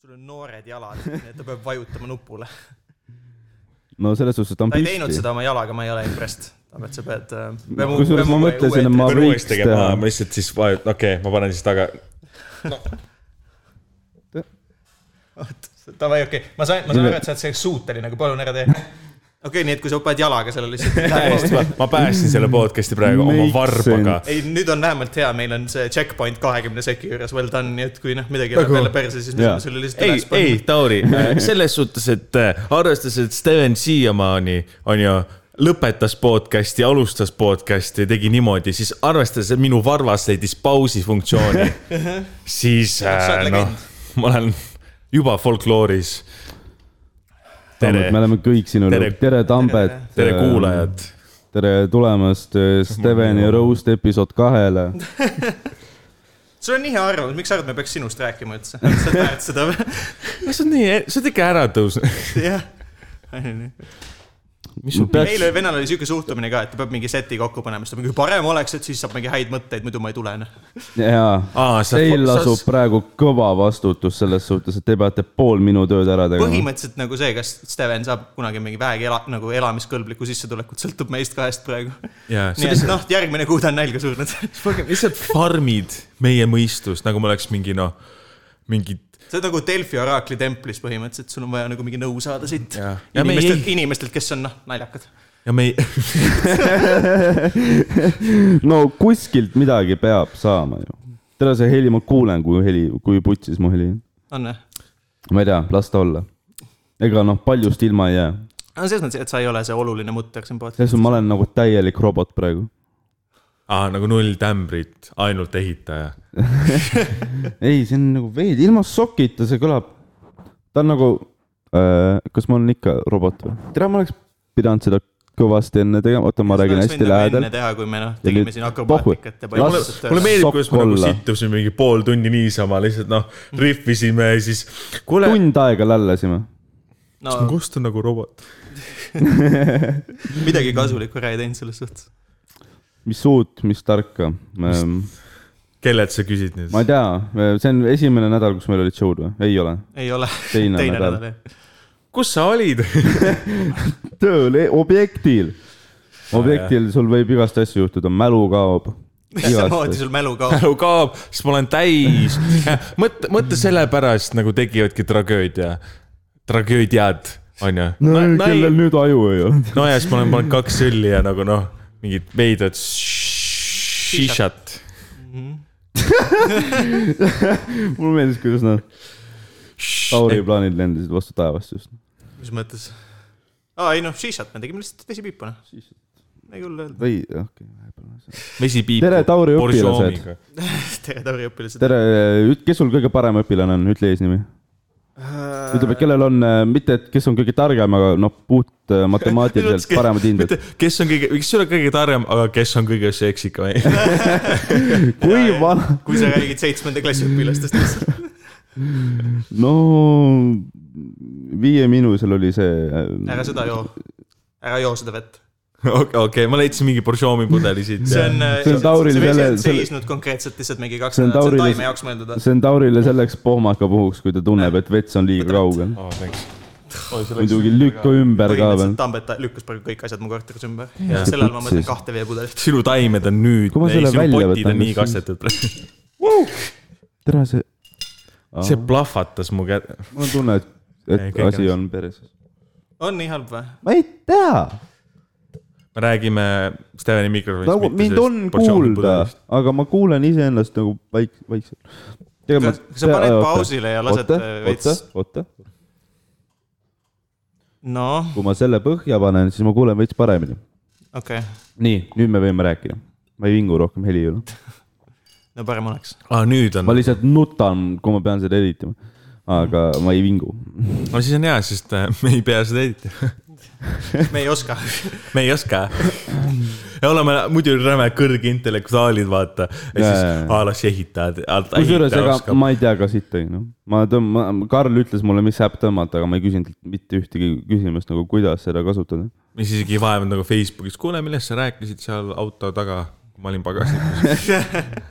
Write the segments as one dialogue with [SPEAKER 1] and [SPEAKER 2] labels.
[SPEAKER 1] sul on noored jalad , nii et ta peab vajutama nupule .
[SPEAKER 2] no selles suhtes , et ta on
[SPEAKER 1] ta ei teinud
[SPEAKER 2] püsti .
[SPEAKER 1] seda oma jalaga , ma ei ole impressed . aga et äh, sa pead .
[SPEAKER 2] Kusjuures ma mõtlesin, et ma-
[SPEAKER 3] pean
[SPEAKER 2] võiks
[SPEAKER 3] uuesti tegema
[SPEAKER 2] teha. ,
[SPEAKER 3] ma lihtsalt siis vajutan , okei okay, , ma panen siis taga .
[SPEAKER 1] Davai , okei okay. , ma sain , ma saan aru , et sa oled selleks suuteline , aga palun ära tee . okei okay, , nii et kui sa paned jalaga selle lihtsalt .
[SPEAKER 3] täiesti , ma päästsin selle podcast'i praegu oma
[SPEAKER 2] Makes
[SPEAKER 3] varbaga .
[SPEAKER 1] ei , nüüd on vähemalt hea , meil on see checkpoint kahekümne seki juures , well done , nii et kui noh , midagi läheb
[SPEAKER 3] Nagu-
[SPEAKER 1] jälle perse , siis me
[SPEAKER 2] Jaa.
[SPEAKER 1] saame selle lihtsalt
[SPEAKER 3] ei
[SPEAKER 1] üles ,
[SPEAKER 3] ei
[SPEAKER 1] panna .
[SPEAKER 3] Tauri , selles suhtes , et äh, arvestades , et Steven siiamaani on ju lõpetas podcast'i , alustas podcast'i , tegi niimoodi , siis arvestades , et minu varvas leidis pausi funktsiooni , siis
[SPEAKER 1] sa
[SPEAKER 3] äh,
[SPEAKER 1] oled
[SPEAKER 3] noh , ma olen juba folklooris . tere
[SPEAKER 2] me , oleme kõik sinu
[SPEAKER 3] Tere.
[SPEAKER 2] tere, tere Tambet .
[SPEAKER 3] tere kuulajad .
[SPEAKER 2] tere tulemast äh, Steveni Roast episood kahele .
[SPEAKER 1] sul on nii hea arvamus , miks sa arvad , me peaks sinust rääkima üldse ? sa oled väärt seda või ?
[SPEAKER 3] kas on nii , sa oled ikka ära tõusnud ?
[SPEAKER 1] jah . meil oli , venelal oli siuke suhtumine ka , et ta peab mingi seti kokku panema , siis ta mingi parem oleks , et siis saab mingi häid mõtteid , muidu ma ei tule , noh .
[SPEAKER 2] jaa ,
[SPEAKER 3] aa , Ah, sa
[SPEAKER 2] teil lasub praegu kõva vastutus selles suhtes , et te peate pool minu tööd ära tegema .
[SPEAKER 1] põhimõtteliselt nagu see , kas Steven saab kunagi mingi vähegi ela, nagu elamiskõlblikku sissetulekut , sõltub meist kahest praegu .
[SPEAKER 3] Jaa, see
[SPEAKER 1] nii et noh , järgmine kuu ta on nälga surnud .
[SPEAKER 3] sa lihtsalt farm'id meie mõistust , nagu ma oleks mingi noh , mingi
[SPEAKER 1] see on nagu Delfi oraakli templis põhimõtteliselt , sul on vaja nagu mingi nõu saada siit
[SPEAKER 3] Jaa. Ja me ei-
[SPEAKER 1] inimestelt , inimestelt , kes on noh , naljakad .
[SPEAKER 3] ja me ei ,
[SPEAKER 2] no kuskilt midagi peab saama ju . tere , see heli , ma kuulen , kui heli , kui putsis mu heli .
[SPEAKER 1] on või ?
[SPEAKER 2] ma ei tea , las ta olla . ega noh , paljust ilma ei jää .
[SPEAKER 1] no selles mõttes , et sa ei ole see oluline mutter siin podcast'is .
[SPEAKER 2] selles suhtes ma olen nagu täielik robot praegu .
[SPEAKER 3] aa , nagu null tämbrit , ainult ehitaja .
[SPEAKER 2] ei , see on nagu veidi , ilma sokita see kõlab . ta on nagu äh, , kas ma olen ikka robot või ? tere , ma oleks pidanud seda kõvasti enne tegema , oota , ma räägin hästi lähedal
[SPEAKER 1] enne . teha , kui me noh ,
[SPEAKER 2] Ja
[SPEAKER 1] tegime
[SPEAKER 2] nüüd
[SPEAKER 1] siin
[SPEAKER 2] pohhu.
[SPEAKER 1] akrobaatikat ja
[SPEAKER 2] Las-
[SPEAKER 1] palju
[SPEAKER 3] mulle
[SPEAKER 1] lihtsalt tööle .
[SPEAKER 3] mulle meeldib ,
[SPEAKER 2] Sokk
[SPEAKER 3] kuidas me nagu
[SPEAKER 2] olla.
[SPEAKER 3] sittusime mingi pool tundi niisama lihtsalt noh , rihvisime ja siis kuule ,
[SPEAKER 2] tund aega lällasime .
[SPEAKER 1] no
[SPEAKER 3] kust on nagu robot ?
[SPEAKER 1] midagi kasulikku ära ei teinud selles suhtes .
[SPEAKER 2] mis uut , mis tarka ähm, ?
[SPEAKER 3] kellelt sa küsid nüüd
[SPEAKER 2] ma ? ei tea , see on esimene nädal , kus meil olid show'd või ? ei ole ,
[SPEAKER 1] ei ole .
[SPEAKER 2] Teine
[SPEAKER 1] teine
[SPEAKER 2] nädal.
[SPEAKER 1] nädal , jah .
[SPEAKER 3] kus sa olid ?
[SPEAKER 2] tööl , objektil . objektil sul võib igast asju juhtuda , mälu kaob .
[SPEAKER 1] samamoodi sul mälu kaob .
[SPEAKER 3] mälu Nagu kaob , siis ma olen täis . mõtle , mõtle selle pärast nagu tegivadki tragöödia , tragöödiad , onju .
[SPEAKER 2] no kellel nüüd aju ei ole ?
[SPEAKER 3] no ja siis ma olen pannud kaks õlli ja nagu noh , mingit veidrat šišat .
[SPEAKER 2] mulle meeldis , kuidas nad Tauri plaanid lendasid vastu taevast just .
[SPEAKER 1] mis mõttes ? aa , ei noh , šišat me tegime lihtsalt vesipiipuna . ei hull öelda .
[SPEAKER 2] või , okei , vahepeal .
[SPEAKER 3] vesipiip .
[SPEAKER 2] Tere, Tauri õpilased. .
[SPEAKER 1] tere , Tauri õpilased .
[SPEAKER 2] tere , kes sul kõige parem õpilane on , ütle eesnimi . ütleme , et kellel on , mitte et kes on kõige targem , aga noh , puht äh, matemaatiliselt paremad hinded .
[SPEAKER 3] kes on kõige , kes ei ole kõige targem , aga kes on kõige seksikam ?
[SPEAKER 2] kui vana ,
[SPEAKER 1] kui sa räägid seitsmenda klassi õpilastest lihtsalt .
[SPEAKER 2] no Viie Miinusel oli see äh,
[SPEAKER 1] ära seda joo . ära joo seda vett .
[SPEAKER 3] okei , ma leidsin mingi boršoomi pudeli siit .
[SPEAKER 1] see on .
[SPEAKER 2] See on Tauril selle- selle-
[SPEAKER 1] seisnud konkreetselt lihtsalt mingi kaks
[SPEAKER 2] See on
[SPEAKER 1] nädalat , see on
[SPEAKER 2] Tauril-
[SPEAKER 1] taime jaoks mõeldud .
[SPEAKER 2] see on Taurile selleks pohmaka puhuks , kui ta tunneb , et vets on liiga kaugel .
[SPEAKER 3] oh, .
[SPEAKER 2] muidugi lükka ümber ka veel
[SPEAKER 1] põhimõtteliselt . Tambet ta- lükkas praegu kõik asjad mu korteris ümber . sel ajal ma
[SPEAKER 2] Putsis.
[SPEAKER 1] mõtlen kahte veepudelit .
[SPEAKER 3] sinu taimed on nüüd ,
[SPEAKER 2] Kui ma
[SPEAKER 3] ei
[SPEAKER 2] selle
[SPEAKER 3] sinu
[SPEAKER 2] välja
[SPEAKER 3] potid
[SPEAKER 2] võtan,
[SPEAKER 3] on nii
[SPEAKER 2] kas-
[SPEAKER 3] kastetud .
[SPEAKER 2] tere , see ,
[SPEAKER 3] see plahvatas mu käe .
[SPEAKER 2] mul on tunne , et ,
[SPEAKER 3] Ei,
[SPEAKER 2] et
[SPEAKER 3] kõik
[SPEAKER 2] asi
[SPEAKER 3] on-
[SPEAKER 2] on peres .
[SPEAKER 1] on nii halb või ?
[SPEAKER 2] ma ei tea ,
[SPEAKER 3] me räägime Steveni mikrofonist .
[SPEAKER 2] nagu mind on kuulda , aga ma kuulen iseennast nagu vaik- , vaikselt .
[SPEAKER 1] kas kas sa paned pausile ja lased
[SPEAKER 2] oota
[SPEAKER 1] äh, ,
[SPEAKER 2] oota
[SPEAKER 1] veits ?,
[SPEAKER 2] oota ,
[SPEAKER 1] noh ,
[SPEAKER 2] kui ma selle põhja panen , siis ma kuulen veits paremini .
[SPEAKER 1] okei ,
[SPEAKER 2] nii , nüüd me võime rääkida . ma ei vingu rohkem heli üle .
[SPEAKER 1] no parem oleks .
[SPEAKER 3] aa , nüüd on
[SPEAKER 2] ma . lihtsalt nutan , kui ma pean seda editima . aga ma ei vingu .
[SPEAKER 3] no siis on hea , sest äh, me ei pea seda editama .
[SPEAKER 1] me ei oska .
[SPEAKER 3] me ei oska . ja oleme muidu räme kõrgintellektуaalid , vaata . ja
[SPEAKER 2] Jaa,
[SPEAKER 3] siis
[SPEAKER 2] jaa, jaa.
[SPEAKER 3] a la siis ehitad .
[SPEAKER 2] kusjuures , ega ma ei tea ka siit , onju . ma tõmban , Karl ütles mulle , mis äpp tõmmata , aga ma ei küsinud talt mitte ühtegi küsimust nagu , kuidas seda kasutada .
[SPEAKER 3] mis isegi ei vaevanud nagu Facebookis , kuule , millest sa rääkisid seal auto taga , kui ma olin pagasikus .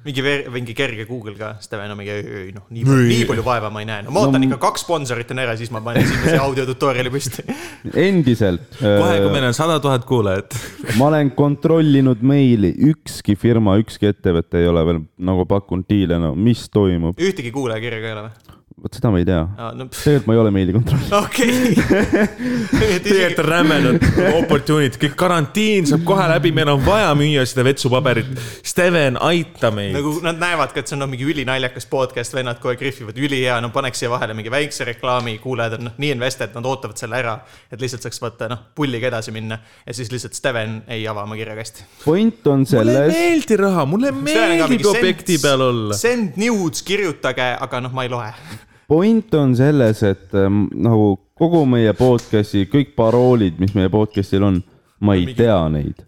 [SPEAKER 1] mingi ver- , mingi kerge Google ka , Steven on mingi , ei noh , nii palju , nii palju vaeva ma ei näe , no ma ootan
[SPEAKER 2] No-
[SPEAKER 1] ikka kaks sponsorit on ära , siis ma panen esimese audiotutorial'i püsti .
[SPEAKER 2] endiselt . äh,
[SPEAKER 3] kohe , kui meil on sada tuhat kuulajat .
[SPEAKER 2] ma olen kontrollinud meili , ükski firma , ükski ettevõte ei ole veel nagu pakkunud diile , no mis toimub ,
[SPEAKER 1] ühtegi kuulajakirja ka ei ole või ?
[SPEAKER 2] vot seda ma ei tea .
[SPEAKER 1] no pff,
[SPEAKER 2] tegelikult ma ei ole meili kontrollinud .
[SPEAKER 1] okei
[SPEAKER 3] tegelikult
[SPEAKER 1] okay. .
[SPEAKER 3] on rämedad opportunity , kõik karantiin saab kohe läbi , meil on vaja müüa seda vetsupaberit . Steven , aita meid nagu... .
[SPEAKER 1] nagu nad näevad ka , et see on noh, mingi ülinaljakas podcast , vennad kohe krihvivad , ülihea , no paneks siia vahele mingi väikse reklaami , kuulajad on noh , nii invested , nad ootavad selle ära , et lihtsalt saaks vaata noh , pulliga edasi minna ja siis lihtsalt Steven ei ava oma kirjakasti .
[SPEAKER 2] point on
[SPEAKER 3] mulle ei
[SPEAKER 2] selles ,
[SPEAKER 3] meeldi raha , mulle meeldib objekti peal olla .
[SPEAKER 1] Send nudes , kirjutage , aga noh , ma ei loe .
[SPEAKER 2] point on selles , et ähm, nagu kogu meie podcast'i kõik paroolid , mis meie podcast'il on , ma ei tea neid .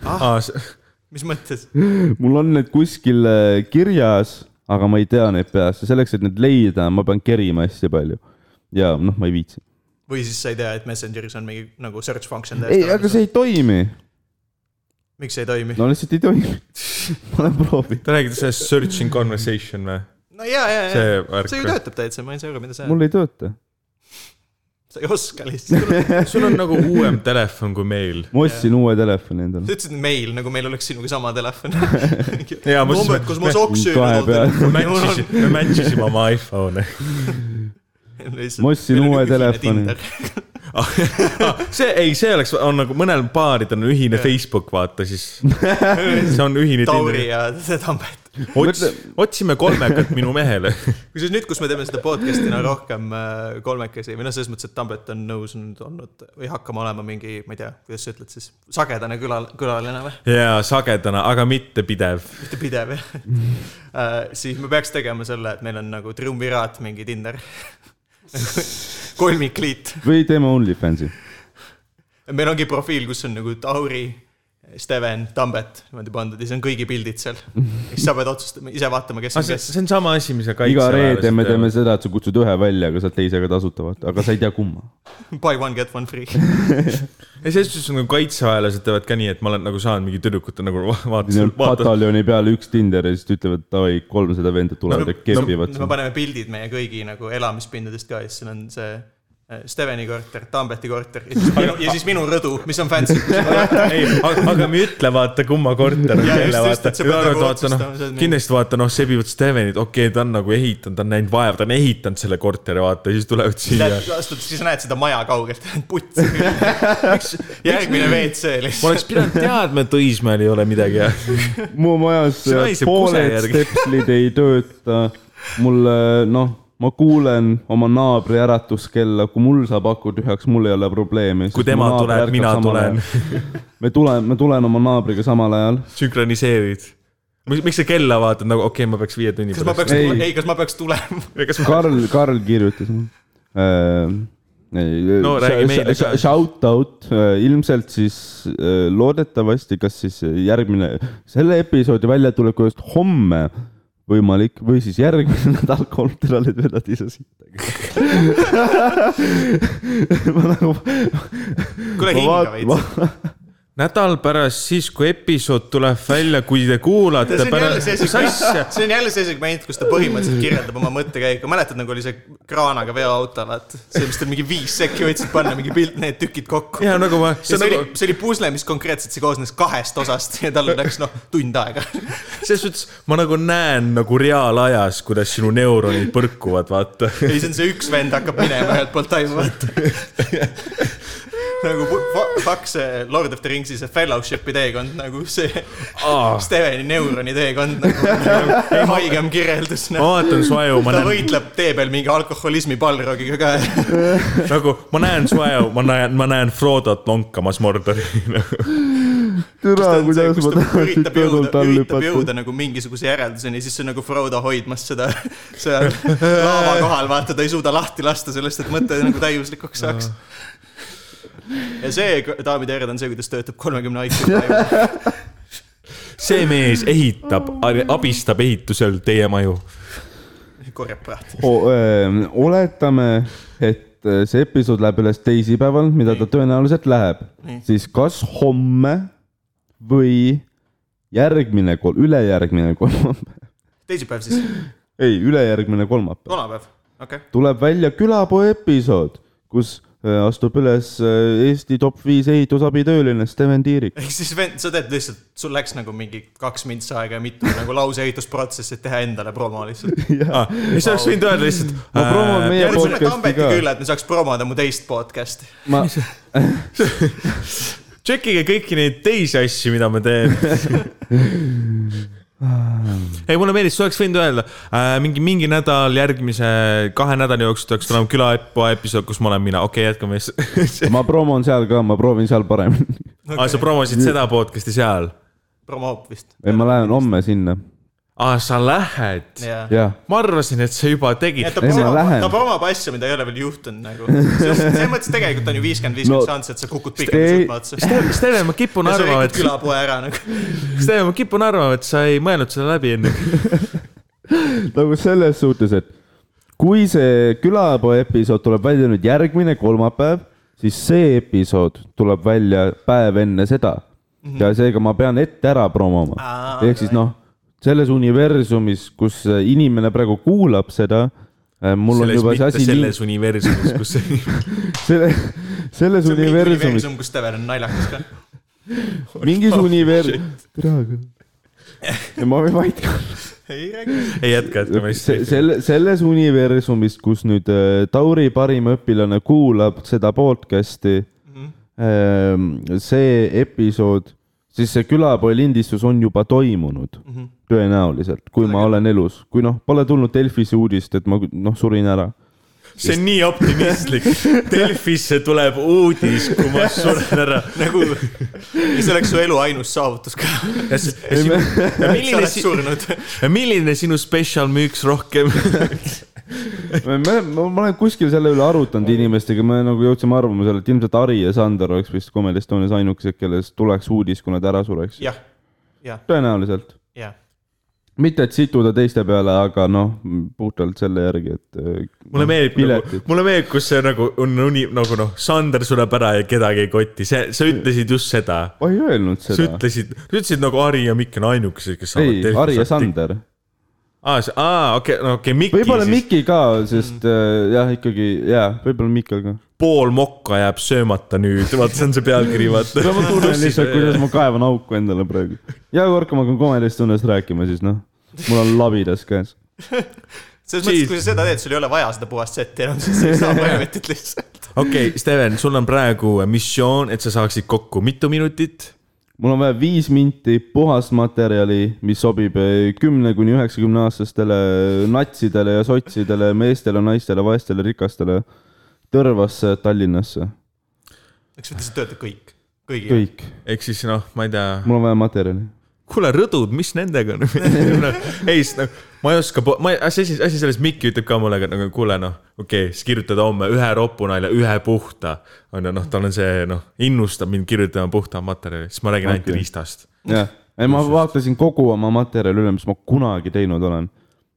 [SPEAKER 3] Ah,
[SPEAKER 1] mis mõttes ?
[SPEAKER 2] mul on need kuskil äh, kirjas , aga ma ei tea neid peast ja selleks , et need leida , ma pean kerima hästi palju . ja noh , ma ei viitsi .
[SPEAKER 1] või siis sa ei tea , et Messengeris on mingi nagu search function
[SPEAKER 2] ei , aga see ei toimi .
[SPEAKER 1] miks see ei toimi ?
[SPEAKER 2] no lihtsalt ei toimi . ma olen proovinud .
[SPEAKER 3] Te räägite sellest search in conversation või ?
[SPEAKER 1] no ja , ja , ja
[SPEAKER 3] see
[SPEAKER 1] see ju
[SPEAKER 3] värk .
[SPEAKER 1] töötab täitsa , ma ei saa aru , mida sa ,
[SPEAKER 2] mul ei tööta .
[SPEAKER 1] sa ei oska lihtsalt .
[SPEAKER 3] sul on nagu uuem telefon kui meil .
[SPEAKER 2] ma ostsin uue telefoni endale .
[SPEAKER 1] sa ütlesid meil , nagu meil oleks sinuga sama telefon .
[SPEAKER 3] Jaa, ma siis-
[SPEAKER 1] numbrid , kus ma soksi
[SPEAKER 2] Kahe peal.
[SPEAKER 3] me match isime , me match isime oma iPhone'e .
[SPEAKER 1] ma
[SPEAKER 2] Ma ostsin uue telefoni. .
[SPEAKER 3] Ah, see , ei , see oleks , on nagu mõnel paaridel on ühine Facebook , vaata siis . see on ühine .
[SPEAKER 1] Tauri ja Tampet .
[SPEAKER 3] Ots, otsime kolmekat minu mehele .
[SPEAKER 1] kusjuures nüüd , kus me teeme seda podcast'ina rohkem äh, kolmekesi või noh , selles mõttes , et Tambet on nõus nüüd olnud või hakkama olema mingi , ma ei tea , kuidas sa ütled siis , sagedane küla , külaline või ?
[SPEAKER 3] ja sagedana , aga mitte pidev .
[SPEAKER 1] mitte pidev jah uh, . siis me peaks tegema selle , et meil on nagu triumviraat mingi Tinder . kolmikliit .
[SPEAKER 2] või teeme Onlyfansi .
[SPEAKER 1] meil ongi profiil , kus on nagu Tauri , Steven , Tambet niimoodi pandud ja siis on kõigi pildid seal . siis sa pead otsustama , ise vaatama , kes on
[SPEAKER 3] Ah, see
[SPEAKER 1] kes .
[SPEAKER 3] see on sama asi , mis sa
[SPEAKER 2] iga reede
[SPEAKER 3] kaitseväelased
[SPEAKER 2] me teeme . seda , et sa kutsud ühe välja , aga saad teisega tasuta vaata , aga sa ei tea kumma .
[SPEAKER 1] Buy one , get one free .
[SPEAKER 3] ei , selles suhtes nagu kaitseväelased teevad ka nii , et ma olen nagu saanud mingi tüdrukute nagu va- vaatasin , vaatasin .
[SPEAKER 2] pataljoni peale üks Tinder ja siis ta ütlevad , davai , kolmsada venda tulevad ja kepivad
[SPEAKER 1] me
[SPEAKER 2] sind .
[SPEAKER 1] paneme pildid meie kõigi nagu elamispindadest ka ja siis siin on see äh, Steveni korter , Tambeti korter ja siis minu, ja siis minu rõdu , mis on fancy .
[SPEAKER 3] ei , aga me ei ütle , vaata , kumma korter on
[SPEAKER 1] Jaa, just,
[SPEAKER 3] kelle ,
[SPEAKER 1] just,
[SPEAKER 3] vaata
[SPEAKER 1] et sa . pead nagu
[SPEAKER 3] vaata , noh
[SPEAKER 1] otsustama, see on , mingi-
[SPEAKER 3] kindlasti vaata , noh , sebivad Stevenit , okei okay, , ta on nagu ehitanud , ta on näinud vaeva , ta on ehitanud selle korteri , vaata , siis tulevad siia .
[SPEAKER 1] astud , siis näed seda maja kaugelt , putsi . järgmine WC
[SPEAKER 3] ma
[SPEAKER 1] lihtsalt .
[SPEAKER 3] oleks pidanud teadma , et Õismäel ei ole midagi
[SPEAKER 2] mu majas äh,
[SPEAKER 3] See naiseb kuse
[SPEAKER 2] pooled
[SPEAKER 3] järgi.
[SPEAKER 2] stepslid ei tööta . mul noh , ma kuulen oma naabri äratuskella , kui mul saab aku tühjaks , mul ei ole probleemi .
[SPEAKER 3] Kui tema tuleb, mina tulen. .
[SPEAKER 2] me tuleme , ma tulen oma naabriga samal ajal .
[SPEAKER 3] sünkroniseerid . miks sa kella vaatad nagu , okei okay, , ma peaks viie tunni
[SPEAKER 1] kas ma peaks ,
[SPEAKER 2] Ei.
[SPEAKER 1] ei , kas ma peaks tulema ?
[SPEAKER 3] peaks... .
[SPEAKER 2] Karl , Karl noh, kirjutas mulle .
[SPEAKER 3] No räägi meile ka.
[SPEAKER 2] Shout out , ilmselt siis äh, loodetavasti , kas siis järgmine , selle episoodi väljatuleku eest homme võimalik või siis järgmine nädal Kolterale vedad ise siit . ma nagu .
[SPEAKER 1] kuule , hinga veits .
[SPEAKER 3] nädal pärast siis , kui episood tuleb välja , kui te kuulate
[SPEAKER 1] see on jälle
[SPEAKER 3] pärast
[SPEAKER 1] see ,
[SPEAKER 3] mis asja ,
[SPEAKER 1] segment , see on jälle see segment , kus ta põhimõtteliselt kirjeldab oma mõttekäiku , mäletad , nagu oli see kraanaga veoauto , vaat . see , mis tal mingi viis sekki võtsid panna , mingi pilt , need tükid kokku .
[SPEAKER 3] ja nagu ma ,
[SPEAKER 1] see,
[SPEAKER 3] see on
[SPEAKER 1] see oli
[SPEAKER 3] nagu ,,
[SPEAKER 1] see oli pusle , mis konkreetselt see koosnes kahest osast ja tal läks noh , tund aega .
[SPEAKER 3] selles suhtes ma nagu näen nagu reaalajas , kuidas sinu neuronid põrkuvad , vaata .
[SPEAKER 1] ei , see on see üks vend hakkab minema ühelt poolt tajuma . nagu pu- fa- fuck see Lord of the Ringsi see fellowship'i teekond nagu see
[SPEAKER 3] ma
[SPEAKER 1] Steveni neuroni teekond nagu haigem kirjeldus no. .
[SPEAKER 3] vaatan su aju , Oh, ma
[SPEAKER 1] ta
[SPEAKER 3] näen ,
[SPEAKER 1] võitleb tee peal mingi alkoholismi pallrogiga ka .
[SPEAKER 3] nagu ma näen su aju , ma näen , ma näen Frodot lonkamas Mordorina .
[SPEAKER 2] türa , Ah, kuidas ma tahan siit
[SPEAKER 1] nagu üritab
[SPEAKER 2] tõdult
[SPEAKER 1] jõuda ,
[SPEAKER 2] all
[SPEAKER 1] üritab
[SPEAKER 2] hüpata .
[SPEAKER 1] jõuda nagu mingisuguse järelduseni , siis see on nagu Frodo hoidmas seda seal laava kohal , vaata , ta ei suuda lahti lasta sellest , et mõte nagu täiuslikuks saaks . ja see , daamid ja härrad , on see , kuidas töötab kolmekümne aegse taju .
[SPEAKER 3] see mees ehitab , abistab ehitusel teie maju .
[SPEAKER 1] korjab prahti .
[SPEAKER 2] ehm, oletame , et äh, see episood läheb üles teisipäeval , mida ta tõenäoliselt läheb , siis kas homme või järgmine kol- , ülejärgmine kolmapäev ,
[SPEAKER 1] teisipäev siis ,
[SPEAKER 2] ei , ülejärgmine kolmapäev
[SPEAKER 1] kolmapäev , okei okay. .
[SPEAKER 2] tuleb välja külapoo episood , kus äh, astub üles äh, Eesti top viis ehitusabitööline Steven Tiirik .
[SPEAKER 1] ehk siis vend , sa teed lihtsalt , sul läks nagu mingi kaks mintsi aega ja mitu nagu lause ehitusprotsessi , et teha endale promo lihtsalt .
[SPEAKER 3] siis Ah, oleks võinud öelda lihtsalt . äh,
[SPEAKER 2] Ma promon meie
[SPEAKER 1] ja võtsime
[SPEAKER 2] podcast'i
[SPEAKER 1] Tambeti
[SPEAKER 2] ka.
[SPEAKER 1] külla , et me saaks promoda mu teist podcast'i .
[SPEAKER 2] ma ,
[SPEAKER 3] tšekkige kõiki neid teisi asju , mida ma teen . ei , mulle meeldis , sa oleks võinud öelda äh, mingi , mingi nädal , järgmise kahe nädala jooksul peaks tulema külaepoe episood , kus ma olen mina , okei okay, , jätkame siis .
[SPEAKER 2] ma promon seal ka , ma proovin seal paremini .
[SPEAKER 3] aa , sa promosid seda podcast'i seal ?
[SPEAKER 1] promob vist .
[SPEAKER 2] ei , ma lähen homme sinna ,
[SPEAKER 3] aa , Ah, sa lähed ?
[SPEAKER 1] jah .
[SPEAKER 2] jah .
[SPEAKER 3] ma arvasin , et sa juba tegid
[SPEAKER 1] et . ta
[SPEAKER 2] Ei, ma
[SPEAKER 1] promob ,
[SPEAKER 2] lähen.
[SPEAKER 1] ta promob asju , mida ei ole veel juhtunud nagu . selles mõttes tegelikult on ju viiskümmend
[SPEAKER 2] No,
[SPEAKER 1] viiskümmend šanss , et sa kukud
[SPEAKER 2] Ste-
[SPEAKER 1] pikali sealt otsa .
[SPEAKER 3] Steven , Steven , ma kipun
[SPEAKER 1] ja sa
[SPEAKER 3] arvama ,
[SPEAKER 1] lõikad
[SPEAKER 3] et ,
[SPEAKER 1] külapoe ära nagu .
[SPEAKER 3] Steven , ma kipun arvama , et sa ei mõelnud seda läbi enne .
[SPEAKER 2] nagu selles suhtes , et kui see külapoe episood tuleb välja nüüd järgmine kolmapäev , siis see episood tuleb välja päev enne seda . ja seega ma pean ette ära promoma
[SPEAKER 1] Mhm. Aa, .
[SPEAKER 2] ehk siis noh , selles universumis , kus inimene praegu kuulab seda , mul on
[SPEAKER 3] selles ,
[SPEAKER 2] juba see
[SPEAKER 3] mitte
[SPEAKER 2] asi
[SPEAKER 3] selles universumis , kus see
[SPEAKER 2] selle , selles
[SPEAKER 1] see on mingi
[SPEAKER 2] universumis ,
[SPEAKER 1] universum , Oh, kus Steven on naljakas ka .
[SPEAKER 2] mingis universumis . tere , aga . ma võin vait ka .
[SPEAKER 1] ei räägi .
[SPEAKER 3] ei jätka , jätkame
[SPEAKER 2] Se-
[SPEAKER 3] lihtsalt .
[SPEAKER 2] selle , selles universumis , kus nüüd äh, Tauri parim õpilane kuulab seda podcast'i ähm, , see episood , siis see külapoi lindistus on juba toimunud mm . -hmm. tõenäoliselt , kui ma olen elus , kui noh , pole tulnud Delfisse uudist , et ma noh , surin ära .
[SPEAKER 3] see on nii optimistlik . Delfisse tuleb uudis , kui ma suren ära .
[SPEAKER 1] nagu , ja see oleks su elu ainus saavutus ka .
[SPEAKER 3] ja s- ja sinu- ja
[SPEAKER 1] sa
[SPEAKER 3] milline
[SPEAKER 1] oled
[SPEAKER 3] si-
[SPEAKER 1] surnud .
[SPEAKER 3] ja milline sinu spetsial müüks rohkem ?
[SPEAKER 2] ma, ma, ma olen kuskil selle üle arutanud inimestega , me nagu jõudsime arvamusele , et ilmselt Ari ja Sander oleks vist Comedy Estonias ainukesed , kellest tuleks uudis , kui nad ära sureks .
[SPEAKER 1] jah , jah ,
[SPEAKER 2] tõenäoliselt
[SPEAKER 1] jah .
[SPEAKER 2] mitte , et situda teiste peale , aga noh , puhtalt selle järgi , et . äh,
[SPEAKER 3] mulle meeldib nagu
[SPEAKER 2] piletid ,.
[SPEAKER 3] mulle meeldib , kus see nagu on uni- , nagu noh , Sander sureb ära ja kedagi ei kotti , see , sa ütlesid just seda .
[SPEAKER 2] ma ei öelnud
[SPEAKER 3] sa
[SPEAKER 2] seda .
[SPEAKER 3] ütlesid , sa ütlesid nagu Ari ja Mikk on ainukesed , kes
[SPEAKER 2] ei , Ari ja . Sander .
[SPEAKER 3] aa , Ah, aa , okei , no okei okay, , Mikki
[SPEAKER 2] võib-olla
[SPEAKER 3] siis
[SPEAKER 2] Miki ka , sest äh, jah , ikkagi jaa , võib-olla Mikal ka .
[SPEAKER 3] pool mokka jääb söömata nüüd , vaata , see on see pealkiri , vaata .
[SPEAKER 2] ma tunnen lihtsalt , kuidas ma kaevan auku endale praegu . ja kord , kui ma hakkan komedist tunnest rääkima , siis noh , mul on labidas käes .
[SPEAKER 1] selles mõttes ,
[SPEAKER 3] Jeez.
[SPEAKER 1] et kui sa seda teed , sul ei ole vaja seda puhast setti enam , siis sa ei saa brevetit lihtsalt .
[SPEAKER 3] okei okay, , Steven , sul on praegu missioon , et sa saaksid kokku mitu minutit .
[SPEAKER 2] mul on vaja viis minti puhast materjali , mis sobib äh, kümne kuni üheksakümne aastastele natsidele ja sotsidele , meestele , naistele , vaestele , rikastele , Tõrvasse , Tallinnasse ,
[SPEAKER 1] eks mõttes , et töötab kõik , kõigi .
[SPEAKER 2] kõik .
[SPEAKER 3] ehk siis noh , ma ei tea ,
[SPEAKER 2] mul on vaja materjali .
[SPEAKER 3] kuule , rõdud , mis nendega on ? ei , ma ei oska , ma ei , asi , asi selles , Mikki ütleb ka mulle , nagu kuule noh , okei okay, , siis kirjutada homme ühe ropunalja , ühe puhta . on ju , noh , tal on see noh , innustab mind kirjutama puhta materjali , siis ma räägin ainult
[SPEAKER 2] Okei.
[SPEAKER 3] riistast .
[SPEAKER 2] jah , ei ma vaatasin kogu oma materjali üle , mis ma kunagi teinud olen .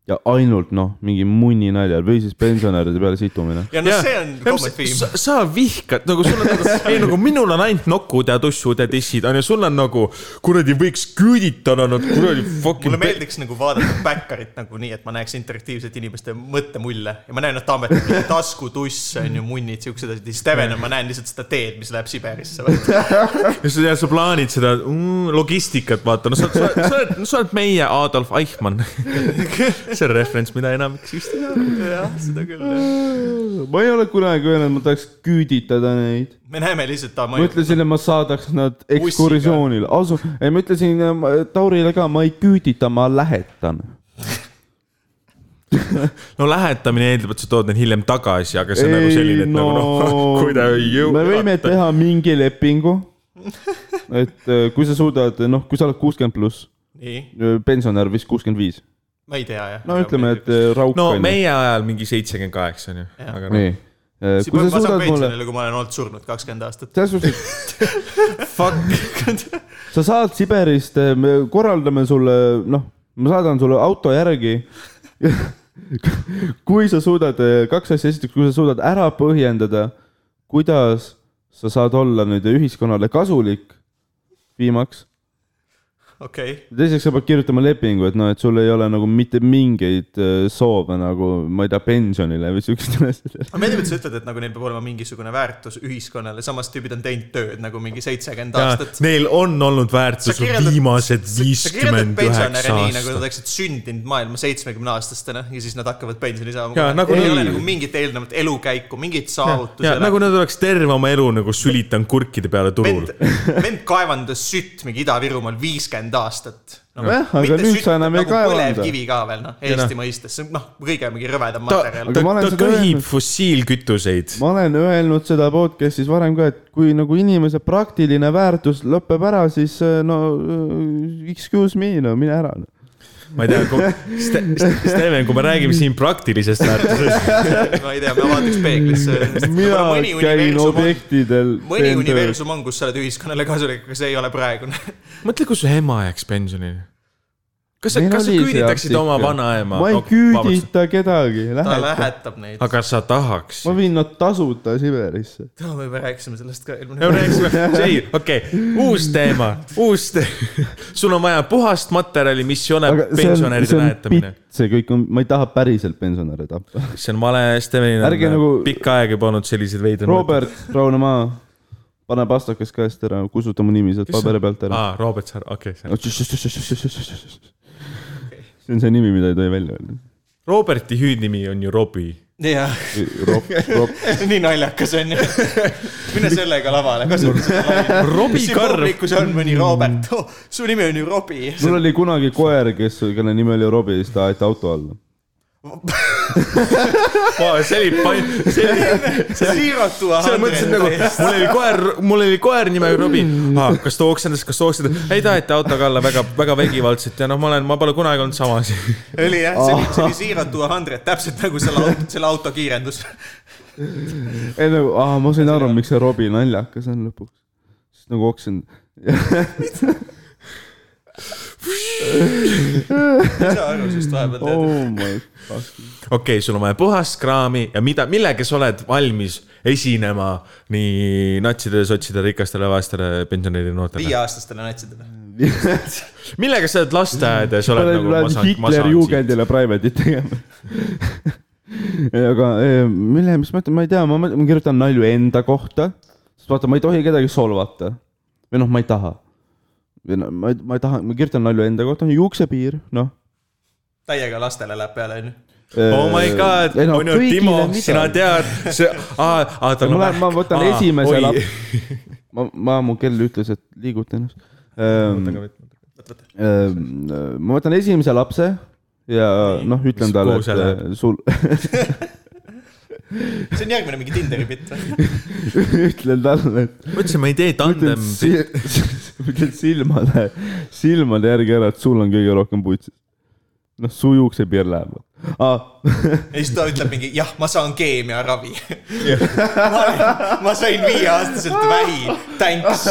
[SPEAKER 2] ja ainult noh , mingi munni naljal või siis pensionäride peale situmine .
[SPEAKER 1] ja noh , see on common theme .
[SPEAKER 3] sa, sa vihkad nagu sul on nagu , ei nagu minul on ainult nokud ja tussud ja tissid onju , sul on nagu kuradi võiks küüditada nad kuradi
[SPEAKER 1] mulle
[SPEAKER 3] fucking .
[SPEAKER 1] meeldiks nagu vaadata backerit nagu nii , et ma näeks interaktiivselt inimeste mõttemulle ja ma näen , et Tambet on mingi taskutuss on ju , munnid , siuksed asjad , siis Steven on , ma näen lihtsalt seda teed , mis läheb Siberisse .
[SPEAKER 3] ja sa tead , sa plaanid seda mm, logistikat vaata , no sa oled , sa oled , sa oled meie Adolf Eichmann . see on referents , mida enamik siis teab .
[SPEAKER 1] jah , seda küll .
[SPEAKER 2] ma ei ole kunagi öelnud , ma tahaks küüditada neid .
[SPEAKER 1] me näeme lihtsalt , ta
[SPEAKER 2] ma
[SPEAKER 1] mõjub
[SPEAKER 2] ütlesin , et ma saadaks nad ekskursioonile , asu , ei ma ütlesin äh, ma- Taurile ka , ma ei küüdita , ma lähetan .
[SPEAKER 3] no lähetamine eeldab , et sa tood need hiljem tagasi , aga see on nagu selline ,
[SPEAKER 2] ei
[SPEAKER 3] et no. nagu noh , kui ta ei jõua .
[SPEAKER 2] me võime teha mingi lepingu . et äh, kui sa suudad , noh , kui sa oled kuuskümmend pluss ,
[SPEAKER 1] nii ,
[SPEAKER 2] pensionär vist kuuskümmend viis
[SPEAKER 1] ma ei tea jah .
[SPEAKER 2] no ütleme , et äh, rauk
[SPEAKER 3] no
[SPEAKER 2] on ju.
[SPEAKER 3] meie ajal mingi seitsekümmend kaheksa onju ,
[SPEAKER 1] Jah.
[SPEAKER 3] aga noh ,
[SPEAKER 2] nii .
[SPEAKER 1] siis
[SPEAKER 2] kui
[SPEAKER 1] ma
[SPEAKER 2] sa
[SPEAKER 1] saan
[SPEAKER 2] suudad mulle ,
[SPEAKER 1] pensionile , kui ma olen olnud surnud kakskümmend aastat .
[SPEAKER 2] selles suhtes ,
[SPEAKER 1] Fuck .
[SPEAKER 2] sa saad Siberist , me korraldame sulle , noh , ma saadan sulle auto järgi . kui sa suudad , kaks asja , esiteks , kui sa suudad ära põhjendada , äh, kuidas sa saad olla nüüd ühiskonnale kasulik , viimaks .
[SPEAKER 1] okei okay. ,
[SPEAKER 2] teiseks sa pead kirjutama lepingu , et noh , et sul ei ole nagu mitte mingeid äh, soove nagu , ma ei tea , pensionile või siukestele asjadele .
[SPEAKER 1] aga meeldib , et sa ütled , et nagu neil peab olema mingisugune väärtus ühiskonnale , samas tüübid on teinud tööd nagu mingi seitsekümmend aastat .
[SPEAKER 3] Neil on olnud väärtus viimased viiskümmend üheksa
[SPEAKER 1] nii , nagu nad
[SPEAKER 3] aastat .
[SPEAKER 1] oleksid sündinud maailma seitsmekümne aastastena ja siis nad hakkavad pensioni saama .
[SPEAKER 3] Jaa, nagu
[SPEAKER 1] ei
[SPEAKER 3] neil-
[SPEAKER 1] ole nagu mingit eelnevat elukäiku , mingeid saavutusi .
[SPEAKER 3] ja nagu nad oleks terve oma elu nagu sülitanud kurkide peale turul
[SPEAKER 1] vend . vend kaevandas sütt mingi Ida-Virumaal viiskümmend aastat no, .
[SPEAKER 2] Nojah, aga nüüd sa enam ei kaevanda.
[SPEAKER 1] põlevkivi ka veel noh ,
[SPEAKER 3] noh.
[SPEAKER 1] Eesti mõistes , see on noh , kõige mingi rõvedam
[SPEAKER 3] ta ,
[SPEAKER 1] materjal .
[SPEAKER 3] ta,
[SPEAKER 2] ma olen
[SPEAKER 3] ta
[SPEAKER 2] seda
[SPEAKER 3] köhib
[SPEAKER 2] öelnud.
[SPEAKER 3] fossiilkütuseid .
[SPEAKER 2] ma olen öelnud seda podcast'is varem ka , et kui nagu inimese praktiline väärtus lõpeb ära , siis äh, no äh, excuse me , no mine ära .
[SPEAKER 3] ma ei tea , Steven , kui me räägime siin praktilisest väärtusest ,
[SPEAKER 1] ma ei tea , ma vaataks peeglisse .
[SPEAKER 2] mina käin . objektidel .
[SPEAKER 1] mõni . universum on , kus sa oled ühiskonnale kasulik , aga see ei ole praegune .
[SPEAKER 3] mõtle , kui su ema jääks pensionile . kas sa ,
[SPEAKER 2] Meil
[SPEAKER 3] kas sa
[SPEAKER 2] oli see
[SPEAKER 3] küüditaksid
[SPEAKER 2] artikkel.
[SPEAKER 3] oma vanaema ?
[SPEAKER 2] ma ei küüdita kedagi ,
[SPEAKER 1] ta
[SPEAKER 2] lähed .
[SPEAKER 1] lähetab neid .
[SPEAKER 3] aga sa tahaks ?
[SPEAKER 2] ma viin nad tasuta Siberisse .
[SPEAKER 1] me juba rääkisime sellest ka eelmine
[SPEAKER 3] no
[SPEAKER 1] kord .
[SPEAKER 3] rääkisime , ei , okei okay. , uus teema , uus te- . sul on vaja puhast materjali , mis ei ole
[SPEAKER 2] aga see on ,
[SPEAKER 3] pensionäride
[SPEAKER 2] see on
[SPEAKER 3] lähetamine
[SPEAKER 2] pitt ., see kõik on , ma ei taha päriselt pensionäre tappa .
[SPEAKER 3] see on vale , Stevenil on
[SPEAKER 2] Ärge nagu-
[SPEAKER 3] pikka aega juba olnud selliseid veidraid .
[SPEAKER 2] Robert , rahune maha , pane pastakas käest ära , kustuta mu nimi sealt paberi pealt ära .
[SPEAKER 3] aa , Robert Saar , okei okay, .
[SPEAKER 2] see on see nimi , mida ei tohi välja öelda .
[SPEAKER 3] Roberti hüüdnimi on ju Robbie .
[SPEAKER 1] jah ,
[SPEAKER 2] Rob , Rob ,
[SPEAKER 1] nii naljakas on ju . mine sellega lavale , kasuta seda laine .
[SPEAKER 3] Robbie
[SPEAKER 1] siin
[SPEAKER 3] Karv ,
[SPEAKER 1] publikus on mõni Robert oh, , su nimi on ju Robbie .
[SPEAKER 2] mul oli kunagi koer , kes , kelle nimi oli Robbie , siis ta aeti auto alla .
[SPEAKER 3] see oli , see oli ,
[SPEAKER 1] siiratu
[SPEAKER 3] selles mõttes , et nagu mul oli koer , mul oli koer nimega Robbie ah, . kas ta oksendas , kas ta oksendas , ei ta aeti autoga alla väga , väga vägivaldselt ja noh , ma olen , ma pole kunagi olnud samas .
[SPEAKER 1] oli jah , see oli , see oli siiratu Andret , täpselt nagu selle auto , selle auto kiirendus .
[SPEAKER 2] ei nagu , aa , ma sain aru , miks see Robbie naljakas on lõpuks . siis nagu oksend ,
[SPEAKER 1] ei saa aru sellest vahepeal tead .
[SPEAKER 2] oh my fuck .
[SPEAKER 3] okei okay, , sul on vaja puhast kraami ja mida , millega sa oled valmis esinema nii natsidele , sotsidele , rikastele , vaestele , pensionäridele , noortele .
[SPEAKER 1] viieaastastele natsidele .
[SPEAKER 3] millega sa oled lasteaedas , oled nagu ma
[SPEAKER 2] Lähed
[SPEAKER 3] saan , ma saan siit .
[SPEAKER 2] Hitlerjugendile private'it tegema . aga eh, mille , mis ma ütlen , ma ei tea , ma , ma kirjutan nalju enda kohta , sest vaata , ma ei tohi kedagi solvata või noh , ma ei taha . või no ma ei , ma ei taha , ma kirjutan nalju enda kohta , juuksepiir , noh .
[SPEAKER 1] täiega lastele läheb peale onju .
[SPEAKER 3] oh my god , on ju Timo , sina . tead , see , aa , aa
[SPEAKER 2] ma
[SPEAKER 3] tal on
[SPEAKER 2] lähen , ma võtan
[SPEAKER 3] Aa,
[SPEAKER 2] esimese
[SPEAKER 3] oi.
[SPEAKER 2] lap- , ma , ma , mu kell ütles , et liiguta ennast . ehm, ma võtan esimese lapse ja noh , ütlen
[SPEAKER 3] Mis-
[SPEAKER 2] talle ,
[SPEAKER 3] kuhu see
[SPEAKER 2] et eh, sul
[SPEAKER 1] see on järgmine mingi Tinderi bitt või ?
[SPEAKER 2] ütlen talle , et
[SPEAKER 3] ma ütlesin , ma ei tee
[SPEAKER 2] ütlen
[SPEAKER 3] tandem ,
[SPEAKER 2] si- ütlen silmade , silmade järgi ära , et sul on kõige rohkem putsis . noh , su juuksepiir läheb ah, .
[SPEAKER 1] ja siis ta ütleb mingi jah , ma saan keemiaravi . ma sain viieaastaselt vähi , thanks .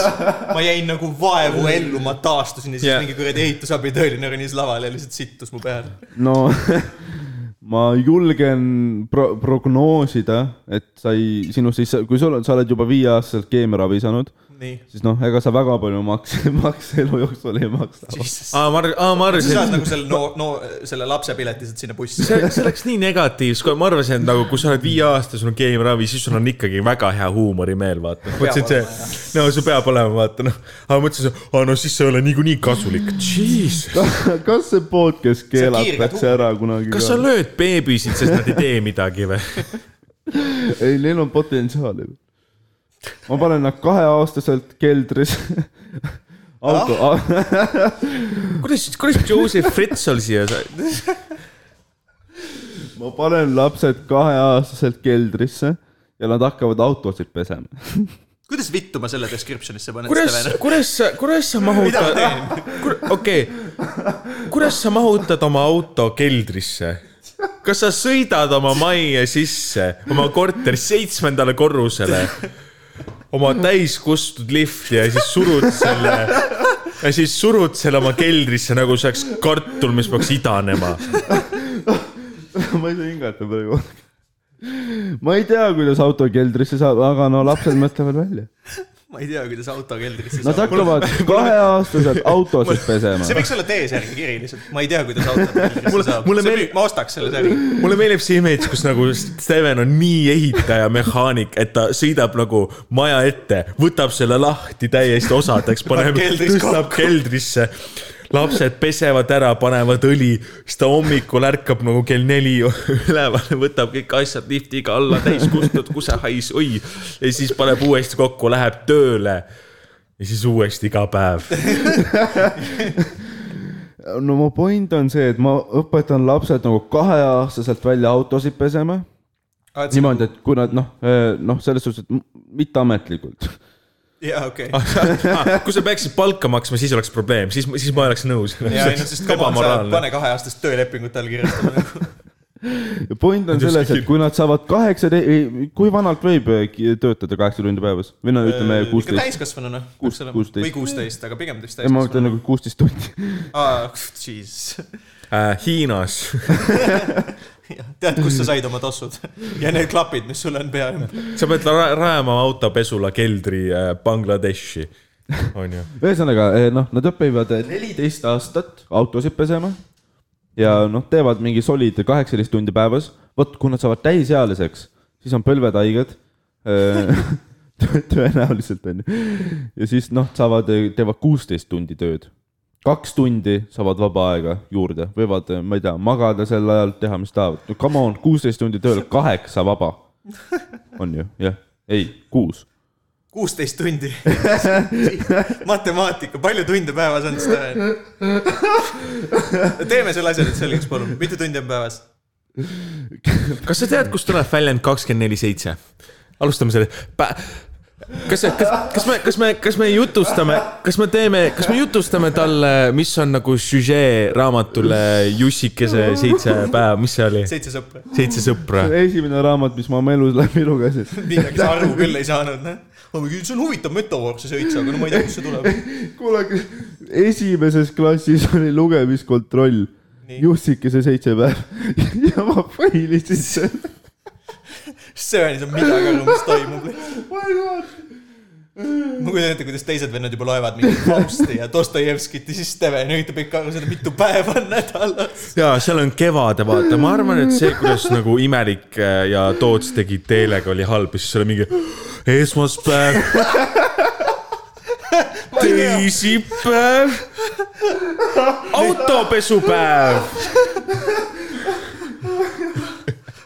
[SPEAKER 1] ma jäin nagu vaevu ellu , ma taastusin ja siis
[SPEAKER 3] Jah.
[SPEAKER 1] mingi kuradi ehitusabitööline ronis lavale ja lihtsalt sittus mu peale .
[SPEAKER 2] no ma julgen pro prognoosida , et sa ei , sinust ei saa , kui sul on , sa oled juba viieaastaselt keemiaravi saanud ,
[SPEAKER 1] nii .
[SPEAKER 2] siis noh , ega sa väga palju makse , makse elu jooksul ei maksa .
[SPEAKER 1] Jesus .
[SPEAKER 3] aa , ma , aa , ma
[SPEAKER 1] sa saad
[SPEAKER 3] arvasin ,
[SPEAKER 1] nagu selle no , no selle lapse pileti lihtsalt sinna bussi .
[SPEAKER 3] see , see läks nii negatiivseks , kui ma arvasin , et nagu , kui sa oled viie aasta , sul on keemiaravi , siis sul on ikkagi väga hea huumorimeel , vaata . mõtlesin , et see , no see peab olema , vaata noh . aga mõtlesin , aa no siis see ei ole niikuinii kasulik . Jesus ,
[SPEAKER 2] kas see podcast keelatakse
[SPEAKER 1] huumor.
[SPEAKER 2] ära kunagi
[SPEAKER 3] kas sa
[SPEAKER 2] ka ?
[SPEAKER 3] lööd beebisid , sest nad ei tee midagi või ?
[SPEAKER 2] ei , neil on potentsiaali . ma panen nad kaheaastaselt keldris auto ah? ,
[SPEAKER 3] kuidas , kuidas Joseph Fritzl siia sai ?
[SPEAKER 2] ma panen lapsed kaheaastaselt keldrisse ja nad hakkavad autosid pesema .
[SPEAKER 1] kuidas vittu ma selle description'isse panen ,
[SPEAKER 3] kuidas
[SPEAKER 1] Steven ?,
[SPEAKER 3] kuidas sa , kuidas sa
[SPEAKER 1] mida ma
[SPEAKER 3] mahutad ,
[SPEAKER 1] teen ?
[SPEAKER 3] okei , kuidas sa mahutad oma auto keldrisse ? kas sa sõidad oma majja sisse , oma korteri seitsmendale korrusele , oma täis kustud lifti ja siis surud selle , ja siis surud selle oma keldrisse , nagu see oleks kartul , mis peaks idanema .
[SPEAKER 2] ma ei saa hingata praegu . ma ei tea , kuidas auto keldrisse saab , aga no lapsed mõtlevad välja .
[SPEAKER 1] ma ei tea , kuidas auto keldrisse
[SPEAKER 2] Nad hakkavad kaheaastaselt autosid pesema .
[SPEAKER 1] see võiks olla T-särgi kiri lihtsalt , ma ei tea , kuidas auto keldrisse saab .
[SPEAKER 3] mulle
[SPEAKER 1] see
[SPEAKER 3] meeldib-
[SPEAKER 1] müük , ma ostaks selle särgi .
[SPEAKER 3] mulle meeldib see image , kus nagu Steven on nii ehitaja , mehaanik , et ta sõidab nagu maja ette , võtab selle lahti täiesti osadeks , paneb ,
[SPEAKER 1] keldris
[SPEAKER 3] tõstab keldrisse . lapsed pesevad ära , panevad õli , siis ta hommikul ärkab nagu kell neli üleval , võtab kõik asjad liftiga alla täis kustunud kusehais , oi . ja siis paneb uuesti kokku , läheb tööle . ja siis uuesti iga päev .
[SPEAKER 2] no mu point on see , et ma õpetan lapsed nagu kaheaastaselt välja autosid pesema . niimoodi , et kui nad noh , noh , selles suhtes , et m- mitteametlikult .
[SPEAKER 1] jaa , okei .
[SPEAKER 2] Ah,
[SPEAKER 3] kui sa peaksid palka maksma , siis oleks probleem , siis , siis ma oleks nõus .
[SPEAKER 1] ja ei no sest come on , sa pane kaheaastast töölepingut allkirjastama .
[SPEAKER 2] point on selles , et kui nad saavad kaheksa , kui vanalt võib eh, ki- töötada kaheksa tundi päevas või no ütleme
[SPEAKER 1] Äh, ikka
[SPEAKER 2] kuusteist ,
[SPEAKER 1] täiskasvanuna .
[SPEAKER 2] Kuus- kuusteist.
[SPEAKER 1] või kuusteist , aga pigem vist
[SPEAKER 2] ma
[SPEAKER 1] täiskasvanuna .
[SPEAKER 2] mõtlen nagu kuusteist tundi .
[SPEAKER 1] aa , jeez .
[SPEAKER 3] äh, Hiinas ,
[SPEAKER 1] tead , kust sa said oma tossud ja need klapid , mis sul on pea ümber .
[SPEAKER 3] sa pead ra- rajama autopesula keldri äh, Bangladeshi , onju .
[SPEAKER 2] ühesõnaga eh, noh , nad õpivad neliteist aastat autosid pesema ja noh , teevad mingi solid kaheksateist tundi päevas . vot kui nad saavad täisealiseks , siis on põlved haiged eh, . tõenäoliselt on ju . ja siis noh , saavad , teevad kuusteist tundi tööd . kaks tundi saavad vaba aega juurde , võivad , ma ei tea , magada sel ajal , teha mis tahavad . no come on , kuusteist tundi tööl , kaheksa vaba . on ju , jah , ei , kuus .
[SPEAKER 1] kuusteist tundi . matemaatika , palju tunde päevas on seda ? teeme selle asja nüüd selgeks , palun , mitu tundi on päevas ?
[SPEAKER 3] kas sa tead , kust tuleb väljend kakskümmend neli seitse ? alustame selle Pä... . kas , kas , kas me , kas me , kas me jutustame , kas me teeme , kas me jutustame talle , mis on nagu süžee raamatule Jussikese seitse päeva , mis see oli ?
[SPEAKER 1] seitse sõpra .
[SPEAKER 3] seitse sõpra .
[SPEAKER 2] esimene raamat , mis ma oma elus läbi lugesin
[SPEAKER 1] midagi sa aru küll ei saanud , noh . ma mingi , see on huvitav metafoor , see seitse , aga no ma ei tea , kust see tuleb .
[SPEAKER 2] kuule , esimeses klassis oli lugemiskontroll . Jussikese seitse päeva ja ma failisin selle .
[SPEAKER 1] see on lihtsalt midagi aru , mis toimub .
[SPEAKER 2] ma
[SPEAKER 1] ma kujutan ette , kuidas teised vennad juba loevad mingit Fausti ja Dostojevskit ja siis Steven üritab ikka aru saada , mitu päeva on nädalas .
[SPEAKER 3] ja seal on Kevade , vaata , ma arvan , et see , kuidas nagu Imerik ja Toots tegid teelega , oli halb ja siis oli mingi esmaspäev , teisipäev , autopesupäev .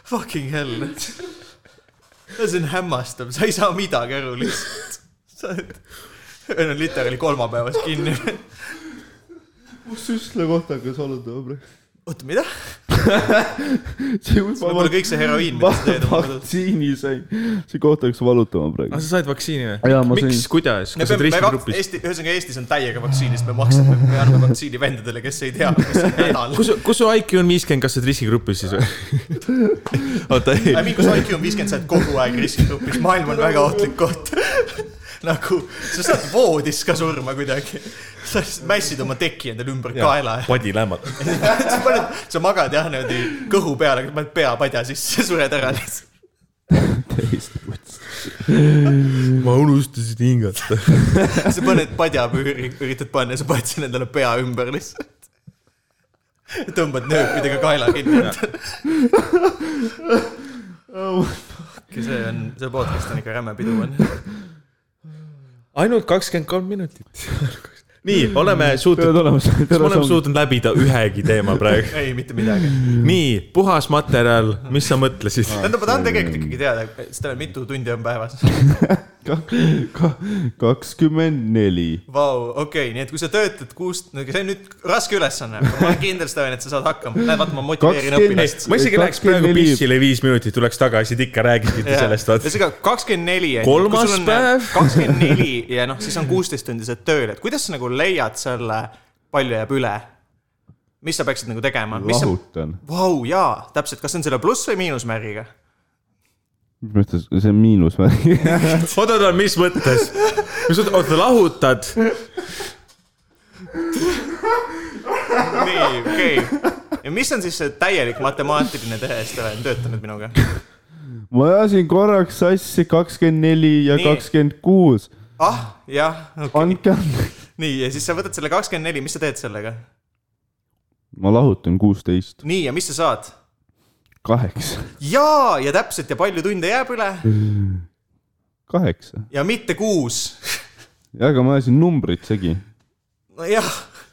[SPEAKER 1] Fucking hell . see on hämmastav , sa ei saa midagi aru lihtsalt . sa oled , meil on literaali kolmapäevas kinni .
[SPEAKER 2] süstla kohtaga sa oled , Dobre ?
[SPEAKER 1] oota , mida ? võib-olla
[SPEAKER 2] ma
[SPEAKER 1] kõik see heroiin , mida sa teed oma kodus .
[SPEAKER 2] vaktsiini sain , see koht hakkas valutama
[SPEAKER 3] aga
[SPEAKER 2] praegu .
[SPEAKER 3] Ah, sa said vaktsiini
[SPEAKER 2] Jaa, ma
[SPEAKER 3] või ? miks
[SPEAKER 2] sain. ,
[SPEAKER 3] kuidas ,
[SPEAKER 1] me
[SPEAKER 3] kas sa
[SPEAKER 1] peame , me vak- ,
[SPEAKER 3] oled riskigrupis ?
[SPEAKER 1] Eesti , ühesõnaga Eestis on täiega vaktsiinist , me maksame , me anname vaktsiini vendadele , kes ei tea , mis on nädal .
[SPEAKER 3] kus , kus su IQ on viiskümmend , kas sa oled riskigrupis siis või ? oota ,
[SPEAKER 1] aga
[SPEAKER 3] ei ,
[SPEAKER 1] mingi kui sa IQ on viiskümmend , sa oled kogu aeg riskigrupis , maailm on väga ohtlik koht . nagu , sa saad voodis ka surma kuidagi . sa mässid oma teki endale ümber kaela
[SPEAKER 3] padilämmad .
[SPEAKER 1] sa paned , sa magad jah niimoodi kõhu peale , paned pea padja sisse , sured ära lihtsalt .
[SPEAKER 2] täiesti putsi .
[SPEAKER 3] ma unustasin hingata .
[SPEAKER 1] sa paned padja püüri , üritad panna ja sa paned selle endale pea ümber lihtsalt . tõmbad nööpidega kaela kinni . see on , see podcast on ikka räme pidu on .
[SPEAKER 3] ainult kakskümmend kolm minutit . nii , oleme suutnud
[SPEAKER 2] peavad olema ,
[SPEAKER 3] kas me
[SPEAKER 2] peavad
[SPEAKER 3] oleme
[SPEAKER 2] olema .
[SPEAKER 3] suutnud läbida ühegi teema praegu ?
[SPEAKER 1] ei , mitte midagi .
[SPEAKER 3] nii , puhas materjal , mis sa mõtlesid ?
[SPEAKER 1] tähendab , ma tahan tegelikult ikkagi teada , Steven , mitu tundi on päevas ?
[SPEAKER 2] kakskümmend neli .
[SPEAKER 1] Vau , okei , nii et kui sa töötad kuust , no see on nüüd raske ülesanne , ma olen kindel , Steven , et sa saad hakkama . näed , vaata , ma motiveerin
[SPEAKER 2] Kakskümmend-
[SPEAKER 1] õpilast .
[SPEAKER 3] ma isegi läheks praegu pissile viis minutit , tuleks tagasi , et ikka räägiti
[SPEAKER 1] Jaa.
[SPEAKER 3] sellest , vaata .
[SPEAKER 1] ühesõnaga kakskümmend neli .
[SPEAKER 3] Kolmas päev.
[SPEAKER 1] kakskümmend neli ja noh , siis on kuusteist tundi sa oled tööl , et kuidas sa nagu leiad selle , palju jääb üle ? mis sa peaksid nagu tegema ?
[SPEAKER 2] lahutan .
[SPEAKER 1] Vau , jaa , täpselt , kas see on selle pluss või miinusmärgiga ?
[SPEAKER 2] mis mõttes , see on miinus või ?
[SPEAKER 3] oota , oota , mis mõttes ? mis mõttes , oota , lahutad ?
[SPEAKER 1] nii , okei okay. . ja mis on siis see täielik matemaatiline tehe , sest olen töötanud minuga ?
[SPEAKER 2] ma ajasin korraks sassi kakskümmend neli ja
[SPEAKER 1] Nii.
[SPEAKER 2] kakskümmend kuus .
[SPEAKER 1] ah , jah , okei .
[SPEAKER 2] andke andeks .
[SPEAKER 1] nii , ja siis sa võtad selle kakskümmend neli , mis sa teed sellega ?
[SPEAKER 2] ma lahutan kuusteist ,
[SPEAKER 1] nii , ja mis sa saad ?
[SPEAKER 2] kaheksa ,
[SPEAKER 1] jaa , ja täpselt ja palju tunde jääb üle
[SPEAKER 2] kaheksa .
[SPEAKER 1] ja mitte kuus .
[SPEAKER 2] ja aga ma ajasin numbrid segi ,
[SPEAKER 1] nojah ,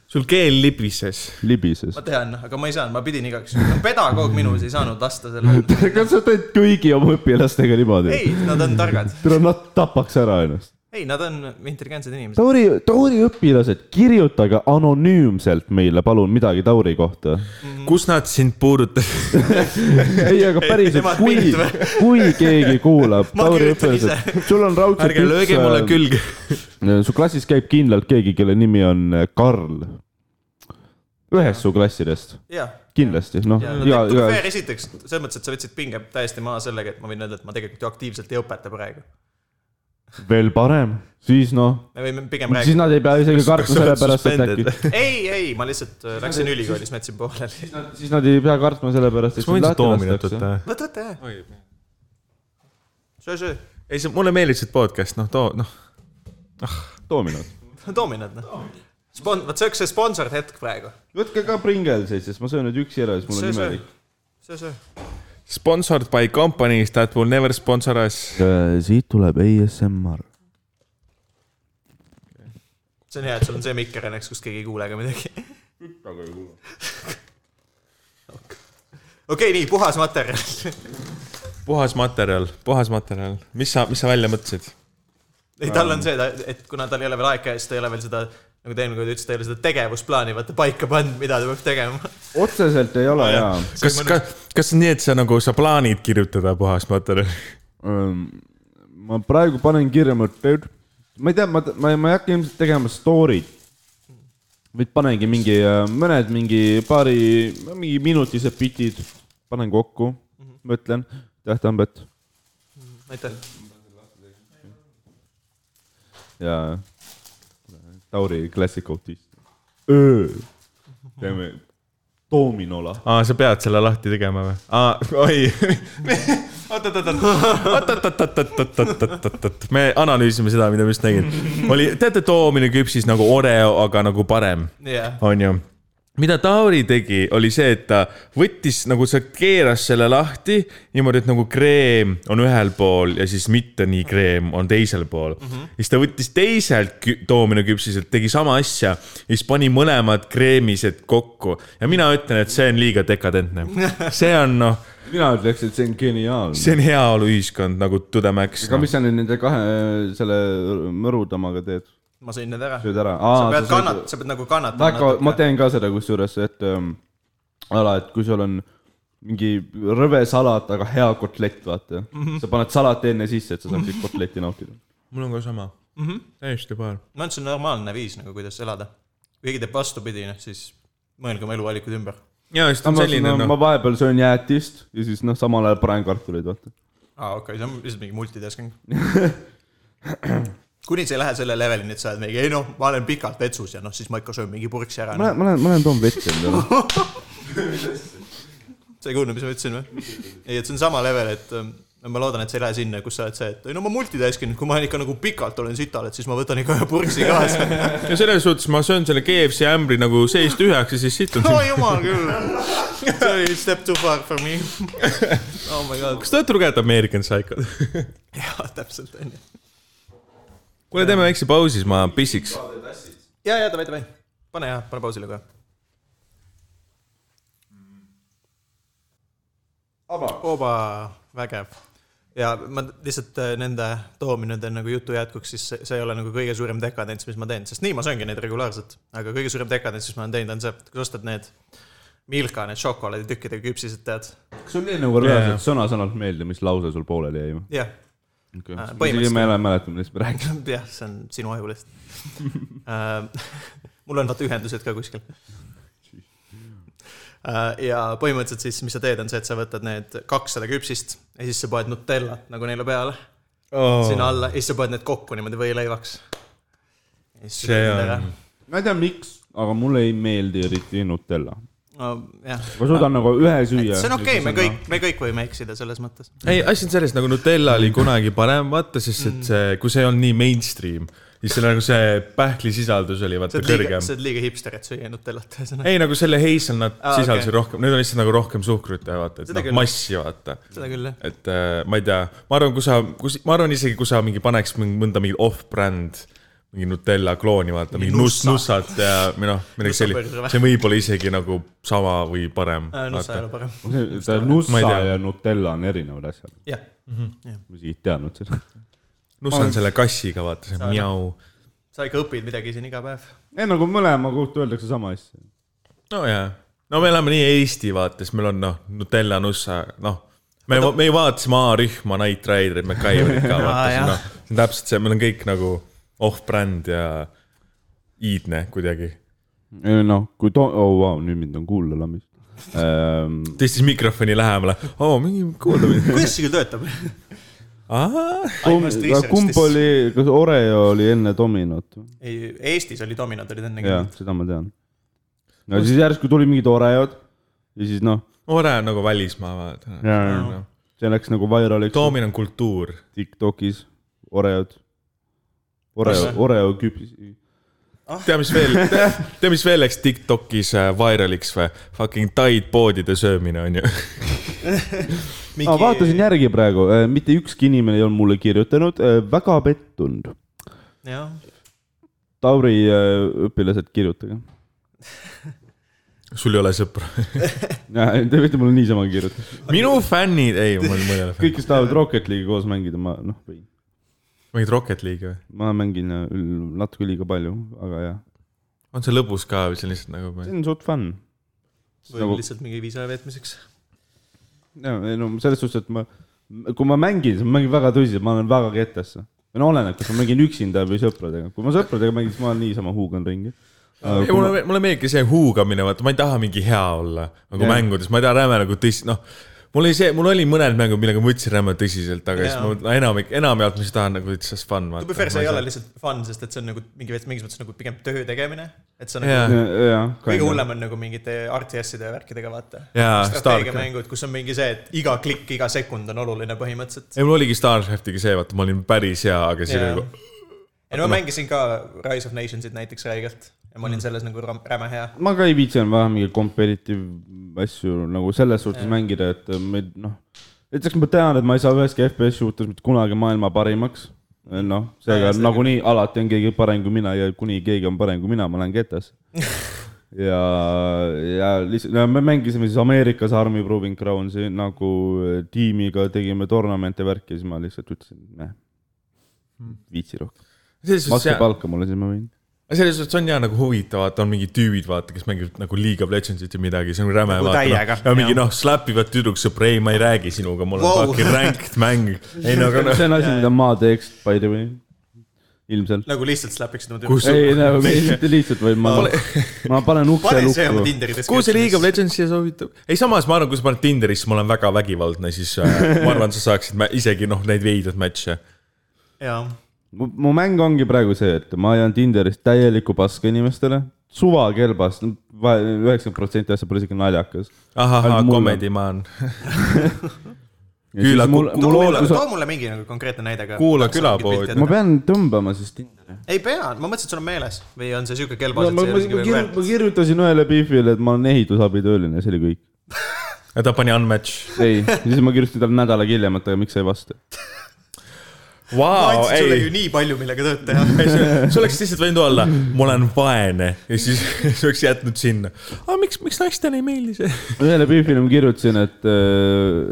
[SPEAKER 3] sul keel libises .
[SPEAKER 2] libises
[SPEAKER 1] ma . tean , aga ma ei saanud , ma pidin igaks juhuks , pedagoog minus ei saanud lasta sellele .
[SPEAKER 2] kas sa teed kõigi oma õpilastega niimoodi ?
[SPEAKER 1] ei , nad on targad ,
[SPEAKER 2] tule nad tapaks ära ennast .
[SPEAKER 1] ei , nad on intelligentsed inimesed .
[SPEAKER 2] Tauri , Tauri õpilased , kirjutage anonüümselt meile palun midagi Tauri kohta .
[SPEAKER 1] Mhm.
[SPEAKER 3] kus nad sind puudutasid ?
[SPEAKER 2] ei , aga päriselt
[SPEAKER 1] Nemad ,
[SPEAKER 2] kui
[SPEAKER 1] pilt või? ,
[SPEAKER 2] kui keegi kuulab
[SPEAKER 1] Ma
[SPEAKER 2] Tauri
[SPEAKER 1] kirjutan
[SPEAKER 2] õpilased , sul on raudselt
[SPEAKER 3] ärge lööge mulle
[SPEAKER 2] üks ,
[SPEAKER 3] külge .
[SPEAKER 2] su klassis käib kindlalt keegi , kelle nimi on äh, Karl . ühest su klassidest ,
[SPEAKER 1] jah ,
[SPEAKER 2] kindlasti , noh ,
[SPEAKER 1] ja
[SPEAKER 2] ja ,
[SPEAKER 1] no
[SPEAKER 2] ja
[SPEAKER 1] fair esiteks , selles mõttes , et sa võtsid pinge täiesti maha sellega , et ma võin öelda , et ma tegelikult ju aktiivselt ei õpeta praegu .
[SPEAKER 2] veel parem , siis noh ,
[SPEAKER 1] me võime pigem
[SPEAKER 2] siis
[SPEAKER 1] rääkida .
[SPEAKER 2] nad ei pea isegi kartma
[SPEAKER 3] kas sa oled
[SPEAKER 2] sellepärast , et
[SPEAKER 3] suspended?
[SPEAKER 2] äkki ,
[SPEAKER 1] ei , ei , ma lihtsalt äh, läksin ülikoolis , ma jätsin pooleli .
[SPEAKER 2] siis nad ei pea kartma sellepärast , et
[SPEAKER 3] kas ma
[SPEAKER 2] sind
[SPEAKER 3] võin su
[SPEAKER 2] lahti
[SPEAKER 3] toomi natuke
[SPEAKER 2] lastakse .
[SPEAKER 3] võtta ?
[SPEAKER 1] võta , võta jah . Söö-söö ,
[SPEAKER 3] ei , see , mulle meeldis see podcast , noh , too , noh .
[SPEAKER 2] toominud .
[SPEAKER 1] toomi nad noh . Spon- , vot see oleks see sponsor hetk praegu .
[SPEAKER 2] võtke ka pringelseid , sest ma söön nüüd üksi ära , siis mul on
[SPEAKER 1] söö-söö
[SPEAKER 2] imelik .,
[SPEAKER 1] söö-söö .
[SPEAKER 3] Sponsored by companies that will never sponsor us .
[SPEAKER 2] siit tuleb ASMR .
[SPEAKER 1] see on hea , et sul on see mikker õnneks , kus keegi ei kuule ka midagi . okei , nii , puhas materjal .
[SPEAKER 3] puhas materjal , puhas materjal . mis sa , mis sa välja mõtlesid ?
[SPEAKER 1] ei , tal
[SPEAKER 2] Ähm.
[SPEAKER 1] on see , et kuna tal ei ole veel aeg käes , ta ei ole veel seda , nagu te eelmine kord ütlesite , ta ei ole seda tegevusplaani vaata paika pannud , mida ta peab tegema .
[SPEAKER 2] otseselt ei
[SPEAKER 3] Ah,
[SPEAKER 2] ole jaa .
[SPEAKER 3] kas , kas , kas nii , et sa nagu , sa plaanid kirjutada puhas materjali ?
[SPEAKER 2] Ähm, ma praegu panen kirja , ma ei tea , ma , ma , ma ei hakka ilmselt tegema story'd . vaid panengi mingi , mõned mingi paari , mingi minutised bitid , panen kokku , mõtlen , tähtambet
[SPEAKER 1] aitäh .
[SPEAKER 2] ja Tauri Classic Outist . öö , teeme Dominola .
[SPEAKER 3] aa , sa pead selle lahti tegema või ? aa , oi . oot-oot-oot-oot-oot-oot-oot-oot-oot-oot-oot-oot , me analüüsime seda , mida ma just nägin . oli , teate , toomine küpsis nagu Oreo , aga nagu parem ,
[SPEAKER 1] jah ,
[SPEAKER 3] onju . mida Tauri tegi , oli see , et ta võttis nagu sa keeras selle lahti niimoodi , et nagu kreem on ühel pool ja siis mitte nii kreem on teisel pool mm . -hmm. siis ta võttis teiselt kü- toomine küpsiselt , tegi sama asja ja siis pani mõlemad kreemised kokku ja mina ütlen , et see on liiga dekadentne . see on noh ,
[SPEAKER 2] mina ütleks , et see on geniaalne .
[SPEAKER 3] see on heaoluühiskond nagu to the max .
[SPEAKER 2] aga mis sa nüüd nende kahe , selle mõrutamaga teed ?
[SPEAKER 1] ma sõin need ära .
[SPEAKER 2] sööd ära ?
[SPEAKER 1] sa pead kannat- , sa pead nagu kannatama
[SPEAKER 2] väga , ma . teen ka seda kusjuures , et ähm, ala , et kui sul on mingi rõve salat , aga hea kotlett , vaata mm . -hmm. sa paned salati enne sisse , et sa saaksid kotletti nautida .
[SPEAKER 3] mul on ka sama mm ,
[SPEAKER 2] Mhm.
[SPEAKER 3] -hmm. täiesti paar .
[SPEAKER 1] ma arvan , et see on normaalne viis nagu , kuidas elada . kui keegi teeb vastupidi , noh siis mõelge oma eluvalikud ümber .
[SPEAKER 3] ja just on
[SPEAKER 2] No,
[SPEAKER 3] selline
[SPEAKER 2] no, ma
[SPEAKER 3] noh ,
[SPEAKER 2] vahepeal söön jäätist ja siis noh , samal ajal panen kartuleid , vaata .
[SPEAKER 1] aa , okei , see on lihtsalt mingi multitasking . kuni sa ei lähe selle levelini , et sa oled mingi , ei noh , ma olen pikalt vetsus ja noh , siis ma ikka söön mingi purksi ära
[SPEAKER 2] ma . lähen , ma lähen , ma lähen toon vett endale .
[SPEAKER 1] sa ei kuulnud , mis ma ütlesin või ? ei , et see on sama level , et ähm, ma loodan , et sa ei lähe sinna , kus sa oled see , et ei no ma multitaskin , kui ma ikka nagu pikalt olen sital , et siis ma võtan ikka ühe purksi kaasa .
[SPEAKER 3] ja selles suhtes ma söön selle KFC ämbri nagu seest üheks ja siis situn
[SPEAKER 1] no jumal küll . see oli step too far for me . Oh my god .
[SPEAKER 3] kas te olete lugenud American Psychot ?
[SPEAKER 1] jaa , täpselt onju .
[SPEAKER 3] kuule , teeme väikse pausi , siis ma pissiks .
[SPEAKER 1] ja , ja davai , davai , pane ja pane pausile kohe . Oba , vägev . ja ma lihtsalt äh, nende toominud nagu jutu jätkuks , siis see, see ei ole nagu kõige suurem dekadents , mis ma teen , sest nii ma sööngi neid regulaarselt , aga kõige suurem dekadents , mis ma olen teinud , on see , et kui sa ostad need Milka need šokolaaditükkidega küpsised , tead .
[SPEAKER 2] kas sul eelmine kord reaalselt
[SPEAKER 3] Jaa.
[SPEAKER 2] sõna-sõnalt meeldib , mis lause sul pooleli jäi või
[SPEAKER 1] jah ,
[SPEAKER 2] okay.
[SPEAKER 1] Äh, ?
[SPEAKER 2] isegi
[SPEAKER 1] põhimõtteliselt.
[SPEAKER 2] ma enam ei mäleta , millest me räägime .
[SPEAKER 1] jah , see on sinu aju lihtsalt . mul on vaata ühendused ka kuskil . ja põhimõtteliselt siis , mis sa teed , on see , et sa võtad need kakssada küpsist ja siis sa paned Nutellat nagu neile peale oh. sinna alla ja siis sa paned need kokku niimoodi võileivaks .
[SPEAKER 3] See on-
[SPEAKER 2] ma ei tea , miks , aga mulle ei meeldi eriti Nutella .
[SPEAKER 1] jah .
[SPEAKER 2] ma suudan nagu ühe süüa .
[SPEAKER 1] see on okei okay, , me kõik , me kõik võime eksida selles mõttes .
[SPEAKER 3] ei , asi on selles nagu Nutella oli kunagi parem , vaata , sest et see , kui see ei olnud nii mainstream , siis seal nagu see pähklisisaldus oli
[SPEAKER 1] sa
[SPEAKER 3] vaata
[SPEAKER 1] oled liiga ,
[SPEAKER 3] kõrgem
[SPEAKER 1] sa . oled liiga hipster , et süüa Nutellat , ühesõnaga .
[SPEAKER 3] ei , nagu selle hazelnut
[SPEAKER 1] Aa,
[SPEAKER 3] sisaldus
[SPEAKER 1] Ah, okei.
[SPEAKER 3] oli rohkem , nüüd on lihtsalt nagu rohkem suhkrut ja vaata , et
[SPEAKER 1] Seda
[SPEAKER 3] noh
[SPEAKER 1] küll. ,
[SPEAKER 3] massi vaata .
[SPEAKER 1] seda küll , jah .
[SPEAKER 3] et äh, ma ei tea , ma arvan , kui sa , kus , ma arvan isegi , kui sa mingi paneks mingi- mõnda mingit off-brand , mingi Nutella klooni , vaata , mingi nuss ,
[SPEAKER 1] nussa.
[SPEAKER 3] nussat ja või noh , midagi sellist
[SPEAKER 1] Nussaburger või? ,
[SPEAKER 3] see võib olla isegi nagu sama või parem .
[SPEAKER 1] Nussa ei ole Äh, parem .
[SPEAKER 2] nagu- see
[SPEAKER 3] Ma ei
[SPEAKER 2] nussa
[SPEAKER 3] tea.
[SPEAKER 2] ja Nutella on erinevad asjad .
[SPEAKER 1] jah ,
[SPEAKER 2] ma isegi ei teadnud seda .
[SPEAKER 3] nuss on selle kassiga , vaata , see mjau .
[SPEAKER 1] sa ikka õpid midagi siin iga päev .
[SPEAKER 2] ei nagu mõlema kohta öeldakse sama asja .
[SPEAKER 3] no jaa , no me elame nii Eesti vaates , meil on noh , Nutella , Nussa , noh . me , me ei vaata siis A-rühma , Knight Riderit , MacGyverit ka vaata
[SPEAKER 1] Aa, ,
[SPEAKER 3] see
[SPEAKER 1] jah.
[SPEAKER 3] on noh , see on täpselt see , meil on kõik nagu off-brand ja iidne kuidagi .
[SPEAKER 2] noh , kui to- , oo vau , nüüd mind on kuulda Ehm, lambist .
[SPEAKER 3] tõstis mikrofoni lähemale , oo , mingi kuulda mind .
[SPEAKER 1] kuidas see küll töötab ? Ainult research
[SPEAKER 2] kumb
[SPEAKER 1] this.
[SPEAKER 2] oli , kas Oreo oli enne Dominot ?
[SPEAKER 1] ei , Eestis oli dominod olid enne
[SPEAKER 2] jah
[SPEAKER 1] küll .,
[SPEAKER 2] seda ma tean . no siis järsku tulid mingid Oreod ja siis noh ,
[SPEAKER 3] Ore on nagu välismaa vaata .
[SPEAKER 2] see läks nagu vairaliks
[SPEAKER 3] Toomin on kultuur .
[SPEAKER 2] Tiktokis , Oreod . Oreo
[SPEAKER 1] Kas- ,
[SPEAKER 2] Oreo küpsis .
[SPEAKER 1] Ah.
[SPEAKER 3] tea , mis veel , tea , mis veel läks Tiktokis äh, viraliks või ? Fucking Tide poodide söömine on ju .
[SPEAKER 2] ma Ah, vaatasin järgi praegu , mitte ükski inimene ei olnud mulle kirjutanud , väga pettunud .
[SPEAKER 1] jah ,
[SPEAKER 2] Tauri äh, õpilased , kirjutage .
[SPEAKER 3] sul ei ole sõpra .
[SPEAKER 2] Te võite mulle niisama kirjutada .
[SPEAKER 3] minu fännid , ei , mul , mul ei ole fänne .
[SPEAKER 2] kõik , kes tahavad Rocket League'i koos mängida , ma noh , võin .
[SPEAKER 3] mingit Rocket League'i või ?
[SPEAKER 2] ma mängin äh, üld- natuke liiga palju , aga jah ,
[SPEAKER 3] on see lõbus ka või see on lihtsalt nagu
[SPEAKER 2] see on suht fun .
[SPEAKER 1] või
[SPEAKER 2] Nagu-
[SPEAKER 1] lihtsalt mingi viis aja veetmiseks .
[SPEAKER 2] ja ei no selles suhtes , et ma , kui ma mängin , siis ma mängin väga tõsiselt , ma olen väga ketesse . no oleneb , kas ma mängin üksinda või sõpradega , kui ma sõpradega mängin , siis ma niisama huugan ringi . Äh,
[SPEAKER 3] ei , mulle , mulle meeldibki see huugamine , vaata , ma ei taha mingi hea olla nagu
[SPEAKER 2] Jah.
[SPEAKER 3] yeah. mängudes , ma ei taha räme nagu tõsi- , noh . mul oli see , mul oli mõned mängud , millega ma võtsin räme tõsiselt , aga yeah.
[SPEAKER 1] Jaa.
[SPEAKER 3] siis ma enamik , enamjaolt ma siis tahan nagu it's just fun .
[SPEAKER 1] to be fair , see ei ole lihtsalt fun , sest et see on nagu mingi , mingis mõttes nagu pigem töö tegemine , et see on
[SPEAKER 3] Jaa.
[SPEAKER 1] nagu
[SPEAKER 2] Äh, jah ,
[SPEAKER 1] kõige . hullem on nagu mingite RTS-ide ja värkidega , vaata .
[SPEAKER 3] Jaa,
[SPEAKER 1] strateegiamängud , kus on mingi see , et iga klikk , iga sekund on oluline põhimõtteliselt .
[SPEAKER 3] ei , mul oligi StarCraftiga see , vaata , ma olin päris hea , aga see oli
[SPEAKER 1] ei
[SPEAKER 3] nagu ,
[SPEAKER 1] no ma mängisin ka Rise of Nationsit näiteks räigelt ja
[SPEAKER 3] Mm.
[SPEAKER 1] ma olin selles nagu ram- räme hea .
[SPEAKER 2] ma ka ei viitsi enam vähe mingeid competitive asju nagu selles suhtes mängida , et me noh , näiteks ma tean , et ma ei saa üheski FPS suhtes mitte kunagi maailma parimaks . noh , seega
[SPEAKER 1] Täiesti.
[SPEAKER 2] nagunii alati on keegi parem kui mina ja kuni keegi on parem kui mina , ma lähen ketas . ja , ja lihtsalt , me mängisime siis Ameerikas Army Proving Groundsi nagu tiimiga tegime tournamente värki ja siis ma lihtsalt ütlesin , näe , viitsi rohkem .
[SPEAKER 3] selles
[SPEAKER 2] makske
[SPEAKER 3] suhtes ,
[SPEAKER 2] palka mulle , siis ma võin .
[SPEAKER 3] selles suhtes on hea nagu huvitav , vaata , on mingid tüübid , vaata , kes mängivad nagu League of Legendsit ja midagi , see on räme ,
[SPEAKER 1] Nagu täiega,
[SPEAKER 3] vaata . ja mingi
[SPEAKER 1] jah.
[SPEAKER 3] noh , slapivad tüdruk sõpra , ei , ma ei räägi sinuga , mul on
[SPEAKER 1] Wow.
[SPEAKER 3] wow. fucking ranked mäng . ei no aga noh ,
[SPEAKER 2] see on asi , mida ma teeks , by the way , ilmselt .
[SPEAKER 1] nagu lihtsalt slapiksid oma
[SPEAKER 3] Kus-
[SPEAKER 1] tüüpi .
[SPEAKER 2] ei , nagu mitte lihtsalt , vaid ma , ma panen ukse
[SPEAKER 1] pane see oma
[SPEAKER 2] lukku .
[SPEAKER 1] Tinderi
[SPEAKER 3] kuhu see League
[SPEAKER 1] description'isse .
[SPEAKER 3] of Legends siia soovitub ? ei , samas ma arvan , kui sa paned Tinderisse , ma olen väga vägivaldne , siis äh, ma arvan , sa saaksid mä- isegi noh , neid veidrad match'e .
[SPEAKER 1] jaa ,
[SPEAKER 2] mu mäng ongi praegu see , et ma ajan Tinderist täielikku paska inimestele , suva kelbas , üheksakümmend protsenti asja pole isegi naljakas .
[SPEAKER 3] ahah
[SPEAKER 2] Ainult , mulle.
[SPEAKER 3] comedy man . Küla-
[SPEAKER 2] mul ,
[SPEAKER 3] ku-
[SPEAKER 2] mul
[SPEAKER 1] too mulle ,
[SPEAKER 2] ootus
[SPEAKER 1] too , mulle mingi nagu konkreetne näide ka .
[SPEAKER 3] Kuula külapoodi.
[SPEAKER 2] ma pean tõmbama siis Tinderi .
[SPEAKER 1] ei pea , ma mõtlesin , et sul on meeles või on see siuke
[SPEAKER 2] ma ,
[SPEAKER 1] kelbas , et see ei
[SPEAKER 2] ma , ma
[SPEAKER 1] ole isegi veel väärt .
[SPEAKER 2] kirjutasin ühele Biffile , et ma olen ehitusabitööline , see oli kõik .
[SPEAKER 3] ta pani unmatch .
[SPEAKER 2] ei , siis ma kirjutasin talle nädal aega hiljem , et aga miks sa ei vasta .
[SPEAKER 1] ma
[SPEAKER 3] Vau ,
[SPEAKER 1] andsin sulle
[SPEAKER 3] ei
[SPEAKER 1] ju , nii palju , millega tööd teha .
[SPEAKER 3] sa oleks lihtsalt võinud olla , ma olen vaene ja siis sa oleks jätnud sinna . aga miks , miks naistele ei meeldi see ?
[SPEAKER 2] ühele Biffile ma kirjutasin , et ,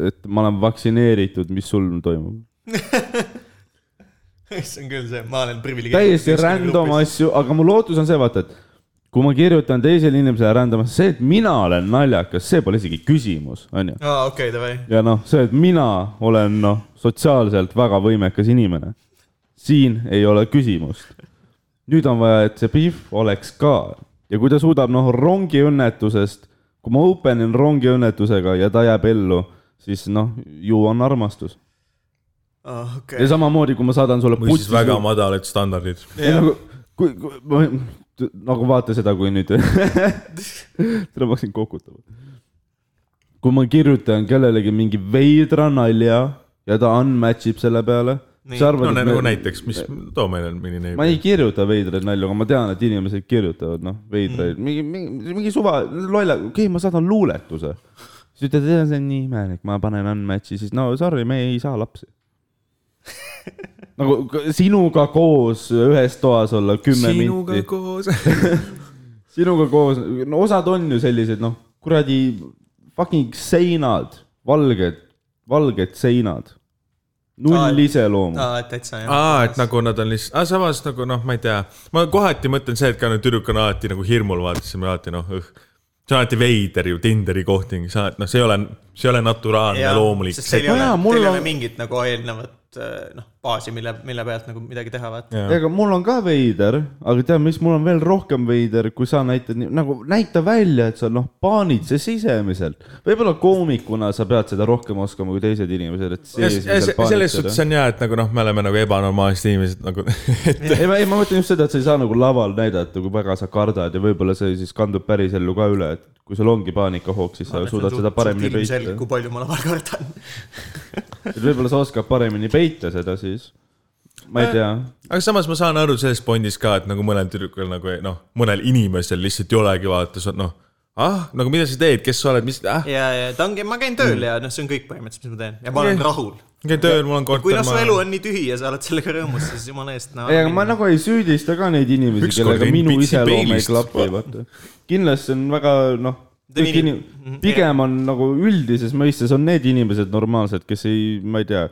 [SPEAKER 2] et ma olen vaktsineeritud , mis sul toimub .
[SPEAKER 1] see on küll see , ma olen privilegeeritud .
[SPEAKER 2] täiesti random . asju , aga mu lootus on see , vaata , et kui ma kirjutan teisele inimesele random , see , et mina olen naljakas , see pole isegi küsimus , onju .
[SPEAKER 1] aa , okei , davai .
[SPEAKER 2] ja noh , see , et mina olen noh , sotsiaalselt väga võimekas inimene . siin ei ole küsimust . nüüd on vaja , et see Biff oleks ka ja kui ta suudab noh , rongiõnnetusest , kui ma open in rongiõnnetusega ja ta jääb ellu , siis noh , ju on armastus .
[SPEAKER 1] okei
[SPEAKER 2] Ah, ja . samamoodi , kui ma saadan sulle
[SPEAKER 3] või siis väga madalad standardid .
[SPEAKER 2] ei nagu , kui, kui , ma , nagu vaata seda , kui nüüd seda ma hakkasin kokutama . kui ma kirjutan kellelegi mingi veidra nalja ja ta unmatch ib selle peale .
[SPEAKER 1] Nii.
[SPEAKER 3] no nä- nagu näiteks , mis , too meile mõni
[SPEAKER 2] ma ei
[SPEAKER 3] näide .
[SPEAKER 2] kirjuta veidraid nalju , aga ma tean , et inimesed kirjutavad noh , veidraid mm. , mingi , mingi , mingi suva , lolla , okei okay, , ma saadan luuletuse . siis ütled , see on see on nii imelik , ma panen unmatch'i , siis no sorry , me ei saa lapsi . nagu k- sinuga koos ühes toas olla kümme
[SPEAKER 3] sinuga
[SPEAKER 2] minti ,
[SPEAKER 3] koos .
[SPEAKER 2] sinuga koos , no osad on ju sellised noh , kuradi fucking seinad , valged , valged seinad .
[SPEAKER 1] Aa,
[SPEAKER 2] null iseloomu .
[SPEAKER 1] aa , täitsa jah .
[SPEAKER 3] aa , et nagu nad on lihtsalt , aga samas nagu noh , ma ei tea , ma kohati mõtlen see , et ka no tüdruk on alati nagu hirmul , vaatasime alati noh , see on alati veider ju Tinderi kohting , sa oled noh , see ei ole , see ei ole naturaalne , loomulik .
[SPEAKER 1] sest teil ei ole
[SPEAKER 2] Jaa, , mul
[SPEAKER 1] teil ei
[SPEAKER 2] on-
[SPEAKER 1] ole mingit nagu eelnevat eh, noh , baasi , mille , mille pealt nagu midagi teha , vaata .
[SPEAKER 2] ja aga mul on ka veider , aga tead , mis mul on veel rohkem veider , kui sa näitad nii- nagu näita välja , et sa noh , paanitsed sisemiselt . võib-olla koomikuna sa pead seda rohkem oskama kui teised inimesed , et
[SPEAKER 3] ja s- ja s-
[SPEAKER 2] sisemiselt
[SPEAKER 3] selles suhtes
[SPEAKER 2] paanitseda .
[SPEAKER 3] on hea , et nagu noh , me oleme nagu ebanormaalsed inimesed nagu , et
[SPEAKER 2] ei , ma , ei , ma mõtlen just seda , et sa ei saa nagu laval näidata , kui väga sa kardad ja võib-olla see siis kandub päris ellu ka üle , et kui sul ongi paanikahoog , siis sa suudad seda paremini
[SPEAKER 1] peita .
[SPEAKER 2] peita .
[SPEAKER 1] kui palju ma laval kardan .
[SPEAKER 2] et võib-olla sa oskad paremini peita seda siis . ma
[SPEAKER 3] Äh,
[SPEAKER 2] ei tea
[SPEAKER 3] aga samas ma saan aru selles pondis ka , et nagu mõnel tüdrukul nagu ei- noh , mõnel inimesel lihtsalt ei olegi vaata , sa noh , ah , nagu mida sa teed , kes sa oled , mis , ah ,
[SPEAKER 1] ja , ja ta ongi , ma käin tööl ja noh , see on kõik põhimõtteliselt , mis ma teen ja ma olen
[SPEAKER 3] Jah.
[SPEAKER 1] rahul .
[SPEAKER 3] ma käin tööl , mul on
[SPEAKER 1] kui
[SPEAKER 3] korter ,
[SPEAKER 1] noh , su elu on nii tühi ja sa oled sellega rõõmus , siis jumala eest , no
[SPEAKER 2] ei , aga ma nagu ei süüdista ka neid inimesi ,
[SPEAKER 3] Ükskord
[SPEAKER 2] kellega
[SPEAKER 3] jäin
[SPEAKER 2] minu
[SPEAKER 3] pitsi
[SPEAKER 2] iseloom ei
[SPEAKER 3] peilist.
[SPEAKER 2] klapi , vaata . kindlasti on väga noh ,
[SPEAKER 1] Need
[SPEAKER 2] kõik
[SPEAKER 1] inim-
[SPEAKER 2] inim- , pigem on nagu üldises mõistes on need inimesed normaalsed , kes ei , ma ei tea .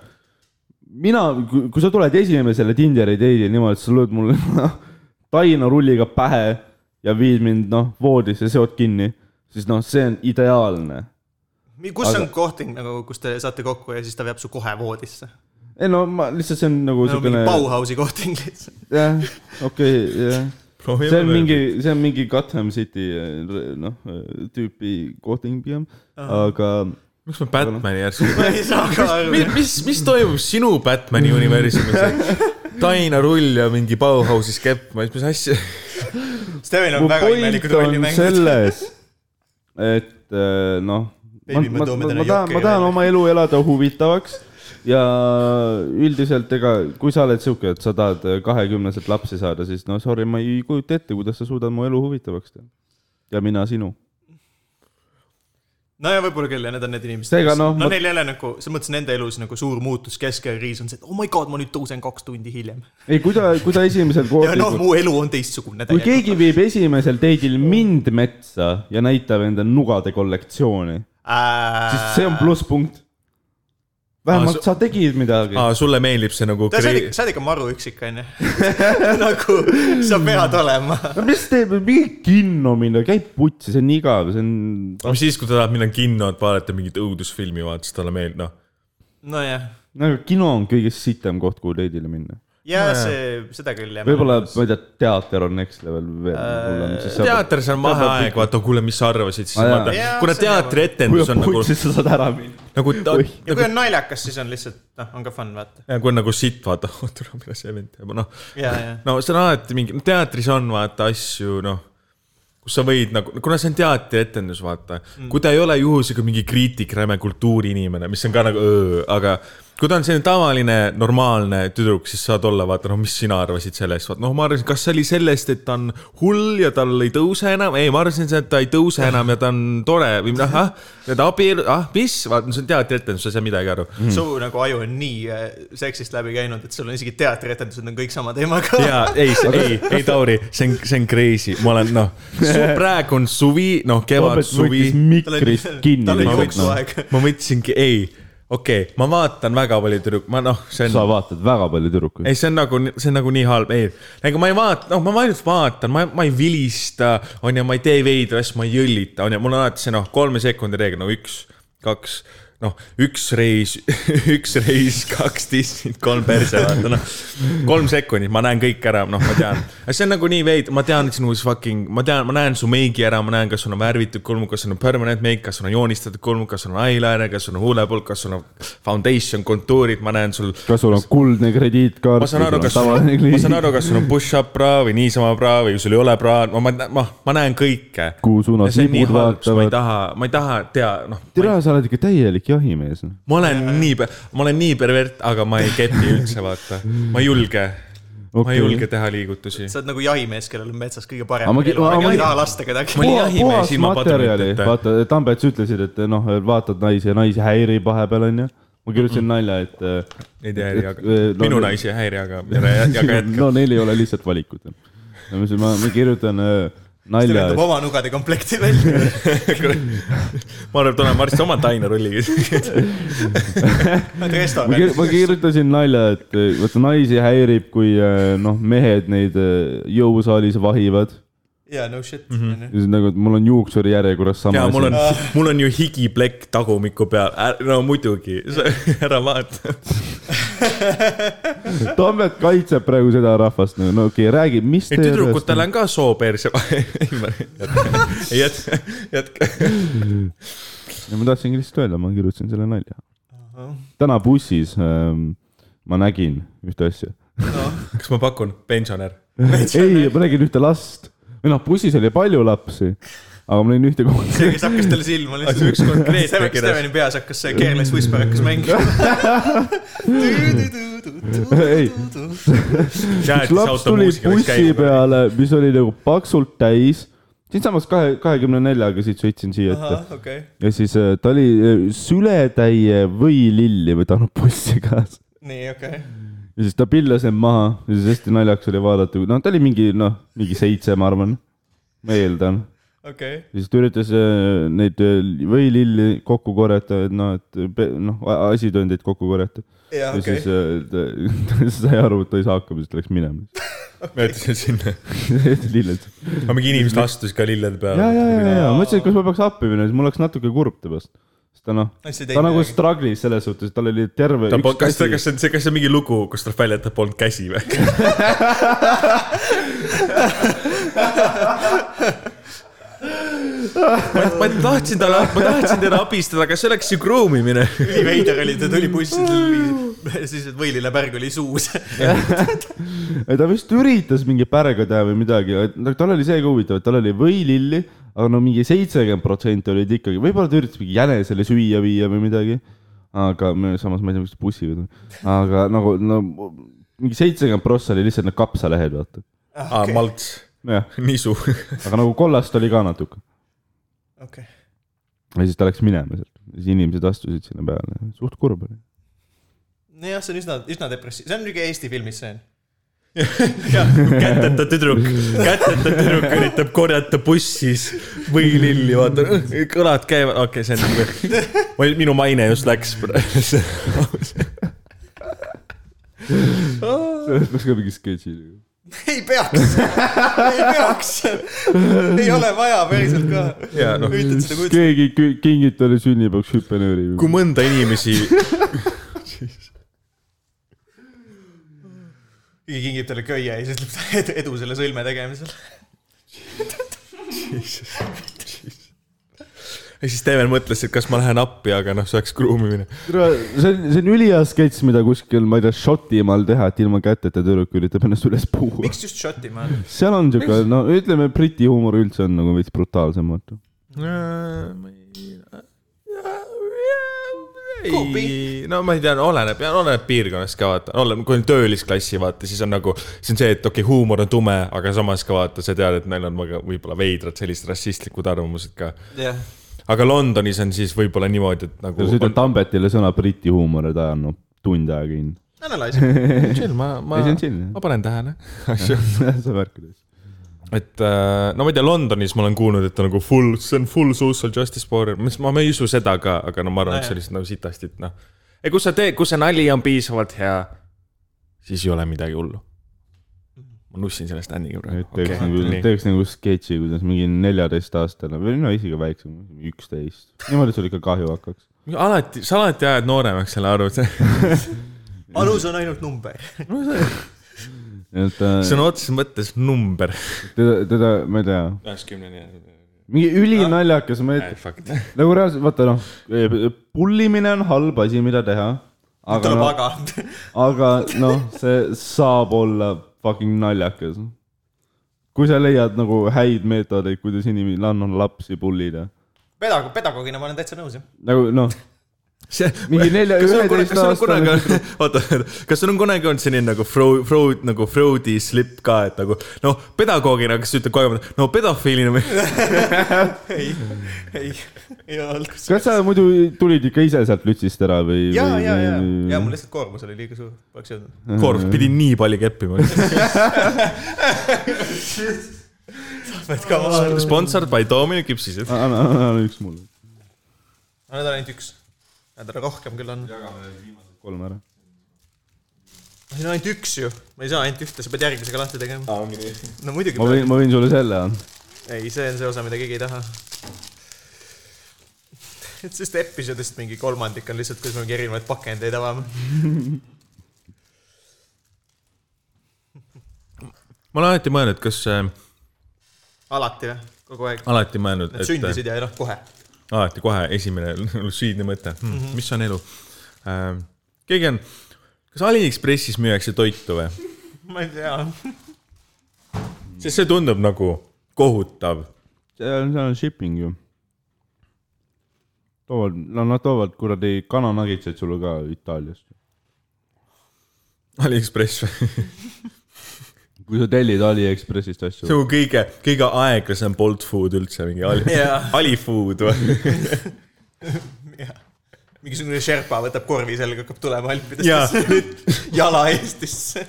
[SPEAKER 2] mina , kui sa tuled esimesele Tinderi teile niimoodi , et sa lööd mulle tainarulliga pähe ja viid mind noh voodisse , seod kinni , siis noh , see on ideaalne
[SPEAKER 1] Mi- kus
[SPEAKER 2] Aga-
[SPEAKER 1] on kohting nagu , kus te saate kokku ja siis ta veab su kohe voodisse ?
[SPEAKER 2] ei no ma lihtsalt , see on nagu
[SPEAKER 1] no mingi
[SPEAKER 2] niisugune ,
[SPEAKER 1] Bauhausi kohting lihtsalt .
[SPEAKER 2] jah , okei , jah
[SPEAKER 3] Proovime
[SPEAKER 2] see on
[SPEAKER 3] veel.
[SPEAKER 2] mingi , see on mingi Gotham City eh, noh , tüüpi kohting pigem , aga
[SPEAKER 3] miks ma Batman'i järsku
[SPEAKER 1] ma ei saa ka aru .
[SPEAKER 3] mis , mis , mis toimub sinu Batman'i universumis ? tainarull ja mingi Bauhausis kepp , ma ei tea , mis asja .
[SPEAKER 1] Steven on
[SPEAKER 2] mu
[SPEAKER 1] väga imelikud
[SPEAKER 2] point
[SPEAKER 1] rolli
[SPEAKER 2] on
[SPEAKER 1] mänginud .
[SPEAKER 2] selles , et eh, noh , ma ,
[SPEAKER 1] Baby, me
[SPEAKER 2] ma ,
[SPEAKER 1] toome
[SPEAKER 2] ma
[SPEAKER 1] täna
[SPEAKER 2] tahan ,
[SPEAKER 1] Jokke
[SPEAKER 2] ma tahan
[SPEAKER 1] välja.
[SPEAKER 2] oma elu elada huvitavaks ja üldiselt ega , kui sa oled sihuke , et sa tahad eh, kahekümneselt lapsi saada , siis no sorry , ma ei kujuta ette , kuidas sa suudad mu elu huvitavaks teha . ja mina sinu .
[SPEAKER 1] no ja võib-olla küll ja need on need inimesed .
[SPEAKER 2] Seega, noh,
[SPEAKER 1] no
[SPEAKER 2] ma-
[SPEAKER 1] neil ei ole nagu , selles mõttes nende elus nagu suur muutus keskel kriis on see , et oh my god , ma nüüd tõusen kaks tundi hiljem .
[SPEAKER 2] ei , kui ta , kui ta esimesel
[SPEAKER 1] ja noh ,
[SPEAKER 2] kohvikul
[SPEAKER 1] mu elu on teistsugune
[SPEAKER 2] kui . keegi viib esimesel date'il mind metsa ja näitab enda nugade kollektsiooni , siis see on . plusspunkt . vähemalt
[SPEAKER 3] Aa,
[SPEAKER 2] sa tegid midagi .
[SPEAKER 3] aa , Ah, sulle meeldib see nagu
[SPEAKER 1] sa oled , sa oled ikka maru üksik , onju . nagu sa pead olema .
[SPEAKER 2] no mis teeb , mingi kinno minna , käib putsi , see on igav , see on .
[SPEAKER 3] mis siis , kui ta tahab minna kinno , et vaadata mingit õudusfilmi , vaata , siis talle meeldib , noh .
[SPEAKER 1] nojah ,
[SPEAKER 2] no aga nagu kino on kõige sitem koht , kuhu date'ile minna .
[SPEAKER 1] ja see , seda küll jah .
[SPEAKER 2] võib-olla ,
[SPEAKER 3] Äh,
[SPEAKER 2] ma ei tea , teater on next level veel hullem , siis sa .
[SPEAKER 3] teatris on vaheaeg , vaata , kuule , mis sa arvasid siis ,
[SPEAKER 2] Aa, jaa.
[SPEAKER 3] vaata
[SPEAKER 1] Jaa, ,
[SPEAKER 3] kuna
[SPEAKER 1] see on
[SPEAKER 2] kui
[SPEAKER 3] teatrietendus
[SPEAKER 2] sa
[SPEAKER 3] on nagu ,
[SPEAKER 2] putsid , sa saad ära minna .
[SPEAKER 3] nagu ta
[SPEAKER 2] Oih. ,
[SPEAKER 1] ja kui on naljakas , siis on lihtsalt , noh , on ka fun , vaata .
[SPEAKER 3] ja kui on nagu sitt , vaata , oota , mida see vend teeb , noh .
[SPEAKER 1] ja , ja .
[SPEAKER 3] no see on alati mingi , no teatris on vaata asju , noh , kus sa võid nagu , kuna see on teatrietendus , vaata mm. . kui ta ei ole juhusega mingi kriitik , räme kultuuriinimene , mis on ka nagu öö, aga kui ta on selline tavaline , normaalne tüdruk , siis saad olla , vaata , noh , mis sina arvasid sellest , vaata , noh , ma arvasin , kas see oli sellest , et ta on hull ja tal ei tõuse enam , ei , ma arvasin , et ta ei tõuse enam ja ta on tore või noh , ah , ja ta abiellu , ah , mis , vaata , see on teatrietendus , sa ei saa midagi aru
[SPEAKER 1] su nagu aju on nii äh, seksist läbi käinud , et sul on isegi teatrietendused on kõik sama teemaga .
[SPEAKER 3] jaa , ei , ei , ei Tauri , see on , see on crazy , ma olen noh , praegu on suvi , noh , kevad ,
[SPEAKER 2] Robert
[SPEAKER 3] suvi
[SPEAKER 2] võttis . mikrist
[SPEAKER 1] tal
[SPEAKER 2] kinni nagu-
[SPEAKER 1] oli
[SPEAKER 3] lihtsalt,
[SPEAKER 1] jooksu
[SPEAKER 3] noh.
[SPEAKER 1] aeg .
[SPEAKER 3] ma mõtlesingi , ei , okei okay, , ma vaatan väga palju tüdruk- , ma noh , see
[SPEAKER 2] sa
[SPEAKER 3] on ,
[SPEAKER 2] vaatad väga palju tüdrukuid .
[SPEAKER 3] ei , see on nagu , see on nagu nii halb , ei . ega ma ei vaata , noh , ma ainult vaatan , ma , ma ei vilista , onju , ma ei tee veidra asju , ma ei jõllita , onju , mul on alati see noh , kolme sekundi reegel , no üks , kaks , noh , üks reis , üks reis , kaks Disneyt , kolm perse , vaata noh . kolm sekundit , ma näen kõik ära , noh , ma tean . see on nagu nii veid , ma tean sinu fucking , ma tean , ma näen su meigi ära , ma näen , kas sul on värvitud kulm , kas sul on permanent meik , kas sul on joonistatud kulm , kas sul on eyeliner , kas sul on huulepulk , kas sul on foundation , kontuurid , ma näen sul
[SPEAKER 2] kas sul on kuldne krediitkaart ?
[SPEAKER 3] ma saan aru , kas , ma saan aru , kas sul on push-up bra või niisama bra või sul ei ole bra , ma , ma , ma , ma näen kõike .
[SPEAKER 2] Kuhu suunas nipud
[SPEAKER 3] ma ei
[SPEAKER 2] vaatavad.
[SPEAKER 3] taha , ma ei taha tea , noh ,
[SPEAKER 2] tere , sa oled ikka täielik jahimees .
[SPEAKER 3] ma olen nii , ma olen nii pervert , aga ma ei keti üldse , vaata . ma ei julge okay. , ma
[SPEAKER 2] Okei.
[SPEAKER 3] ei julge teha liigutusi .
[SPEAKER 1] sa oled nagu jahimees , kellel on metsas kõige parem
[SPEAKER 2] Aga ma ki-
[SPEAKER 1] elu ,
[SPEAKER 2] ma-
[SPEAKER 1] aga
[SPEAKER 2] ma-
[SPEAKER 1] ma ei taha lasta kedagi
[SPEAKER 3] Ma . olin jahimees
[SPEAKER 2] puhas
[SPEAKER 3] ilma
[SPEAKER 2] materjali ,
[SPEAKER 3] padruniteta.
[SPEAKER 2] vaata , Tambets ütlesid , et noh , vaatad naisi ja naisi häirib vahepeal , onju . ma kirjutasin nalja , et äh,
[SPEAKER 3] ei tea , ei , aga
[SPEAKER 2] Eh, no-
[SPEAKER 3] minu naisi ei häiri , aga , aga jätka .
[SPEAKER 2] no neil ei ole lihtsalt valikut . ma ütlesin , ma ma kirjutan äh,
[SPEAKER 1] ta
[SPEAKER 2] nalja ,
[SPEAKER 1] võtab nagu oma nugade komplekti välja .
[SPEAKER 3] ma arvan , et olen varsti oma tainerulliga .
[SPEAKER 1] Nad
[SPEAKER 2] ma kir- , ma
[SPEAKER 1] restoranis .
[SPEAKER 2] kirjutasin nalja , et eh, vaata naisi häirib , kui eh, noh , mehed neid eh, jõusaalis vahivad .
[SPEAKER 1] jaa , no shit , onju .
[SPEAKER 2] ja siis nagu , et mul on juuksurijärjekorras sama
[SPEAKER 3] ja mul on , mul on ju higiplekk tagumiku peal , no muidugi , ära vaata .
[SPEAKER 2] Tammet kaitseb praegu seda rahvast , no okei okay, , räägi , mis
[SPEAKER 3] ei , tüdrukutel on ka soo perse vahel . jätka , jätka .
[SPEAKER 2] ja ma tahtsingi lihtsalt öelda , ma kirjutasin selle nalja . täna bussis ähm, ma nägin ühte asja .
[SPEAKER 3] kas ma pakun , pensionär ?
[SPEAKER 2] ei , ma nägin ühte last või noh , bussis oli palju lapsi , aga ma nägin ühte kohta .
[SPEAKER 1] see , kes hakkas talle silma lihtsalt .
[SPEAKER 3] Aga üks konkreetne
[SPEAKER 1] Steven-
[SPEAKER 3] kirjas.
[SPEAKER 1] Steveni peas hakkas see Careless Whisper hakkas mängima .
[SPEAKER 2] ei , üks laps tuli bussi peale , mis oli nagu paksult täis , siinsamas kahe , kahekümne neljaga siit sõitsin siia ette
[SPEAKER 1] ahah , okei .
[SPEAKER 2] ja siis äh, ta oli äh, sületäie võililli võtanud bussi kaasa
[SPEAKER 1] nii , okei .
[SPEAKER 2] ja siis ta pillas end maha ja siis hästi naljakas oli vaadata , noh , ta oli mingi noh , mingi seitse , ma arvan , ma eeldan .
[SPEAKER 1] okei .
[SPEAKER 2] ja siis ta üritas äh, neid äh, võililli kokku korjata , et noh , et pe- noh , asitõendeid kokku korjata .
[SPEAKER 1] jaa ,
[SPEAKER 2] ja
[SPEAKER 1] okei
[SPEAKER 2] siis . äh, ta, ta sai aru , et ta ei saa hakkama , siis ta läks minema .
[SPEAKER 3] ma ütlesin sinna ,
[SPEAKER 2] lilled .
[SPEAKER 3] aga mingi inimene astus ka lillede
[SPEAKER 2] ja , ja ,
[SPEAKER 3] peale .
[SPEAKER 2] ja , ja , ja ma mõtlesin , et kas ma peaks appi minema , siis mul oleks natuke kurb temast . sest ta noh ,
[SPEAKER 1] No siis ei
[SPEAKER 2] ta
[SPEAKER 1] teinud
[SPEAKER 2] nagu
[SPEAKER 1] midagi.
[SPEAKER 2] struggle'is selles suhtes , tal oli terve
[SPEAKER 3] ta , kas ta , kas see on see , kas see on mingi lugu , kus tuleb välja , et ta polnud käsi või ? ma, ma tahtsin talle , ma tahtsin teda abistada , aga see oleks ju kruumimine .
[SPEAKER 1] nii veider oli , ta tuli bussi , siis võilile pärg oli suus .
[SPEAKER 2] Ei, ta vist üritas mingi pärga teha või midagi , tal oli see ka huvitav , et tal oli võililli , aga no mingi seitsekümmend protsenti olid ikkagi , võib-olla ta üritas mingi jänesele süüa viia või midagi . aga me- samas ma ei tea , miks ta bussi või , aga nagu no mingi seitsekümmend prossa oli lihtsalt need kapsalehed , vaata .
[SPEAKER 3] aa , Ah, malts ,
[SPEAKER 2] nojah ,
[SPEAKER 3] nisu .
[SPEAKER 2] aga nagu kollast oli ka natuke
[SPEAKER 1] okei .
[SPEAKER 2] ja siis ta läks minema sealt , siis inimesed astusid sinna peale , suht kurb oli .
[SPEAKER 1] nojah , see on üsna , üsna depressiivne , see on niisugune Eesti filmisseen .
[SPEAKER 3] käteta tüdruk , käteta tüdruk üritab korjata bussis võililli , vaata , kõlad käivad , okei okay, , see on nagu , minu maine just läks .
[SPEAKER 2] sellest peaks ka mingi sketši .
[SPEAKER 1] ei peaks , ei peaks , ei ole vaja päriselt ka .
[SPEAKER 3] ja noh ,
[SPEAKER 1] üritad seda kujutada ,
[SPEAKER 2] keegi kü- kingib talle sünnipäevaks hüppenööri .
[SPEAKER 3] kui mõnda inimesi ,
[SPEAKER 1] keegi kingib talle köie ja siis ütleb talle edu, edu selle sõlme tegemisel .
[SPEAKER 3] siis Steven mõtles , et kas ma lähen appi , aga noh , see oleks kruumimine .
[SPEAKER 2] see on , see on ülihea sketš , mida kuskil , ma ei tea , Šotimaal teha , et ilma käteta tüdruk üritab ennast üles puhua .
[SPEAKER 1] miks just Šotimaal ?
[SPEAKER 2] seal on siuke , no ütleme , Briti huumor üldse on nagu veits brutaalsem , vaata .
[SPEAKER 3] Äh,
[SPEAKER 1] Kuupi.
[SPEAKER 3] no ma ei tea , oleneb , oleneb piirkonnast ka vaata , oleneb , kui on töölisklassi vaata , siis on nagu , see on see , et okei okay, , huumor on tume , aga samas ka vaata , sa tead , et neil on väga võib-olla veidrad sellised rassistlikud arvamused ka .
[SPEAKER 1] jah ,
[SPEAKER 3] aga Londonis on siis võib-olla niimoodi , et nagu .
[SPEAKER 2] sa ütled Tambetile sõna Briti huumor ja ta on noh , tund aega kinni .
[SPEAKER 1] analüüsime .
[SPEAKER 3] chill , ma , ma
[SPEAKER 2] ei , see on chill , jah
[SPEAKER 3] ma panen tähele asju .
[SPEAKER 2] sa märkad , eks .
[SPEAKER 3] et äh, no ma ei tea , Londonis ma olen kuulnud , et on nagu full , see on full social justice warrior , mis ma , ma ei usu seda ka , aga no ma arvan , et
[SPEAKER 1] Nojah.
[SPEAKER 3] see oli lihtsalt nagu sitasti , et noh . ei , kus sa teed , kus see nali on piisavalt hea , siis ei ole midagi hullu . ma nussin selle Staniga praegu .
[SPEAKER 2] teeks nagu , teeks nagu sketši , kuidas mingi neljateistaastane või no isegi väiksem , üksteist . niimoodi sul ikka kahju hakkaks .
[SPEAKER 3] alati , sa alati ajad nooremaks selle arvutuse .
[SPEAKER 1] alus on ainult number .
[SPEAKER 2] et äh,
[SPEAKER 3] sõna otseses mõttes number .
[SPEAKER 2] teda , teda , ma ei tea ,
[SPEAKER 3] üheksakümneni .
[SPEAKER 2] mingi ülinaljakas ,
[SPEAKER 3] Äh.
[SPEAKER 2] ma ei ,
[SPEAKER 3] Fakt .
[SPEAKER 2] nagu reaalselt , vaata noh , pullimine on halb asi , mida teha . aga
[SPEAKER 1] tuleb
[SPEAKER 2] noh ,
[SPEAKER 1] aga .
[SPEAKER 2] aga noh , see saab olla fucking naljakas . kui sa leiad nagu häid meetodeid , kuidas inimene on lapsi pullida ,
[SPEAKER 1] pedagoog , pedagoogina ma olen täitsa nõus , jah .
[SPEAKER 2] nagu noh ,
[SPEAKER 3] see ,
[SPEAKER 2] mingi nelja , üheteistaastane .
[SPEAKER 3] aastane . oota , kas sul on kunagi olnud selline nagu Freud , Freud nagu Freudi slip ka , et nagu noh , pedagoogina , kas sa ütled kogu aeg , no pedofiilina või ?
[SPEAKER 1] ei , ei , ei ole olnud .
[SPEAKER 2] kas sa muidu tulid ikka ise sealt lütsist ära või ?
[SPEAKER 1] ja , ja , ja , ja mul lihtsalt koormus oli liiga suur , oleks jõudnud .
[SPEAKER 3] Korv pidi nii palju keppima .
[SPEAKER 1] et ka ma olen .
[SPEAKER 3] Sponsored by Dominic Küpsised .
[SPEAKER 2] anna , anna , anna üks mulle ,
[SPEAKER 1] Need on ainult üks . Need on rohkem küll on .
[SPEAKER 2] kolm ära .
[SPEAKER 1] siin on ainult üks ju , ma ei saa ainult ühte , sa pead järgmisega lahti tegema .
[SPEAKER 3] ma
[SPEAKER 1] no muidugi
[SPEAKER 2] ma , võin , ma võin sulle selle anda .
[SPEAKER 1] ei , see on see osa , mida keegi ei taha . et sest episoodist mingi kolmandik on lihtsalt , kus me mingi erinevaid pakendeid avame .
[SPEAKER 3] olen alati mõelnud , kas äh, ,
[SPEAKER 1] alati või ? kogu aeg .
[SPEAKER 3] alati mõelnud ,
[SPEAKER 1] Need
[SPEAKER 3] et äh,
[SPEAKER 1] sündisid ja noh , kohe .
[SPEAKER 3] alati kohe esimene lutsiidne mõte hmm, , mm -hmm. mis on elu äh, . keegi on , kas Aliekspressis müüakse toitu või ?
[SPEAKER 1] ma ei tea .
[SPEAKER 3] sest see tundub nagu kohutav
[SPEAKER 2] seal on , seal on shipping ju . toovad , no nad toovad kuradi kananagitseid sulle ka Itaaliast .
[SPEAKER 3] Aliekspress või ?
[SPEAKER 2] kui sa tellid Aliekspressist
[SPEAKER 3] see
[SPEAKER 2] asju .
[SPEAKER 3] on kõige , kõige aeglasem Bolt Food üldse , mingi Ali
[SPEAKER 1] Jaa. ,
[SPEAKER 3] Alifood või ?
[SPEAKER 1] mingisugune Sherpa võtab korvi selga , hakkab tulema
[SPEAKER 3] jaa
[SPEAKER 1] alpidest , jala Eestisse .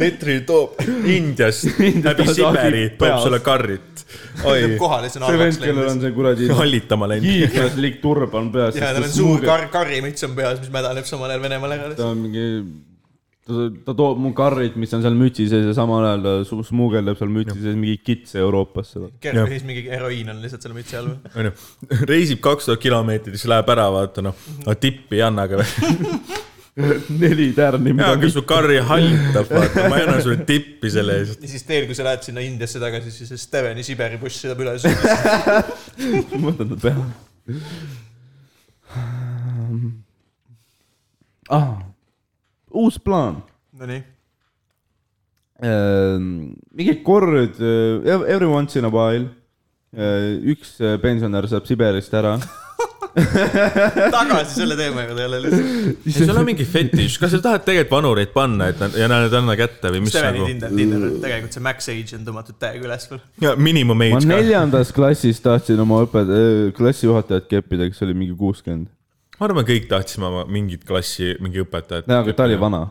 [SPEAKER 3] litri toob Indiast läbi
[SPEAKER 2] Indiast
[SPEAKER 3] Siberi ,
[SPEAKER 2] ahvid
[SPEAKER 3] toob
[SPEAKER 2] peas.
[SPEAKER 3] sulle karrit . oi ,
[SPEAKER 1] kohale , see on
[SPEAKER 2] see vend
[SPEAKER 1] halvaks ,
[SPEAKER 2] kellel
[SPEAKER 1] läinud .
[SPEAKER 2] on see kuradi
[SPEAKER 3] hallitama läinud .
[SPEAKER 2] hiiglaslik turb on peas .
[SPEAKER 1] ja tal on suur . kar- , karrimüts on peas , mis mädaneb samal ajal Venemaal ära
[SPEAKER 2] ta on mingi , ta , ta toob mu karrit , mis on seal mütsi sees ja samal ajal ta su- smuugeldab seal mütsi sees mingi kitse Euroopasse .
[SPEAKER 1] Kerpihis mingi heroiin on lihtsalt selle mütsi all või ?
[SPEAKER 3] onju , reisib kaks tuhat kilomeetrit , siis läheb ära , vaata noh , no tippi ei anna , aga
[SPEAKER 2] neli tärni ,
[SPEAKER 3] jaa ,
[SPEAKER 2] mida
[SPEAKER 3] aga su karri hallitab , vaata , ma ei anna sulle tippi selle eest .
[SPEAKER 1] ja siis teil , kui sa lähed sinna Indiasse tagasi , siis see Steveni Siberi buss sõidab üles .
[SPEAKER 2] kõik mõtted peale . ah , uus plaan
[SPEAKER 1] Nonii .
[SPEAKER 2] Äh, mingi kord , every once in a while , üks äh, pensionär saab Siberist ära .
[SPEAKER 1] tagasi selle teema juurde jälle lihtsalt .
[SPEAKER 3] ei , sul on mingi fetiš , kas sa tahad tegelikult vanureid panna , et nad ja nad ei anna kätte või mis
[SPEAKER 1] Steveni
[SPEAKER 3] nagu ?
[SPEAKER 1] Tinder , Tinder , tegelikult see max age on tõmmatud täiega üles veel .
[SPEAKER 3] ja miinimum
[SPEAKER 2] ma
[SPEAKER 3] age ka .
[SPEAKER 2] neljandas klassis tahtsin oma õpet- , klassijuhatajat keppida , kes oli mingi kuuskümmend .
[SPEAKER 3] ma arvan , kõik tahtsime oma mingit klassi , mingi õpetajat .
[SPEAKER 2] no aga ta oli vana ,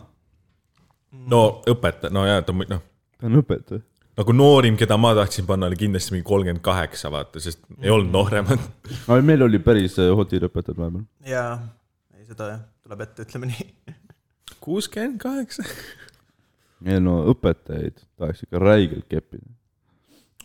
[SPEAKER 3] no õpetaja , no jaa , ta mu- noh ,
[SPEAKER 2] ta on õpetaja .
[SPEAKER 3] nagu noorim , keda ma tahtsin panna , oli kindlasti mingi kolmkümmend kaheksa , vaata , sest ei olnud nooremat .
[SPEAKER 2] aga meil oli päris äh, hotid õpetajad vahepeal .
[SPEAKER 1] jaa , ei seda jah , tuleb ette , ütleme nii .
[SPEAKER 3] kuuskümmend kaheksa .
[SPEAKER 2] ei no õpetajaid tahaks ikka räigelt keppida .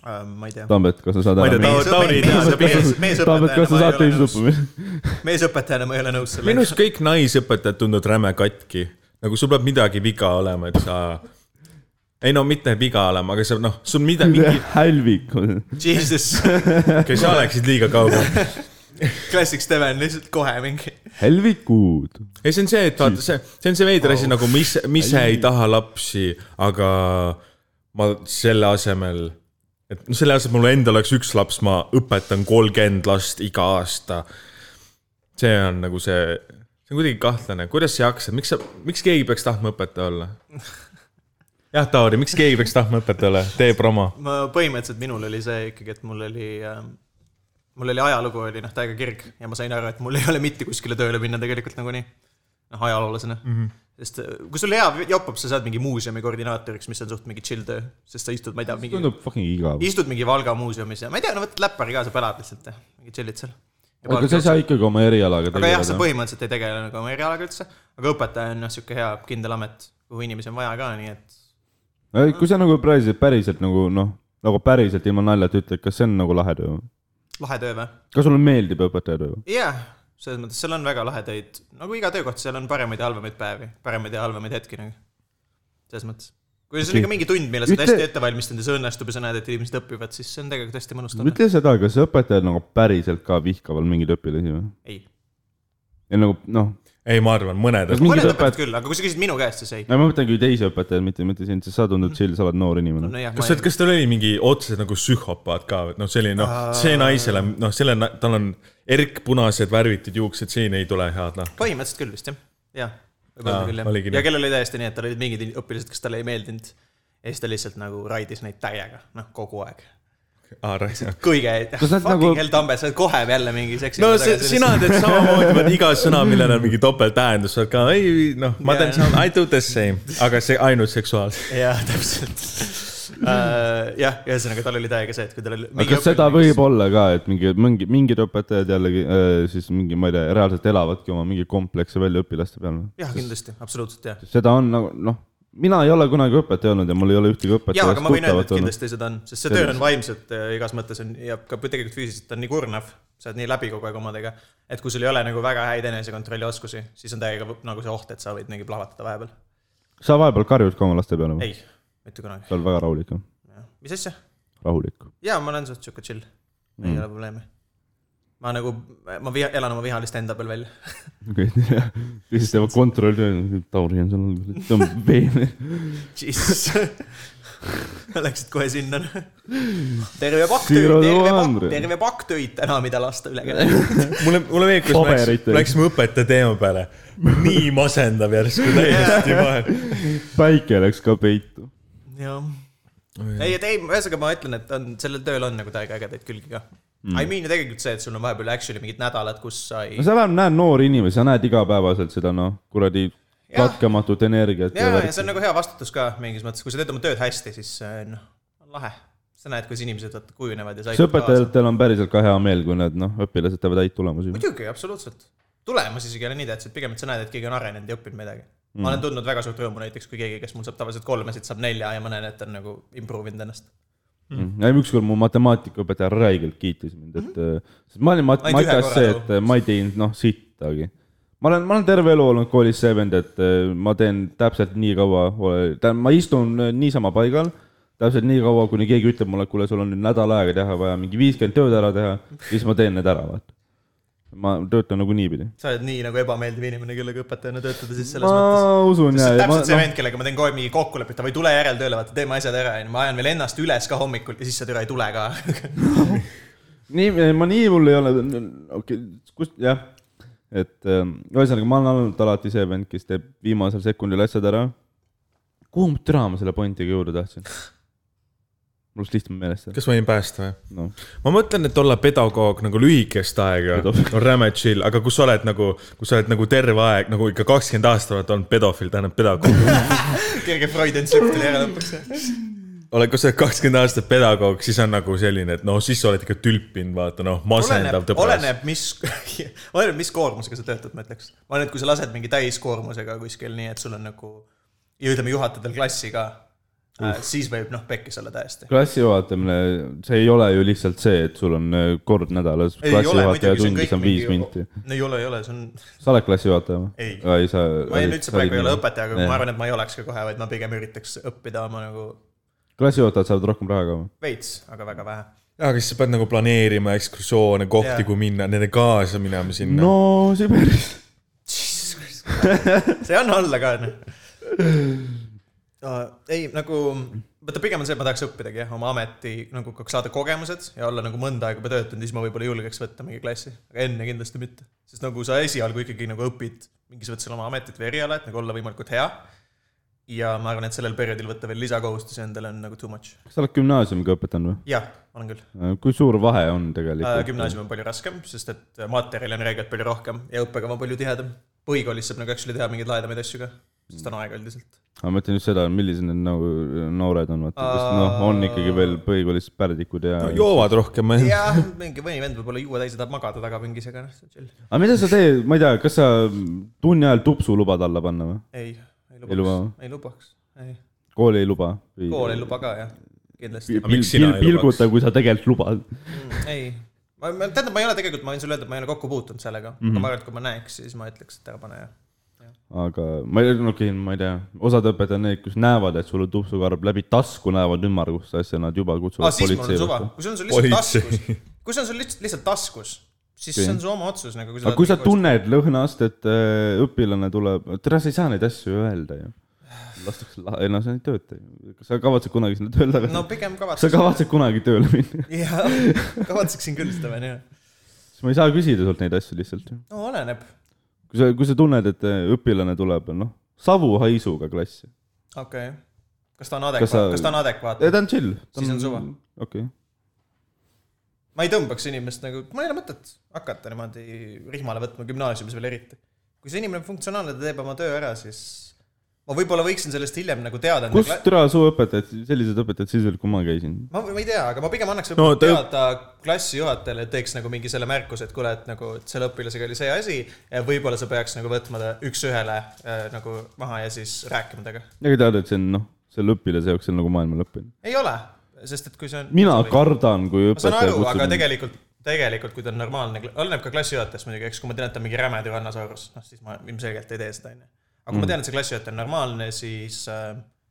[SPEAKER 1] Ähm, ma ei tea .
[SPEAKER 2] Tambet , kas sa saad
[SPEAKER 3] Ma ei
[SPEAKER 2] ära ?
[SPEAKER 3] tea, Tauri ei tea, sa
[SPEAKER 1] mees , nagu
[SPEAKER 2] Tambet , kas sa saad teise
[SPEAKER 1] meesõpetajana
[SPEAKER 2] suppi ?
[SPEAKER 1] ma ei ole nõus
[SPEAKER 3] minu
[SPEAKER 1] sellega .
[SPEAKER 3] arust kõik naisõpetajad tunduvad räme katki . nagu sul peab midagi viga olema , et sa , ei no mitte viga olema , aga sa noh , sul mida , mingi ,
[SPEAKER 2] hälvik on .
[SPEAKER 1] Jesus ,
[SPEAKER 3] okei , sa läksid liiga kaugele .
[SPEAKER 1] klassik Steven lihtsalt kohe mingi .
[SPEAKER 2] hälvikud .
[SPEAKER 3] ei , see on see , et vaata , see , see on see veider asi nagu , mis , mis ise ei taha lapsi , aga ma selle asemel , et no selle asemel mul endal oleks üks laps , ma õpetan kolmkümmend last iga aasta . see on nagu see , see on kuidagi kahtlane , kuidas sa jaksad , miks sa , miks keegi peaks tahtma õpetaja olla ? jah , Tauri , miks keegi peaks tahtma õpetaja olla , tee promo .
[SPEAKER 1] ma põhimõtteliselt minul oli see ikkagi , et mul oli ähm, mul oli ajalugu oli noh , täiega kirg ja ma sain aru , et mul ei ole mitte kuskile tööle minna tegelikult nagunii . noh , ajaloolasena mm . -hmm. sest äh, kui sul hea jopab , sa saad mingi muuseumi koordinaatoriks , mis on suht mingi chill töö , sest sa istud , ma ei tea , mingi ,
[SPEAKER 2] tundub fucking igav .
[SPEAKER 1] istud mingi Valga muuseumis ja ma ei tea , no võtad läppari ka , sa pelad lihtsalt ja mingi chill'id seal .
[SPEAKER 2] aga sa ei saa ikkagi oma erialaga
[SPEAKER 1] aga jah , sa põhimõtteliselt ei tegele nagu oma erialaga üldse , aga õpetaja on noh , sihuke hea kindel amet , kuhu inimesi on vaja ka , nii et
[SPEAKER 2] Ei, kui sa nagu päriselt , päriselt nagu noh , nagu päriselt ilma naljata ütled , kas see on nagu lahe töö ?
[SPEAKER 1] lahe töö või ?
[SPEAKER 2] kas sulle meeldib õpetaja töö ?
[SPEAKER 1] jah , selles mõttes seal on väga lahedaid , nagu iga töökoht , seal on paremaid ja halvemaid päevi , paremaid ja halvemaid hetki nagu . selles mõttes . kui sul on ikka mingi tund , mille sa oled
[SPEAKER 2] Mitte-
[SPEAKER 1] hästi ette valmistunud ja see õnnestub ja sa näed , et inimesed õpivad , siis see on tegelikult hästi nagu. mõnus tunne .
[SPEAKER 2] ütle seda , kas õpetajad nagu päriselt ka vihkavad mingeid õpilasi või ?
[SPEAKER 1] ei .
[SPEAKER 2] ei nagu noh ,
[SPEAKER 4] ei , ma arvan , mõned
[SPEAKER 2] Kas
[SPEAKER 4] on .
[SPEAKER 2] mingid
[SPEAKER 1] mõned
[SPEAKER 2] õpetajad-
[SPEAKER 1] õpetajad küll , aga kui sa küsid minu käest , siis ei .
[SPEAKER 2] ma mõtlen küll teisi õpetajaid , mitte , mitte sind , sest sa tundud chill , sa oled noor inimene .
[SPEAKER 1] nojah ,
[SPEAKER 4] kas , kas teil oli mingi otseselt nagu psühhopaat ka või , et noh , selline noh , see naisele , noh , selle , tal on erk punased värvitud juuksed , siin ei tule head noh .
[SPEAKER 1] põhimõtteliselt küll vist jah , jah . võib-olla
[SPEAKER 4] Aa,
[SPEAKER 1] küll
[SPEAKER 4] oligi
[SPEAKER 1] jah ,
[SPEAKER 4] nii.
[SPEAKER 1] ja kellel oli täiesti nii , et tal olid mingid õpilased , kes talle ei meeldinud . ja siis ta lihtsalt nagu raidis neid täiega , noh kogu aeg . kõige ,
[SPEAKER 2] Kas nad
[SPEAKER 1] fucking nagu...
[SPEAKER 2] nagu-
[SPEAKER 1] hell tambe , sa oled kohe jälle mingi seksi .
[SPEAKER 4] no see, sina teed samamoodi , vaat iga sõna , millel on mingi topelttähendus , sa oled ka ei noh , ma teen
[SPEAKER 1] Jaa.
[SPEAKER 4] sama , I do the same , aga see ainult seksuaalselt .
[SPEAKER 1] jah , täpselt uh, . jah , ühesõnaga tal oli täiega see , et kui tal oli .
[SPEAKER 2] aga kas seda võib ? olla ka , et mingi , mingi , mingid õpetajad jällegi äh, siis mingi , ma ei tea , reaalselt elavadki oma mingeid komplekse välja õpilaste peal või ?
[SPEAKER 1] jah , kindlasti , absoluutselt jah .
[SPEAKER 2] seda on nagu noh , mina ei ole kunagi õpetaja olnud ja mul ei ole ühtegi
[SPEAKER 1] ja , aga
[SPEAKER 2] õpetajast
[SPEAKER 1] ma võin öelda ,
[SPEAKER 2] tuttavat
[SPEAKER 1] et
[SPEAKER 2] olnud .
[SPEAKER 1] kindlasti seda on , sest see töö on vaimselt äh, igas mõttes on ja ka tegelikult füüsiliselt on nii kurnav , sa oled nii läbi kogu aeg omadega , et kui sul ei ole nagu väga häid enesekontrolli oskusi , siis on täiega võ- nagu see oht , et sa võid mingi plahvatada vahepeal .
[SPEAKER 2] sa vahepeal karjud ka oma laste peale või ?
[SPEAKER 1] ei , mitte kunagi .
[SPEAKER 2] sa oled väga rahulik või ?
[SPEAKER 1] mis asja ?
[SPEAKER 2] rahulik .
[SPEAKER 1] jaa , ma olen suht sihuke chill , ei
[SPEAKER 2] Mm.
[SPEAKER 1] ole probleemi . ma nagu , ma viha, elan oma viha lihtsalt enda peal välja .
[SPEAKER 2] siis teevad kontrolltöö , Tauri on seal , tõmbab veene .
[SPEAKER 1] Jesus Läksid kohe sinna . terve pakk töid ,
[SPEAKER 2] Zero to
[SPEAKER 1] terve pakk ,
[SPEAKER 2] hundred.
[SPEAKER 1] terve pakk töid täna , mida lasta üle käia .
[SPEAKER 4] mulle , mulle meeldib , kuidas me läks,
[SPEAKER 2] Paberitega.
[SPEAKER 4] läksime õpetaja teema peale . nii masendav järsku täiesti vahel .
[SPEAKER 2] päike läks ka peitu .
[SPEAKER 1] jah . ei , et ei , ühesõnaga ma ütlen , et on , sellel tööl on nagu täiega ägedaid külgi ka mm. . I mean ja tegelikult see , et sul on vahepeal actually mingid nädalad , kus sa ei
[SPEAKER 2] no . sa vähemalt näed noori inimesi , sa näed igapäevaselt seda noh , kuradi
[SPEAKER 1] Jah.
[SPEAKER 2] katkematut energiat .
[SPEAKER 1] ja , ja see on nagu hea vastutus ka mingis mõttes , kui sa teed oma tööd hästi , siis äh, noh , on lahe . sa näed , kuidas inimesed vaata kujunevad ja sa
[SPEAKER 2] kas . õpetajatel on päriselt ka hea meel , kui need noh , õpilased teevad häid tulemusi ?
[SPEAKER 1] muidugi , absoluutselt . tulemus isegi ei ole nii tähtis , et pigem , et sa näed , et keegi on arenenud ja õppinud midagi mm. . ma olen tundnud väga suurt rõõmu näiteks , kui keegi , kes mul saab tavaliselt kolmesid , saab nelja ja ma näen , et ta on nagu improve inud ennast . Mhm.
[SPEAKER 2] ei , Mhm. ükskord mu matemaatikaõpetaja räigelt kiitis mind , et äh, sest ma olin mat- ,
[SPEAKER 1] Mhm. Ainult ühe
[SPEAKER 2] matas
[SPEAKER 1] korra
[SPEAKER 2] see ,
[SPEAKER 1] nagu.
[SPEAKER 2] et äh, ma ei teinud noh , sittagi . ma olen , ma olen terve elu olnud koolis see vend , et äh, ma teen täpselt nii kaua , tähendab , ma istun äh, niisama paigal , täpselt nii kaua , kuni keegi ütleb mulle , et kuule , sul on nüüd nädal aega teha vaja mingi viiskümmend tööd ära teha , siis ma teen need ära , vaata . ma töötan nagu niipidi .
[SPEAKER 1] sa oled nii nagu ebameeldiv inimene , kellega õpetajana töötada , siis selles
[SPEAKER 2] ma
[SPEAKER 1] mõttes .
[SPEAKER 2] usun
[SPEAKER 1] sest
[SPEAKER 2] ja
[SPEAKER 1] see , on
[SPEAKER 2] ma noh,
[SPEAKER 1] täpselt see vend , kellega ma teen kogu aeg mingi kokkulepet , davai , tule järeltööle , vaata , teeme asjad ära , onju . ma ajan veel ennast üles ka hommikul ja siis sa türa ei tule ka .
[SPEAKER 2] nii , ma nii hull ei ole , okei , kus , jah . et ähm, ühesõnaga , ma olen olnud alati see vend , kes teeb viimasel sekundil asjad ära . kuhu ma türa ma selle pointiga jõuda tahtsin ? mul läks lihtsalt meelest ära ,
[SPEAKER 4] kas ma jäin päästa või ?
[SPEAKER 2] noh .
[SPEAKER 4] ma mõtlen , et olla pedagoog nagu lühikest aega
[SPEAKER 2] Pedofiil.
[SPEAKER 4] on räme chill , aga kui sa oled nagu , kui sa oled nagu terve aeg nagu ikka kakskümmend aastat oled olnud pedofiil , tähendab pedagoog .
[SPEAKER 1] kerge Freudi entslipp tuli ära lõpuks .
[SPEAKER 4] oled , kui sa oled kakskümmend aastat pedagoog , siis on nagu selline , et noh , siis sa oled ikka tülpinud , vaata noh , masendav
[SPEAKER 1] oleneb , oleneb , mis , oleneb , mis koormusega sa töötad , ma ütleks . ma arvan , et kui sa lased mingi täiskoormusega kuskil nii , et sul on nagu , ja ütleme , juhatad veel klassi ka uh. , siis võib noh , pekkis olla täiesti .
[SPEAKER 2] klassi juhatamine , see ei ole ju lihtsalt see , et sul on äh, kord nädalas
[SPEAKER 1] ei ole muidugi , see
[SPEAKER 2] klassijuhataja
[SPEAKER 1] on
[SPEAKER 2] tund , mis
[SPEAKER 1] kõik
[SPEAKER 2] on viis minti
[SPEAKER 1] mingi .. ei ole , ei ole , see on ,
[SPEAKER 2] sa oled klassijuhataja või
[SPEAKER 1] Ei. ?
[SPEAKER 2] ei , sa .
[SPEAKER 1] ma ei, üldse praegu ei ole . õpetaja , aga ma arvan , et ma ei oleks ka kohe , vaid ma pigem üritaks õppida oma nagu
[SPEAKER 2] klassijuhatajad saavad rohkem raha ka või ?
[SPEAKER 1] veits , aga väga vähe .
[SPEAKER 4] jaa , aga siis sa pead nagu planeerima ekskursioone , kohti
[SPEAKER 1] Jaa. ,
[SPEAKER 4] kuhu minna , nende kaasa minema sinna
[SPEAKER 2] no Siberis .
[SPEAKER 1] see ei anna alla ka , onju . ei , nagu , vaata pigem on see , et ma tahaks õppidagi jah , oma ameti nagu ka- saada kogemused ja olla nagu mõnda aega juba töötanud , siis ma võib-olla julgeks võtta mingi klassi , aga enne kindlasti mitte . sest nagu sa esialgu ikkagi nagu õpid mingis mõttes oma ametit või eriala , et nagu olla võimalikult hea . ja ma arvan , et sellel perioodil võtta veel lisakohustusi endale on nagu too much .
[SPEAKER 2] kas sa oled gümnaasiumiga õpetanud või ?
[SPEAKER 1] jah , olen küll .
[SPEAKER 2] kui suur vahe on tegelikult ?
[SPEAKER 1] Äh, gümnaasium on palju raskem , sest et äh, materjali on reegelt palju rohkem ja õppekava on palju tihedam . põhikoolis saab nagu actually teha mingeid lahedamaid asju ka , sest on aega üldiselt .
[SPEAKER 2] aga ma mõtlen just seda , millised need nagu noored on , vaata , kes noh , on ikkagi veel põhikoolis pärdikud ja
[SPEAKER 4] no, . joovad rohkem ,
[SPEAKER 1] jah , mingi mõni vend võib olla juue täis ja tahab magada tagapingis , aga noh , see on chill .
[SPEAKER 2] aga mida sa teed , ma ei tea , kas sa tunni ajal tupsu lubad alla panna või ?
[SPEAKER 1] ei ,
[SPEAKER 2] Ei
[SPEAKER 1] ei
[SPEAKER 2] luba
[SPEAKER 1] lubaks
[SPEAKER 2] või? ,
[SPEAKER 1] ei lubaks , ei .
[SPEAKER 2] kool ei luba ?
[SPEAKER 1] kool ei luba ka jah , kindlasti .
[SPEAKER 4] Aga miks sina ei lubaks?
[SPEAKER 2] pilguta , kui sa tegelikult lubad .
[SPEAKER 1] ei , ma , ma , tähendab , ma ei ole tegelikult , ma võin sulle öelda , et ma ei ole kokku puutunud sellega mm , -hmm.
[SPEAKER 2] Mhm.
[SPEAKER 1] aga ma arvan , et kui ma näeks , siis ma ütleks , et ära pane ja .
[SPEAKER 2] aga ma ei , no okei , ma ei tea , osad õpetajad on need , kes näevad , et sul on tupsukarb läbi tasku näevad ümmargust asja , nad juba kutsuvad
[SPEAKER 1] aa , Ah, siis mul on suva
[SPEAKER 2] vastu. ,
[SPEAKER 1] kui see on sul lihtsalt taskus , kui
[SPEAKER 3] Politsei.
[SPEAKER 1] see on sul lihtsalt , lihtsalt taskus , siis
[SPEAKER 2] Okei.
[SPEAKER 1] see on su oma otsus nagu .
[SPEAKER 2] aga kui sa tunned lõhnaast , et äh, õpilane tuleb , tere , sa ei saa neid asju ju öelda ju . lastakse , ei no see ei tööta ju . kas sa kavatsed kunagi sinna tööle minna
[SPEAKER 1] no
[SPEAKER 2] no, ?
[SPEAKER 1] pigem
[SPEAKER 2] sa
[SPEAKER 1] kavatsen .
[SPEAKER 2] kavatsed kunagi tööle minna ?
[SPEAKER 1] jaa , kavatseksin küll seda veel jah .
[SPEAKER 2] siis ma ei saa küsida sult neid asju lihtsalt ju .
[SPEAKER 1] no oleneb .
[SPEAKER 2] kui sa , kui sa tunned , et äh, õpilane tuleb , noh , savu haisuga klassi .
[SPEAKER 1] okei okay. . kas ta on
[SPEAKER 2] Kas sa-
[SPEAKER 1] adekvaatne , kas ta on adekvaatne ?
[SPEAKER 2] ei , ta on chill .
[SPEAKER 1] Siis on suva. .
[SPEAKER 2] okei okay. ,
[SPEAKER 1] ma ei tõmbaks inimest nagu , mul ei ole mõtet hakata niimoodi rihmale võtma gümnaasiumis veel eriti . kui see inimene on funktsionaalne , ta teeb oma töö ära , siis ma võib-olla võiksin sellest hiljem nagu teada .
[SPEAKER 2] kus türa su õpetajad , sellised õpetajad siis olid , kui ma käisin ?
[SPEAKER 1] ma , ma ei tea , aga ma pigem annaks
[SPEAKER 3] No
[SPEAKER 1] no,
[SPEAKER 3] ta-
[SPEAKER 1] teada klassijuhatajale , et teeks nagu mingi selle märkuse , et kuule , et nagu et selle õpilasega oli see asi , võib-olla sa peaks nagu võtma ta üks-ühele äh, nagu maha ja siis rääkima temaga .
[SPEAKER 2] ega tead , et see on noh , selle õpilase jaoks see on nagu maailma lõpp on ju .
[SPEAKER 1] ei ole , sest et kui see on .
[SPEAKER 2] mina kardan , kui
[SPEAKER 1] ma saan
[SPEAKER 2] õpetaja
[SPEAKER 1] aru ,
[SPEAKER 2] kutsub
[SPEAKER 1] aga
[SPEAKER 2] mind .
[SPEAKER 1] tegelikult , tegelikult kui ta on normaalne , oleneb ka klassijuhatajast muidugi , eks kui ma tean , et ta on mingi räme türannosaurus , noh siis ma ilmselgelt ei tee seda , onju . aga
[SPEAKER 2] Mm.
[SPEAKER 1] kui ma tean , et see klassijuhataja on normaalne , siis ,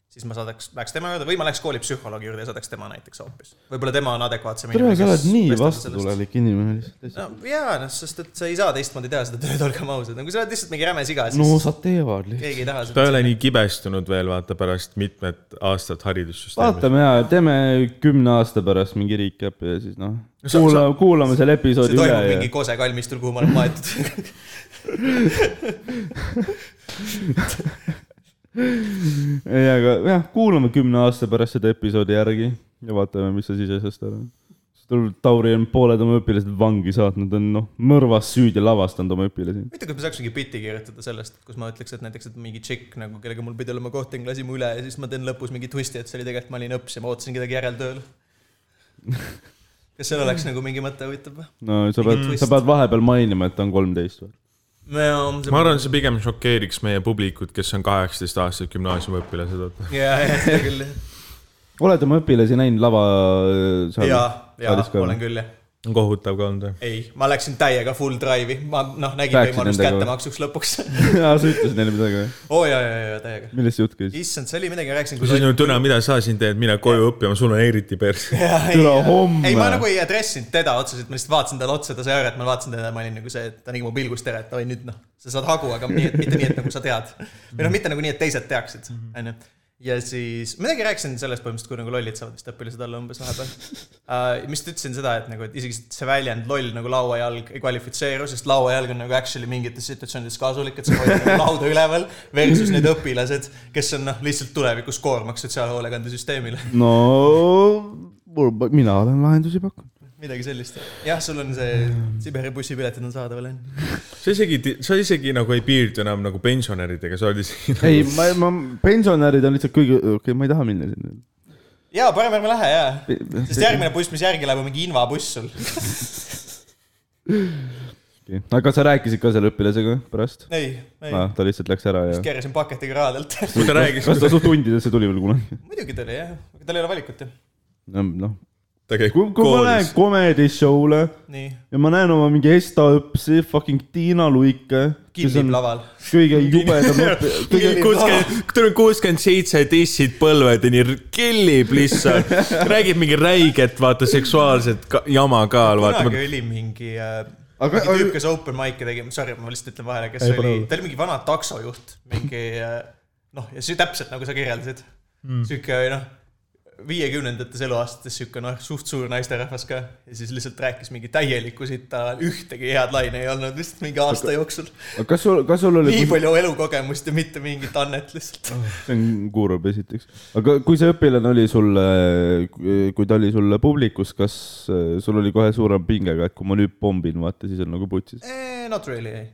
[SPEAKER 1] siis ma saadaks , läheks tema juurde või ma läheks kooli psühholoogi juurde ja saadaks tema näiteks hoopis . võib-olla tema on adekvaatsem
[SPEAKER 2] tere , sa
[SPEAKER 1] kes
[SPEAKER 2] oled nii
[SPEAKER 1] vestleb sellest.
[SPEAKER 2] vastutulelik inimene lihtsalt .
[SPEAKER 1] no jaa , noh , sest et sa ei saa teistmoodi teha seda tööd , olgem ausad , no kui sa oled lihtsalt mingi räme siga , siis
[SPEAKER 2] no
[SPEAKER 1] no,
[SPEAKER 2] sa teevad lihtsalt .
[SPEAKER 1] keegi ei taha
[SPEAKER 3] ta ei
[SPEAKER 1] seda .
[SPEAKER 3] ole nii kibestunud veel , vaata pärast mitmet aastat haridussüsteemis .
[SPEAKER 2] vaatame ja teeme kümne aasta pärast mingi recap'i ja siis noh ,
[SPEAKER 3] sa-
[SPEAKER 2] kuulame , kuulame selle
[SPEAKER 1] see
[SPEAKER 2] episoodi üle
[SPEAKER 1] toimub
[SPEAKER 2] ja
[SPEAKER 1] mingi Kose kalmistul , kuhu ma olen maetud .
[SPEAKER 2] ei , aga jah , kuulame kümne aasta pärast seda episoodi järgi ja vaatame , mis sa siis asjast arvad . Tauri on pooled oma õpilased vangi saatnud , on noh , mõrvas süüdi lavastanud oma õpilasi .
[SPEAKER 1] huvitav , kas ma saaks mingi biti kirjutada sellest , kus ma ütleks , et näiteks , et mingi tšikk nagu , kellega mul pidi olema kohting , lasi mu üle ja siis ma teen lõpus mingi twisti , et see oli tegelikult , ma olin õps ja ma ootasin kedagi järeltööl . kas seal oleks nagu mingi mõte huvitav või ?
[SPEAKER 2] no sa pead , sa pead vahepeal mainima , et ta on kolmteist või ?
[SPEAKER 3] ma
[SPEAKER 1] ma
[SPEAKER 3] arvan , see pigem šokeeriks meie publikut , kes on kaheksateist aastased gümnaasiumiõpilased , vaata .
[SPEAKER 1] jaa , jaa , seda küll jah .
[SPEAKER 2] oled oma õpilasi näinud lava seal ?
[SPEAKER 1] jaa , jaa
[SPEAKER 2] Saalis , ka või?
[SPEAKER 1] olen küll jah
[SPEAKER 3] on kohutav ka olnud või ?
[SPEAKER 1] ei , ma läksin täiega full drive'i , ma noh , nägin
[SPEAKER 2] Rääkisid
[SPEAKER 1] võimalust
[SPEAKER 2] nendega või?
[SPEAKER 1] kättemaksuks lõpuks .
[SPEAKER 2] jaa , sa ütlesid neile midagi või ?
[SPEAKER 1] oo jaa , jaa , jaa , täiega .
[SPEAKER 2] millest see jutt käis ?
[SPEAKER 1] issand , see oli midagi , rääkisin .
[SPEAKER 3] siis on ju türa , mida sa siin teed , mine koju õppima , sul on eriti pers .
[SPEAKER 2] Türa homme.
[SPEAKER 1] ei , ma nagu ei adressinud teda otseselt , ma lihtsalt vaatasin talle otsa , ta sai aru , et ma vaatasin teda , ma olin nagu see , et ta nägi mu pilgust ära , et oi nüüd noh , sa saad hagu , aga nii, et, mitte nii , et nagu sa tead . või noh , mitte nagu nii , et teised teaksid ,
[SPEAKER 2] Mhm.
[SPEAKER 1] onju . ja siis midagi rääkisin sellest põhimõtteliselt , kui nagu lollid saavad vist õpilased olla umbes vahepeal uh, . vist ütlesin seda , et nagu , et isegi see väljend loll nagu lauajalg ei kvalifitseeru , sest lauajalg on nagu actually mingites situatsioonides kasulik , et sa hoiad nagu lauda üleval versus need õpilased , kes on noh , lihtsalt tulevikus koormaks sotsiaalhoolekandesüsteemile .
[SPEAKER 2] no mul- mina olen lahendusi pakkunud .
[SPEAKER 1] midagi sellist . jah , sul on see Siberi bussipiletid on saadaval , onju .
[SPEAKER 3] sa isegi , sa isegi nagu ei piirdu enam nagu pensionäridega , sa oled isegi nagu
[SPEAKER 2] ei , ma , ma , pensionärid on lihtsalt kõige , okei okay, , ma ei taha minna sinna .
[SPEAKER 1] jaa , parem ärme lähe , jaa . sest järgmine buss , mis järgi läheb , on mingi invabuss sul .
[SPEAKER 2] okay. . aga sa rääkisid ka selle õpilasega pärast ?
[SPEAKER 1] ei , ei
[SPEAKER 2] Ah, . ta lihtsalt läks ära ja .
[SPEAKER 1] keerasin paketiga raadelt .
[SPEAKER 3] ta räägis ,
[SPEAKER 2] kas ta su tundidesse tuli veel kunagi ?
[SPEAKER 1] muidugi tuli jah , aga tal ei ole valikut ju .
[SPEAKER 2] noh ,
[SPEAKER 3] ta käib
[SPEAKER 2] kui , kui ma lähen
[SPEAKER 3] koolis .
[SPEAKER 2] comedy show'le
[SPEAKER 1] nii ,
[SPEAKER 2] ja ma näen oma mingi Esta õpsi , fucking Tiina Luike .
[SPEAKER 1] kinnib laval .
[SPEAKER 2] kõige jubedam õpi- , kõige ,
[SPEAKER 3] kuuskümmend , tal on kuuskümmend seitse dissid põlvedeni , killib lihtsalt , räägib mingi räiget , vaata seksuaalset ka- jama ka , vaata .
[SPEAKER 1] kunagi oli mingi äh,
[SPEAKER 2] Aga-
[SPEAKER 1] aga, mingi tüüp , kes open mic'e tegi , sorry , ma lihtsalt ütlen vahele , kes
[SPEAKER 3] Ei,
[SPEAKER 1] ei, oli
[SPEAKER 3] palun. ,
[SPEAKER 1] ta oli mingi vana taksojuht , mingi äh, noh , ja see täpselt nagu sa kirjeldasid mm. . sihuke noh , viiekümnendates eluaastates sihuke noh , suht suur naisterahvas ka ja siis lihtsalt rääkis mingi täielikku sita , ühtegi head laine ei olnud lihtsalt mingi aasta jooksul .
[SPEAKER 2] kas sul , kas sul oli ,
[SPEAKER 1] nii palju elukogemust ja mitte mingit annet lihtsalt .
[SPEAKER 2] see on kuurab esiteks , aga kui see õpilane oli sulle , kui ta oli sulle publikus , kas äh, sul oli kohe suurem pinge ka , et kui ma nüüd pommin , vaata , siis on nagu putsis ?
[SPEAKER 1] Eh, Not really , ei .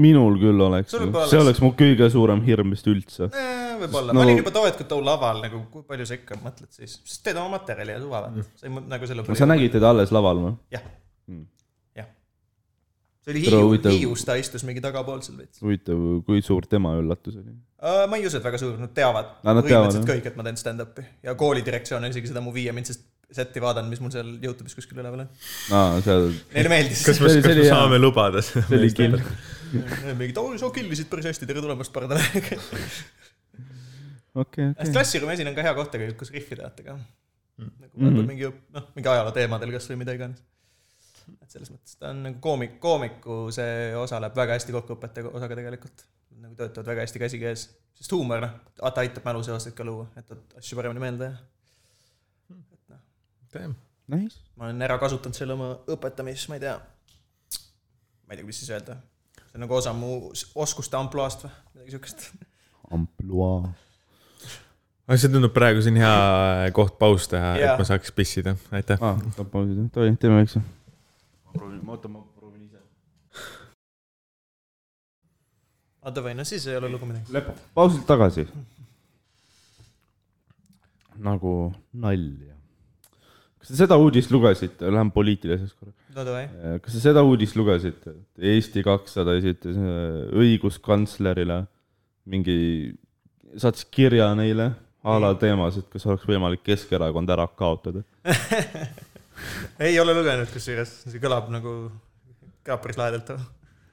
[SPEAKER 2] minul küll oleks
[SPEAKER 1] Sul , võib-olla
[SPEAKER 2] see
[SPEAKER 1] oleks.
[SPEAKER 2] oleks mu kõige suurem hirm vist üldse .
[SPEAKER 1] Eh, võib-olla no. ,
[SPEAKER 2] No-
[SPEAKER 1] ma olin juba too hetk too laval nagu , kui palju sa ikka mõtled siis , sest teed oma materjali ja suva või , sa ei mõ- nagu selle
[SPEAKER 2] sa nägid teda alles laval või ?
[SPEAKER 1] jah
[SPEAKER 2] Mm.
[SPEAKER 1] mm. , jah . see oli
[SPEAKER 2] Tere,
[SPEAKER 1] Hiiu ,
[SPEAKER 2] huvitav-
[SPEAKER 1] Hiius ta istus mingi tagapool seal veits .
[SPEAKER 2] huvitav , kui suur tema üllatus oli ?
[SPEAKER 1] ma ei usu , et väga suur , nad teavad
[SPEAKER 2] Aa, nad teavad,
[SPEAKER 1] põhimõtteliselt
[SPEAKER 2] jah.
[SPEAKER 1] kõik , et ma teen stand-up'i ja koolidirektsioon on isegi seda mu viie mind , sest seti vaadanud , mis mul seal Youtube'is kuskil üleval on .
[SPEAKER 2] aa , seal ,
[SPEAKER 1] Neile meeldis .
[SPEAKER 3] kas
[SPEAKER 2] See
[SPEAKER 3] me
[SPEAKER 2] oli- , see
[SPEAKER 3] kas
[SPEAKER 2] oli
[SPEAKER 3] me
[SPEAKER 2] hea.
[SPEAKER 3] saame lubada seda ?
[SPEAKER 2] see oli kill .
[SPEAKER 1] mingid , oo , sa killisid päris hästi , tere tulemast , pardon .
[SPEAKER 2] okei , okei .
[SPEAKER 1] klassiruumi esin Äh, on ka hea koht tegelikult , kus rihvi teate ka . nagu vahepeal mingi , noh , mingi ajaloo teemadel kas või mida iganes . et selles mõttes ta on nagu koomik , koomiku see osa läheb väga hästi kokku õpetaja osaga tegelikult . nagu töötavad väga hästi käsikäes , sest huumor , noh , ta aitab mäluseoseid ka luua , jätad asju paremini meelde ja
[SPEAKER 2] Nice .
[SPEAKER 1] ma olen ära kasutanud selle oma õpetamises , ma ei tea . ma ei tea , mis siis öelda . see on nagu osa mu s- oskuste ampluaast või midagi siukest .
[SPEAKER 2] ampluaa .
[SPEAKER 3] aga see tundub praegu siin hea eh, koht paus teha ,
[SPEAKER 1] Jaa.
[SPEAKER 3] et ma saaks pissida , aitäh .
[SPEAKER 2] aa , saab pausida , tohi , teeme väikse . ma proovin , ma ootan , ma proovin ise .
[SPEAKER 1] aga davai , no siis ei ole lugu midagi .
[SPEAKER 2] pausilt tagasi . nagu nalja . kas te seda uudist lugesite , lähen poliitiliseks korra .
[SPEAKER 1] no davai .
[SPEAKER 2] Äh, kas te seda uudist lugesite , et Eesti kakssada esitas äh, õiguskantslerile mingi , saatis kirja neile a la teemas , et kas oleks võimalik Keskerakond ära kaotada .
[SPEAKER 1] ei ole lugenud kusjuures , see kõlab nagu , kõlab päris lahedalt .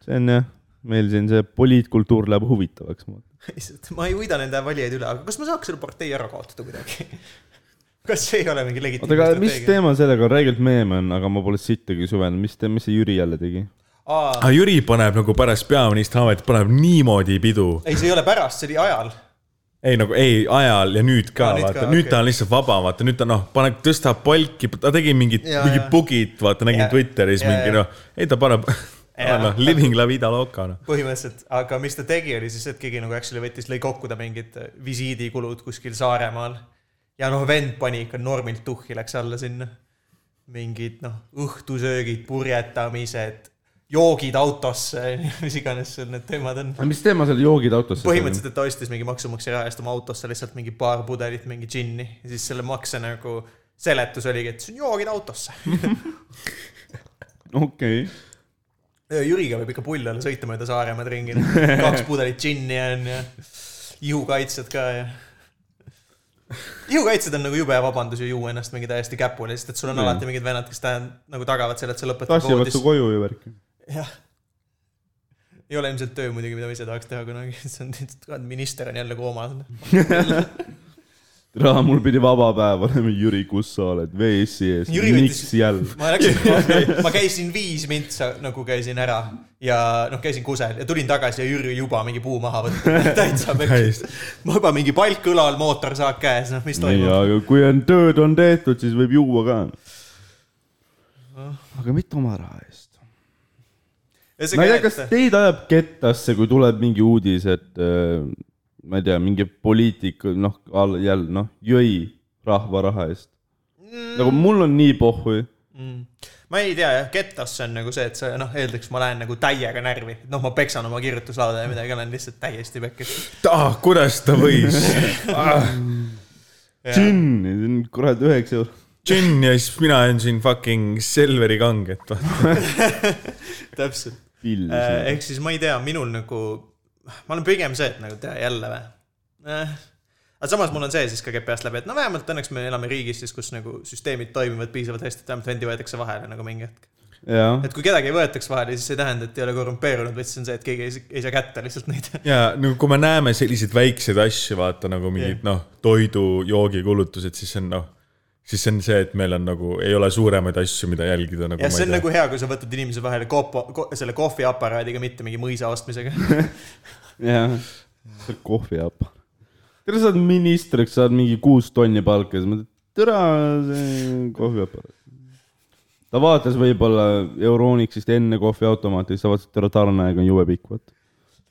[SPEAKER 2] see on jah , meil siin see poliitkultuur läheb huvitavaks .
[SPEAKER 1] lihtsalt ma ei võida nende valijaid üle , aga kas ma saaks selle partei ära kaotada kuidagi ? kas see ei ole mingi
[SPEAKER 2] oota ,
[SPEAKER 1] legitiimne
[SPEAKER 2] aga mis ? teema sellega on , räigelt meem on , aga ma pole sittagi süvenenud , mis , mis see Jüri jälle tegi ?
[SPEAKER 1] aa ,
[SPEAKER 3] aga Jüri paneb nagu pärast peaministri ametit , paneb niimoodi pidu .
[SPEAKER 1] ei , see ei ole pärast , see oli ajal .
[SPEAKER 3] ei nagu ei , ajal ja nüüd ka ,
[SPEAKER 1] Aa, nüüd
[SPEAKER 3] vaata
[SPEAKER 1] ka, ,
[SPEAKER 3] nüüd
[SPEAKER 1] okei.
[SPEAKER 3] ta on lihtsalt vaba , vaata nüüd ta noh , paneb , tõstab palki , ta tegi mingit ,
[SPEAKER 1] Jaa,
[SPEAKER 3] mingit
[SPEAKER 1] jaa.
[SPEAKER 3] bugid , vaata nägin
[SPEAKER 1] Jaa.
[SPEAKER 3] Twitteris
[SPEAKER 1] Jaa,
[SPEAKER 3] mingi
[SPEAKER 1] jaa.
[SPEAKER 3] noh , ei ta paneb ,
[SPEAKER 1] Jaa.
[SPEAKER 3] noh , living la vida loca noh .
[SPEAKER 1] põhimõtteliselt , aga mis ta tegi , oli siis , et keegi nagu actually võttis , lõi kokku ta mingid äh, visiidikulud kuskil Saaremaal . ja noh , vend pani ikka normilt tuhhi , läks alla sinna . mingid noh , õhtusöögid , purjetamised , joogid autosse , mis iganes seal need teemad on .
[SPEAKER 2] mis teema seal joogid autosse ?
[SPEAKER 1] põhimõtteliselt , et ta ostis mingi maksumaksja raha eest oma autosse lihtsalt mingi paar pudelit mingi džinni ja siis selle makse nagu seletus oligi , et see on joogid autosse .
[SPEAKER 2] okei okay. ,
[SPEAKER 1] Jüriga võib ikka pull olla , sõita mööda Saaremaad ringi , kaks pudelit džinni on ja ihukaitsjad ka ja . ihukaitsjad on nagu jube vabandus ju juua ennast mingi täiesti käpule , sest et sul on
[SPEAKER 2] Mm.
[SPEAKER 1] alati mingid vennad , kes tähendab nagu tagavad selle , et sa lõpetad
[SPEAKER 2] tassivad su
[SPEAKER 1] voodis .
[SPEAKER 2] koju ju värki .
[SPEAKER 1] jah . ei ole ilmselt töö muidugi , mida ma ise tahaks teha kunagi , see on lihtsalt , minister on jälle koomas .
[SPEAKER 2] tere , mul pidi vaba päev olema , Jüri , kus sa oled , VS-i ees ,
[SPEAKER 1] Jüri võttis-
[SPEAKER 2] miks jälle ?
[SPEAKER 1] ma läksin , ma käisin viis mintsa nagu käisin ära ja noh , käisin kusagil ja tulin tagasi ja Jüri juba mingi puu maha võtnud , täitsa peksist . ma juba mingi palk õlal , mootorsaak käes , noh , mis
[SPEAKER 2] nii ,
[SPEAKER 1] toimub .
[SPEAKER 2] aga kui on tööd on tehtud , siis võib juua ka . Ah, aga mitte oma raha eest . ma ei tea , kas teid ajab kettasse , kui tuleb mingi uudis , et äh, ma ei tea , mingi poliitik , noh , jälle , noh , jõi rahva raha eest .
[SPEAKER 1] Mm.
[SPEAKER 2] nagu mul on nii pohhu .
[SPEAKER 1] ma ei tea jah , kettasse on nagu see , et sa noh , eeldaks ma lähen nagu täiega närvi , noh , ma peksan oma kirjutuslauda ja midagi , olen lihtsalt täiesti pekkis .
[SPEAKER 3] ah , kuidas ta võis ah, ?
[SPEAKER 2] džinni , see on kurat üheksa
[SPEAKER 1] Äh,
[SPEAKER 2] eurot .
[SPEAKER 3] džinn ja siis mina olen siin fucking Selveri kanget , vaata .
[SPEAKER 1] täpselt .
[SPEAKER 2] pill .
[SPEAKER 1] Äh, ehk siis ma ei tea , minul nagu , ma olen pigem see , et nagu tea jälle või eh. . aga samas mul on see siis ka käib peast läbi , et no vähemalt õnneks me elame riigis siis , kus nagu süsteemid toimivad piisavalt hästi , et vähemalt vendi võetakse vahele nagu mingi hetk .
[SPEAKER 2] jah ,
[SPEAKER 1] et kui kedagi ei võetaks vahele , siis see ei tähenda , et ei ole korrumpeerunud , vaid siis on see , et keegi ei, ei saa kätte lihtsalt neid .
[SPEAKER 3] ja no kui me näeme selliseid väikseid asju , vaata nagu mingid noh , toidu , joogikulutused , siis see on noh , siis see on see , et meil on nagu , ei ole suuremaid asju , mida jälgida nagu .
[SPEAKER 1] jah , see on nagu hea , kui sa võtad inimese vahele kopo ko, , selle kohviaparaadiga , mitte mingi mõisa ostmisega .
[SPEAKER 2] jah . see on kohvi jääb . tere , sa oled ministriks , saad mingi kuus tonni palka , siis ma ütlen , tere , see on kohvi jääb . ta vaatas võib-olla Euronixist enne kohviautomaati , siis ta vaatas , et tere , tarneaeg on jube pikk , vaata .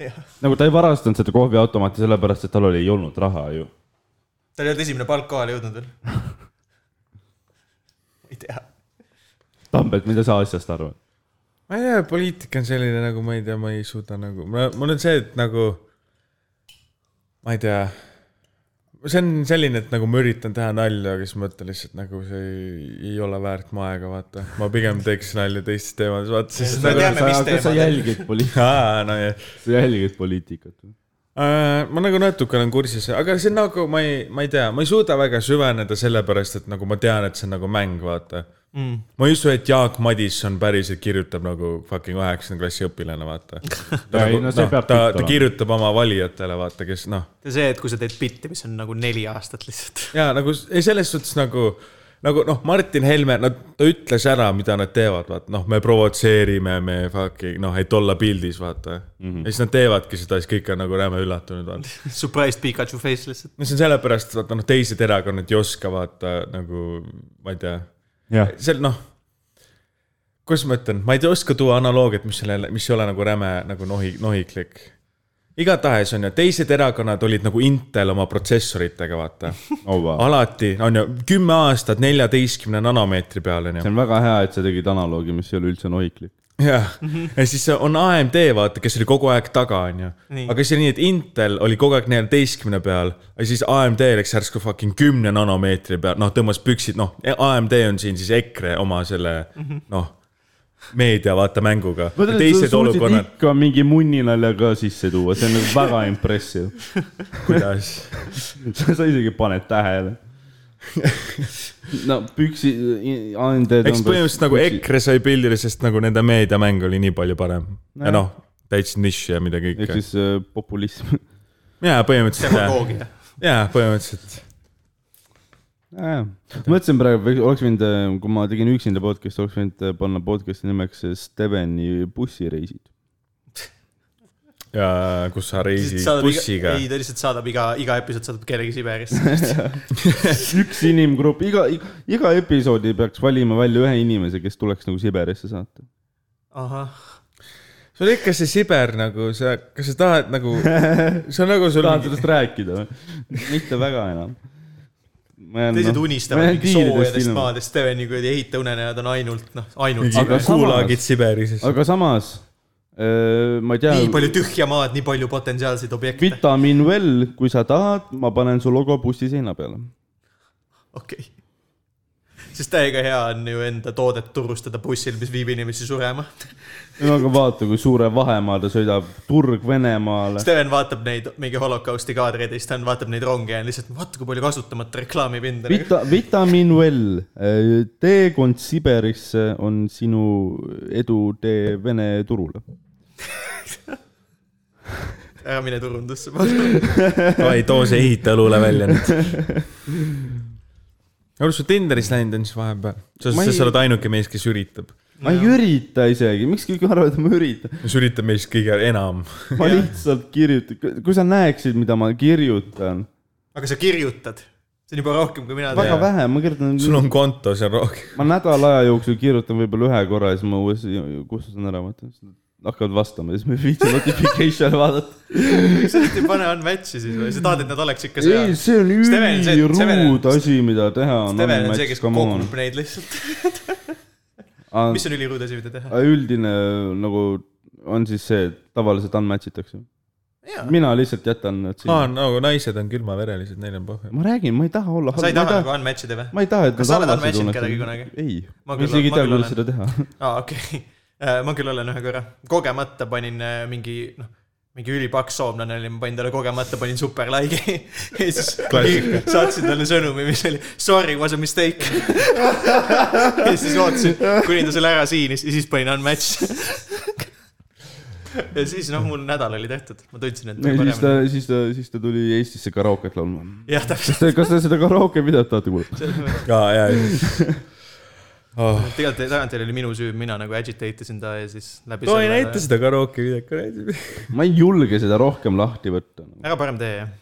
[SPEAKER 1] tal
[SPEAKER 2] nagu ta ei varastanud seda kohviautomaati sellepärast , et tal oli , ei olnud raha ju .
[SPEAKER 1] ei olnud esimene palk kohale jõudnud veel . ma ei tea .
[SPEAKER 2] Tambet , mida sa asjast arvad ?
[SPEAKER 3] ma ei tea , poliitika on selline nagu ma ei tea , ma ei suuda nagu , mul on see , et nagu . ma ei tea . see on selline , et nagu ma üritan teha nalja , aga siis mõtlen lihtsalt nagu see ei, ei ole väärt mu aega , vaata . ma pigem teeks nalja teistes teemades , vaata siis
[SPEAKER 1] Me
[SPEAKER 3] nagu .
[SPEAKER 1] teame, mis
[SPEAKER 2] kas sa
[SPEAKER 1] teemadel.
[SPEAKER 2] jälgid poliitikat ,
[SPEAKER 3] aa , no jah ,
[SPEAKER 2] sa jälgid poliitikat või ?
[SPEAKER 3] ma nagu natuke olen kursis , aga see nagu ma ei , ma ei tea , ma ei suuda väga süveneda , sellepärast et nagu ma tean , et see on nagu mäng , vaata mm. . ma ei usu , et Jaak Madisson päriselt kirjutab nagu fucking üheksanda klassi õpilane , vaata .
[SPEAKER 5] Ja ei, no see peab
[SPEAKER 3] ta,
[SPEAKER 5] pitt
[SPEAKER 3] ta
[SPEAKER 5] olema.
[SPEAKER 3] kirjutab oma valijatele , vaata , kes noh ,
[SPEAKER 1] ja see , et kui sa teed bitti , mis on nagu neli aastat lihtsalt .
[SPEAKER 3] ja nagu s- ei , selles suhtes nagu , nagu noh , Martin Helme , no ta ütles ära , mida nad teevad , vaata noh , me provotseerime , me fucking noh , et olla pildis , vaata mm .
[SPEAKER 5] Mhm.
[SPEAKER 3] -hmm. ja siis nad teevadki seda , siis kõik on nagu räme üllatunud , vaata .
[SPEAKER 1] Surprised Pikachu face lihtsalt .
[SPEAKER 3] no see on sellepärast , et vaata noh , teised erakonnad ei oska vaata nagu , ma ei tea ,
[SPEAKER 5] jah ,
[SPEAKER 3] seal noh . kuidas ma ütlen , ma ei tea , oska tuua analoogiat , mis sellele , mis ei ole nagu räme nagu nohi , nohiklik . igatahes on ju , teised erakonnad olid nagu Intel oma protsessoritega , vaata .
[SPEAKER 2] oh, wow.
[SPEAKER 3] alati on ju kümme aastat neljateistkümne nanomeetri peal on ju
[SPEAKER 2] see . on väga hea , et sa tegid analoogi , mis ei ole üldse nohiklik .
[SPEAKER 3] jah , ja siis on AMD , vaata , kes oli kogu aeg taga , onju . aga see oli nii , et Intel oli kogu aeg neljateistkümne peal , aga siis AMD läks järsku fucking kümne nanomeetri peal , noh , tõmbas püksid , noh , AMD on siin siis EKRE oma selle , noh , meedia , vaata , mänguga . teised olukonnad ,
[SPEAKER 2] ikka mingi munninalja ka sisse tuua , see on nagu väga impressive .
[SPEAKER 3] kuidas ,
[SPEAKER 2] sa isegi paned tähele . no püksi , AMD .
[SPEAKER 3] eks põhimõtteliselt nagu . EKRE sai pildile , sest nagu nende meediamäng oli nii palju parem . ja noh , täitsa nišš ja midagi
[SPEAKER 2] ehk
[SPEAKER 3] kõike .
[SPEAKER 2] siis äh, populism .
[SPEAKER 3] jaa , põhimõtteliselt jah ,
[SPEAKER 1] demagoogia .
[SPEAKER 3] jaa , põhimõtteliselt .
[SPEAKER 2] mõtlesin praegu , oleks võinud , kui ma tegin üksinda podcast'i , oleks võinud äh, panna podcast'i nimeks äh, Steveni bussireisid .
[SPEAKER 3] ja kus sa reisid bussiga .
[SPEAKER 1] ei , ta lihtsalt saadab iga , iga episood saadab kellegi Siberisse .
[SPEAKER 2] üks inimgrupp , iga , iga episoodi peaks valima välja ühe inimese , kes tuleks nagu Siberisse saata .
[SPEAKER 1] ahah ,
[SPEAKER 3] sul ikka see Siber nagu sa , kas sa tahad nagu , see on nagu sul
[SPEAKER 2] tahan sellest rääkida või ? mitte väga enam . noh,
[SPEAKER 1] teised unistavad mingi soojadest . maadest , Steveni kuradi ehitaunenäod on ainult , noh , ainult .
[SPEAKER 2] Aga
[SPEAKER 3] mingi
[SPEAKER 2] samas-
[SPEAKER 3] kuulagid Siberis .
[SPEAKER 2] aga samas öö, ma ei tea
[SPEAKER 1] nii , palju tühja maad , nii palju potentsiaalseid objekte .
[SPEAKER 2] vitamiin Well , kui sa tahad , ma panen su logo bussi seina peale .
[SPEAKER 1] okei . sest täiega hea on ju enda toodet turustada bussil , mis viib inimesi surema .
[SPEAKER 2] no aga vaata , kui suure vahemaa ta sõidab , turg Venemaale .
[SPEAKER 1] Steven vaatab neid mingi holokausti kaadreid ja siis ta on- vaatab neid ronge ja on lihtsalt vaata , kui palju kasutamata reklaamipinda .
[SPEAKER 2] Vita- , vitamiin Well , teekond Siberisse on sinu edutee Vene turule .
[SPEAKER 1] ära mine turundusse .
[SPEAKER 3] ei too see ehitajaloole välja nüüd . oled sa Tinderis läinud on siis vahepeal ? sa ,
[SPEAKER 2] Ma ei-
[SPEAKER 3] sa oled ainuke mees , kes üritab .
[SPEAKER 2] ma ei ürita isegi , miks kõik arvavad , et ma üritan .
[SPEAKER 3] kes üritab meist kõige enam .
[SPEAKER 2] ma lihtsalt kirjutan , kui sa näeksid , mida ma kirjutan ,
[SPEAKER 1] aga sa kirjutad , see on juba rohkem , kui mina
[SPEAKER 2] väga
[SPEAKER 1] tean .
[SPEAKER 2] vähe , ma kirjutan ,
[SPEAKER 3] sul on konto seal rohkem .
[SPEAKER 2] ma nädala aja jooksul kirjutan võib-olla ühe korra ja siis ma uuesti kustutan ära , vaata , hakkavad vastama ja siis ma ei viitsi notification vaadata .
[SPEAKER 1] sa lihtsalt ei pane unmatch'i siis või , sa tahad , et nad oleks ikka
[SPEAKER 2] ei ,
[SPEAKER 1] seal .
[SPEAKER 2] see on
[SPEAKER 1] Steven, see- Steven-
[SPEAKER 2] üliruud asi , mida teha on .
[SPEAKER 1] Steven on see , kes kogub neid lihtsalt . mis on üliruud asi , mida teha ?
[SPEAKER 2] ah, üldine nagu on siis see , et tavaliselt unmatch itakse . mina lihtsalt jätan nad
[SPEAKER 3] aa ,
[SPEAKER 1] Ah.
[SPEAKER 2] siin .
[SPEAKER 3] nagu naised on külmaverelised , neil on põhja .
[SPEAKER 2] ma räägin , ma ei taha olla
[SPEAKER 1] sa ei taha nagu unmatch ida või ?
[SPEAKER 2] ma ei taha , et
[SPEAKER 1] Kas sa oled
[SPEAKER 2] halvasti
[SPEAKER 1] unmatch'inud
[SPEAKER 2] tunneksid.
[SPEAKER 1] kedagi kunagi?
[SPEAKER 2] ei ,
[SPEAKER 1] Ma
[SPEAKER 2] ma
[SPEAKER 1] küll-
[SPEAKER 2] isegi ei
[SPEAKER 1] ma
[SPEAKER 2] tea ,
[SPEAKER 1] küll
[SPEAKER 2] kuidas
[SPEAKER 1] olen.
[SPEAKER 2] seda teha .
[SPEAKER 1] aa , okei . ma küll olen ühe korra , kogemata panin äh, mingi , noh , mingi ülipaks soomlane oli , ma panin talle kogemata , panin super like'i ja siis
[SPEAKER 3] Klassika.
[SPEAKER 1] saatsin talle sõnumi , mis oli sorry , was a mistake . ja siis ootasin , kuni ta selle ära siinis ja siis panin unmatch . ja siis , noh , mul nädal oli tehtud , ma tundsin , et
[SPEAKER 2] ja siis ta
[SPEAKER 1] paremini .,
[SPEAKER 2] siis ta , siis ta tuli Eestisse karooket laulma .
[SPEAKER 1] jah , täpselt .
[SPEAKER 2] kas te seda karooke videot tahate kuulata ?
[SPEAKER 3] aa , jaa , jaa . Ah.
[SPEAKER 1] tegelikult tagantjärele oli minu süü , mina nagu agitate isin ta ja siis läbi
[SPEAKER 3] too ei näita seda karooke videot .
[SPEAKER 2] ma ei julge seda rohkem lahti võtta .
[SPEAKER 1] ära parem tee , jah .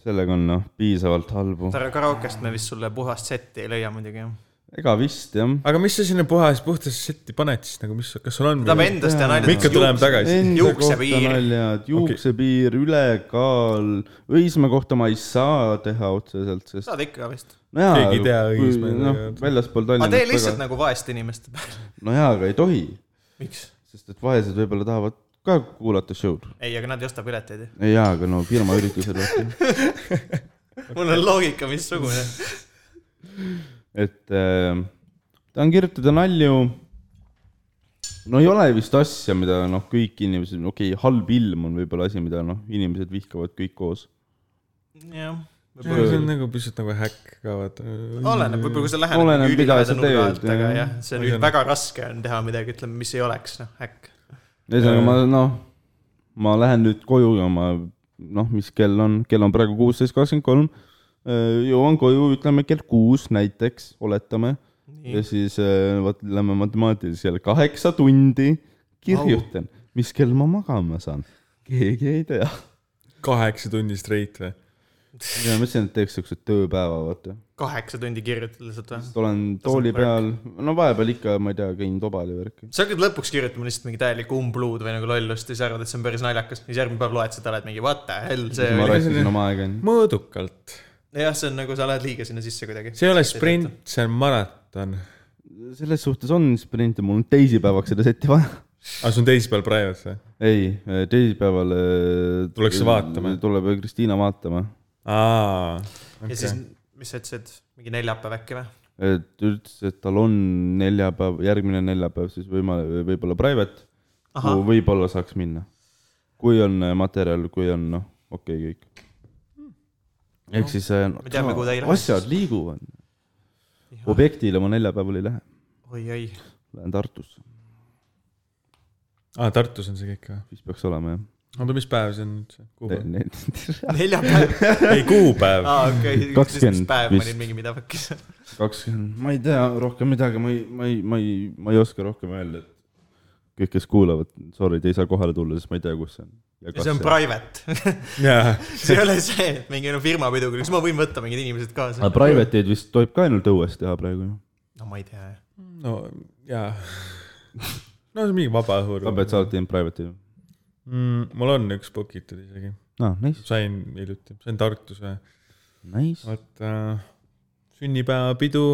[SPEAKER 2] sellega on noh , piisavalt halbu .
[SPEAKER 1] Tara Karaokest me vist sulle puhast setti ei leia muidugi , jah .
[SPEAKER 2] ega vist jah .
[SPEAKER 3] aga mis sa sinna puhas , puhtasse setti paned siis nagu , mis , kas sul on ?
[SPEAKER 1] tahame endast ja
[SPEAKER 3] me ikka tuleme
[SPEAKER 1] naljalt .
[SPEAKER 3] tagasi .
[SPEAKER 1] Juuksepiir.
[SPEAKER 2] naljad , juuksepiir okay. , ülekaal , Õismäe kohta ma ei saa teha otseselt , sest
[SPEAKER 1] saad ikka vist .
[SPEAKER 2] no jaa,
[SPEAKER 3] Keegi ei tea
[SPEAKER 2] kui-
[SPEAKER 3] Õismäe
[SPEAKER 2] noh
[SPEAKER 3] tegelikult. ,
[SPEAKER 2] väljaspool
[SPEAKER 1] aga tee lihtsalt
[SPEAKER 2] Tallinnast .
[SPEAKER 1] nagu vaeste inimeste peale .
[SPEAKER 2] no jaa , aga ei tohi ,
[SPEAKER 1] miks ?
[SPEAKER 2] sest et vaesed võib-olla tahavad ka kuulata show'd .
[SPEAKER 1] ei , aga nad ei osta pileteid ju .
[SPEAKER 2] ei jaa , aga no firma üritusel vaata ,
[SPEAKER 1] mul on loogika missugune .
[SPEAKER 2] et äh, tahan kirjutada nalju no ei ole vist asja , mida noh , kõik inimesed , okei okay, , halb ilm on võib-olla asi , mida noh , inimesed vihkavad kõik koos .
[SPEAKER 1] jah .
[SPEAKER 3] see on nagu pisut nagu häkk ka vaata .
[SPEAKER 1] oleneb , võib-olla kui sa lähed
[SPEAKER 2] Oleneb,
[SPEAKER 1] nagu
[SPEAKER 2] mida
[SPEAKER 1] ülihäda
[SPEAKER 2] sa
[SPEAKER 1] nurga
[SPEAKER 2] teed,
[SPEAKER 1] alt , aga
[SPEAKER 2] jah.
[SPEAKER 1] jah , see on üld- väga raske on teha midagi , ütleme , mis ei oleks noh , äkki .
[SPEAKER 2] ühesõnaga ma noh , ma lähen nüüd koju ja ma noh , mis kell on , kell on praegu kuusteist kakskümmend kolm . jõuan koju , ütleme kell kuus näiteks , oletame . ja siis äh, vot lähme matemaatilisele , kaheksa tundi kirjutan , mis kell ma magama saan , keegi ei tea .
[SPEAKER 3] kaheksa tundi straight või ?
[SPEAKER 2] ja ma mõtlesin , et teeks siukse tööpäeva , vaata .
[SPEAKER 1] kaheksa tundi kirjutad lihtsalt või ?
[SPEAKER 2] siis olen tooli peal , no vahepeal ikka , ma ei tea , käin tobal ja värki .
[SPEAKER 1] sa hakkad lõpuks kirjutama lihtsalt mingi täielikku umbluud või nagu lollust ja siis arvad , et see on päris naljakas , siis järgmine päev loed seda , oled mingi what the hell , see
[SPEAKER 2] ma
[SPEAKER 1] oli .
[SPEAKER 2] raiskasin oma aega , onju .
[SPEAKER 3] mõõdukalt .
[SPEAKER 1] jah , see on nagu sa lähed liiga sinna sisse kuidagi .
[SPEAKER 3] see ei ole sprint , see on maraton .
[SPEAKER 2] selles suhtes on sprint ja mul on teisipäevaks seda seti vaja
[SPEAKER 3] aga Ah, see on teisipäeval praegu või ?
[SPEAKER 2] ei , teisipäeval .
[SPEAKER 3] Tullakse vaatama?
[SPEAKER 2] tuleb Kristiina vaatama ,
[SPEAKER 3] aa ,
[SPEAKER 1] ja siis , mis sa ütlesid , mingi neljapäev äkki või ?
[SPEAKER 2] et ütles , et tal on neljapäev , järgmine neljapäev siis võimalik , võib-olla private , kuhu võib-olla saaks minna . kui on äh, materjal , kui on noh , okei okay, kõik . ehk siis äh,
[SPEAKER 1] Hmm. Me teame, kuhu ta ei lähe
[SPEAKER 2] asjad liiguvad . objektile ma neljapäeval ei lähe ,
[SPEAKER 1] oi-oi ,
[SPEAKER 2] lähen Tartusse ,
[SPEAKER 3] aa Tartus on see kõik või ?
[SPEAKER 2] siis peaks olema jah .
[SPEAKER 3] oota , mis päev see on nüüd see ? kuupäev ?
[SPEAKER 1] neljapäev ,
[SPEAKER 3] ei , kuupäev .
[SPEAKER 1] aa okei , üksteist
[SPEAKER 2] 20
[SPEAKER 1] päev ma
[SPEAKER 2] vist.
[SPEAKER 1] olin mingi mida fuck'is .
[SPEAKER 2] kakskümmend , ma ei tea rohkem midagi , ma ei , ma ei , ma ei , ma ei oska rohkem öelda , et kõik , kes kuulavad , sorry , te ei saa kohale tulla , sest ma ei tea , kus see on .
[SPEAKER 1] ja see on private ,
[SPEAKER 3] jaa ,
[SPEAKER 1] see ei ole see , et mingi no firmapidu , kus ma võin võtta mingid inimesed kaasa
[SPEAKER 2] aga . private eid Ah, vist tohib ka ainult õues teha praegu ju .
[SPEAKER 1] no ma ei tea ,
[SPEAKER 3] no jaa . no see on mingi
[SPEAKER 2] sa
[SPEAKER 3] vabaõhuruum
[SPEAKER 2] pead , sa oled teinud private'i ju ?
[SPEAKER 3] mm, . mul on üks book itud isegi ,
[SPEAKER 2] aa , nice ,
[SPEAKER 3] sain hiljuti , sain Tartus ühe ,
[SPEAKER 2] nice .
[SPEAKER 3] vaata sünnipäevapidu ,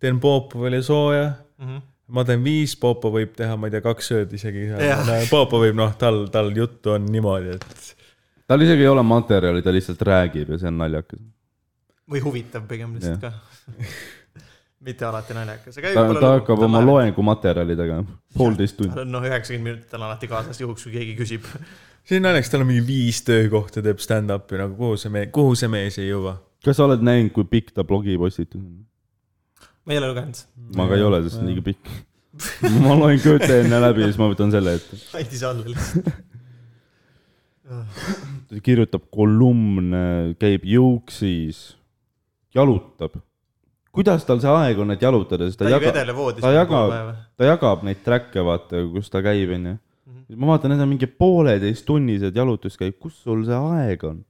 [SPEAKER 3] teen Popovile sooja mm .
[SPEAKER 1] Mhm.
[SPEAKER 3] -hmm ma teen viis , Popo võib teha , ma ei tea , kaks ööd isegi .
[SPEAKER 1] Jah.
[SPEAKER 3] Popo võib , noh , tal , tal juttu on niimoodi , et
[SPEAKER 2] tal isegi ei ole materjali , ta lihtsalt räägib ja see on naljakas .
[SPEAKER 1] või huvitav pigem lihtsalt ka . mitte alati naljakas , aga
[SPEAKER 2] ta , ta hakkab oma . loengumaterjalidega , poolteist tundi .
[SPEAKER 1] noh , üheksakümmend minutit on alati kaasas juhuks , kui keegi küsib .
[SPEAKER 3] see on naljakas , tal on mingi viis töökohta , teeb stand-up'i nagu , kuhu see mees , kuhu see mees ei jõua .
[SPEAKER 2] kas sa oled näinud , kui pikk ta blogipostitus on ?
[SPEAKER 1] ma ei ole lugenud ,
[SPEAKER 2] ma ka ei ole , sest see on liiga pikk . ma loen Goethe enne läbi ja siis ma võtan selle ette .
[SPEAKER 1] andis alla lihtsalt .
[SPEAKER 2] ta kirjutab kolumne , käib juuksis , jalutab . kuidas tal see aeg on , et jalutada , sest ta,
[SPEAKER 1] ta ei
[SPEAKER 2] jagab ,
[SPEAKER 1] vedele voodis .
[SPEAKER 2] ta jagab , ta jagab neid track'e , vaata , kus ta käib , onju .
[SPEAKER 1] Mhm.
[SPEAKER 2] ma vaatan , need on mingi pooleteisttunnised jalutuskäik , kus sul see aeg on ?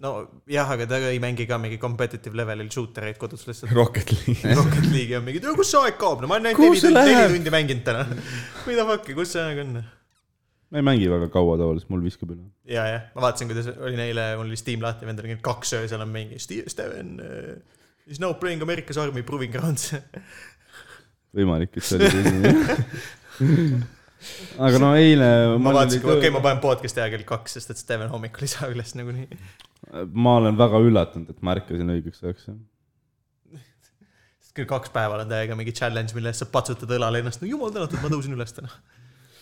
[SPEAKER 1] nojah , aga ta ei mängi ka mingi competitive levelil shooter eid kodus lihtsalt .
[SPEAKER 3] Rocket League .
[SPEAKER 1] Rocket League'i on mingi , kus see aeg kaob , no ma olen ainult
[SPEAKER 3] Kuhu
[SPEAKER 1] neli
[SPEAKER 3] see
[SPEAKER 1] tundi , neli
[SPEAKER 3] läheb?
[SPEAKER 1] tundi mänginud täna . mida fuck'i , kus see aeg on ?
[SPEAKER 2] ma ei mängi väga kaua tavaliselt , mul viskab üle .
[SPEAKER 1] ja , ja ma vaatasin , kuidas olin eile , mul oli Steam lahti , vendel kell kaks öösel on mingi Ste- Steven uh, is now playing America's Army Proving Grounds .
[SPEAKER 2] võimalik , et see oli selline . aga no eile
[SPEAKER 1] ma vaatasin , okei okay, , ma
[SPEAKER 2] ma...
[SPEAKER 1] panen podcast'i aja kell kaks , sest et Steven hommikul ei saa üles nagunii .
[SPEAKER 2] ma olen väga üllatunud , et ma ärkasin õigeks ajaks .
[SPEAKER 1] sest kell kaks päeval on täiega mingi challenge , mille eest sa patsutad õlale ennast , no jumal tänatud , ma tõusin üles täna .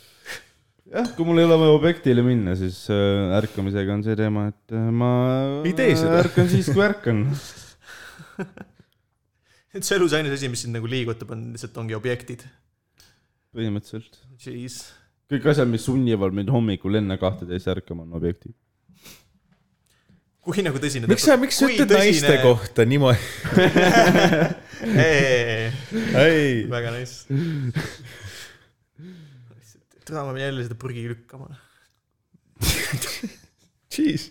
[SPEAKER 2] jah , kui mul ei ole vaja objektile minna , siis äh, ärkamisega on see teema , et äh, ma
[SPEAKER 3] Ei tee seda.
[SPEAKER 2] ärkan siis , kui ärkan .
[SPEAKER 1] et see elus ainus asi , mis sind nagu liigutab , on lihtsalt ongi objektid .
[SPEAKER 2] põhimõtteliselt .
[SPEAKER 1] Jeez .
[SPEAKER 2] kõik asjad , mis sunnivad mind hommikul enne kahteteist ärkama , on objektid .
[SPEAKER 1] kui nagu tõsine .
[SPEAKER 3] miks sa , miks sa ütled naiste ? kohta niimoodi ? ei ,
[SPEAKER 1] väga nice . täna ma pean jälle seda prügi lükkama
[SPEAKER 3] jeez .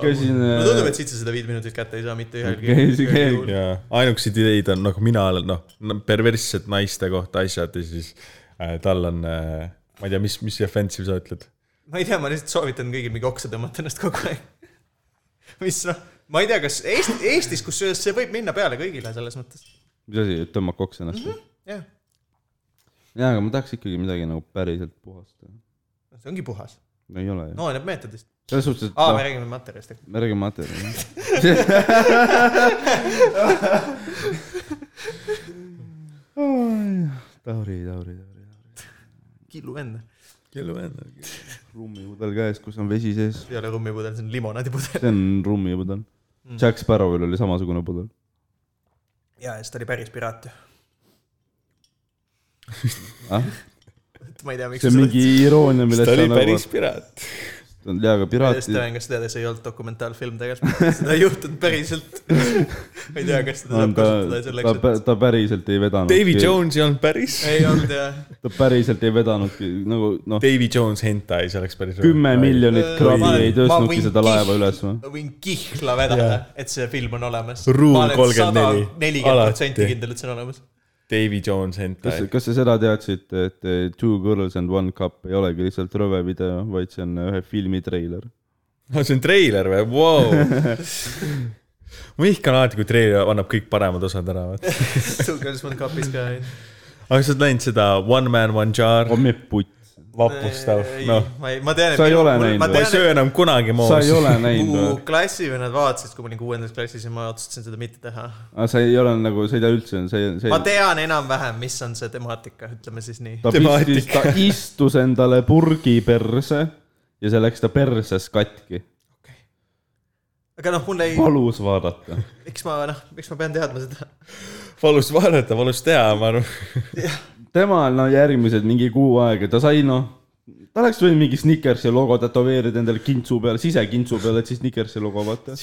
[SPEAKER 2] käisin äh,
[SPEAKER 3] äh,
[SPEAKER 1] no tundub , et siit sa seda viit minutit kätte ei saa mitte ühelgi
[SPEAKER 2] Okei, see käib.
[SPEAKER 1] juhul.
[SPEAKER 3] jaa , ainukesed ideid on nagu mina olen noh , perverssed naiste kohta asjad ja siis äh, tal on äh, , ma ei tea , mis , mis offensive sa ütled .
[SPEAKER 1] ma ei tea , ma lihtsalt soovitan kõigil mingi oksa tõmmata ennast kogu aeg . mis noh , ma ei tea , kas Eesti , Eestis , kusjuures see võib minna peale kõigile selles mõttes .
[SPEAKER 2] mis asi , tõmbab koks ennast või ?
[SPEAKER 1] jah ,
[SPEAKER 2] Mhm. jaa , aga ma tahaks ikkagi midagi nagu päriselt puhast teha .
[SPEAKER 1] see ongi puhas .
[SPEAKER 2] no ei ole ju .
[SPEAKER 1] no oleneb meetodist .
[SPEAKER 2] selles suhtes , et
[SPEAKER 1] aa , me
[SPEAKER 2] noh ,
[SPEAKER 1] räägime materjalist .
[SPEAKER 2] me räägime materjali . Tauri , Tauri , Tauri .
[SPEAKER 6] killu enne .
[SPEAKER 3] kellu enda .
[SPEAKER 2] rummipudel käes , kus on vesi sees .
[SPEAKER 6] ei ole rummipudel , see on limonaadipudel .
[SPEAKER 2] see on rummipudel mm. . Jack Sparrowil oli samasugune pudel .
[SPEAKER 1] ja , siis ta oli päris piraat ju .
[SPEAKER 2] Ah?
[SPEAKER 1] ma ei tea , miks
[SPEAKER 2] see on mingi iroonia , millest sa
[SPEAKER 3] ta oli
[SPEAKER 2] nagu
[SPEAKER 3] päris . piraat .
[SPEAKER 2] jaa , aga piraatid ,
[SPEAKER 1] Steven , kas sa tead , et see ei olnud dokumentaalfilm tegelikult , seda ei juhtunud päriselt . ma ei tea , kas seda
[SPEAKER 2] ta
[SPEAKER 1] saab , kasutada
[SPEAKER 2] ta,
[SPEAKER 1] selleks ,
[SPEAKER 2] pä- ta päriselt ei vedanud .
[SPEAKER 3] Davy . Jones ei olnud päris .
[SPEAKER 1] et ei olnud jah .
[SPEAKER 2] ta päriselt ei vedanudki nagu noh ,
[SPEAKER 3] Davy Jones hentai , see oleks päris .
[SPEAKER 2] kümme . miljonit kraavi
[SPEAKER 1] Ma-
[SPEAKER 2] ei
[SPEAKER 1] ma võin
[SPEAKER 2] tõstnudki seda laeva
[SPEAKER 1] kih-
[SPEAKER 2] üles või ?
[SPEAKER 1] ma võin kihla vedada , et see film on olemas .
[SPEAKER 3] Ruul 34.
[SPEAKER 1] nelikümmend protsenti
[SPEAKER 3] Alati.
[SPEAKER 1] kindel , et see on olemas .
[SPEAKER 3] Davy Jones
[SPEAKER 2] kas
[SPEAKER 3] hentai ,.
[SPEAKER 2] kas sa seda teadsid , et eh, Two Girls and One Cup ei olegi lihtsalt rõve video , vaid see on ühe filmi treiler ?
[SPEAKER 3] see on treiler või , vau . ma vihkan alati , kui treiler annab kõik paremad osad ära , vaata .
[SPEAKER 1] Two girls one cup'is ka .
[SPEAKER 3] aga sa oled näinud seda One man , one jar ,
[SPEAKER 2] on me putt .
[SPEAKER 3] vapustav , noh .
[SPEAKER 1] ma ei , ma tean , et .
[SPEAKER 2] Sa ei ole näinud
[SPEAKER 1] ma
[SPEAKER 3] ma ei
[SPEAKER 1] tean ,
[SPEAKER 3] söö enam kunagi
[SPEAKER 2] sa
[SPEAKER 3] moos
[SPEAKER 2] ei . ole
[SPEAKER 1] et
[SPEAKER 2] näinud
[SPEAKER 1] mu
[SPEAKER 2] või ?
[SPEAKER 1] klassivennad vaatasid , kui ma olin kuuendas klassis ja ma otsustasin seda mitte teha .
[SPEAKER 2] aga sa ei ole nagu , sa ei tea üldse , sa ei , sa
[SPEAKER 1] ma
[SPEAKER 2] ei .
[SPEAKER 1] tean enam-vähem , mis on see temaatika , ütleme siis nii .
[SPEAKER 2] ta
[SPEAKER 3] temaatika.
[SPEAKER 2] pistis , ta istus endale purgi perse ja see läks ta perses katki .
[SPEAKER 1] aga noh , mul ei ,
[SPEAKER 2] valus vaadata .
[SPEAKER 1] miks ma noh , miks ma pean teadma seda ?
[SPEAKER 3] valus vaadata , valus teha , ma arvan .
[SPEAKER 2] temal no järgmised mingi kuu aega , ta sai noh , ta oleks võinud mingi Snickersi logo tätoveerida endale kintsu peale , sisekintsu peale , et siis Snickersi logo vaata .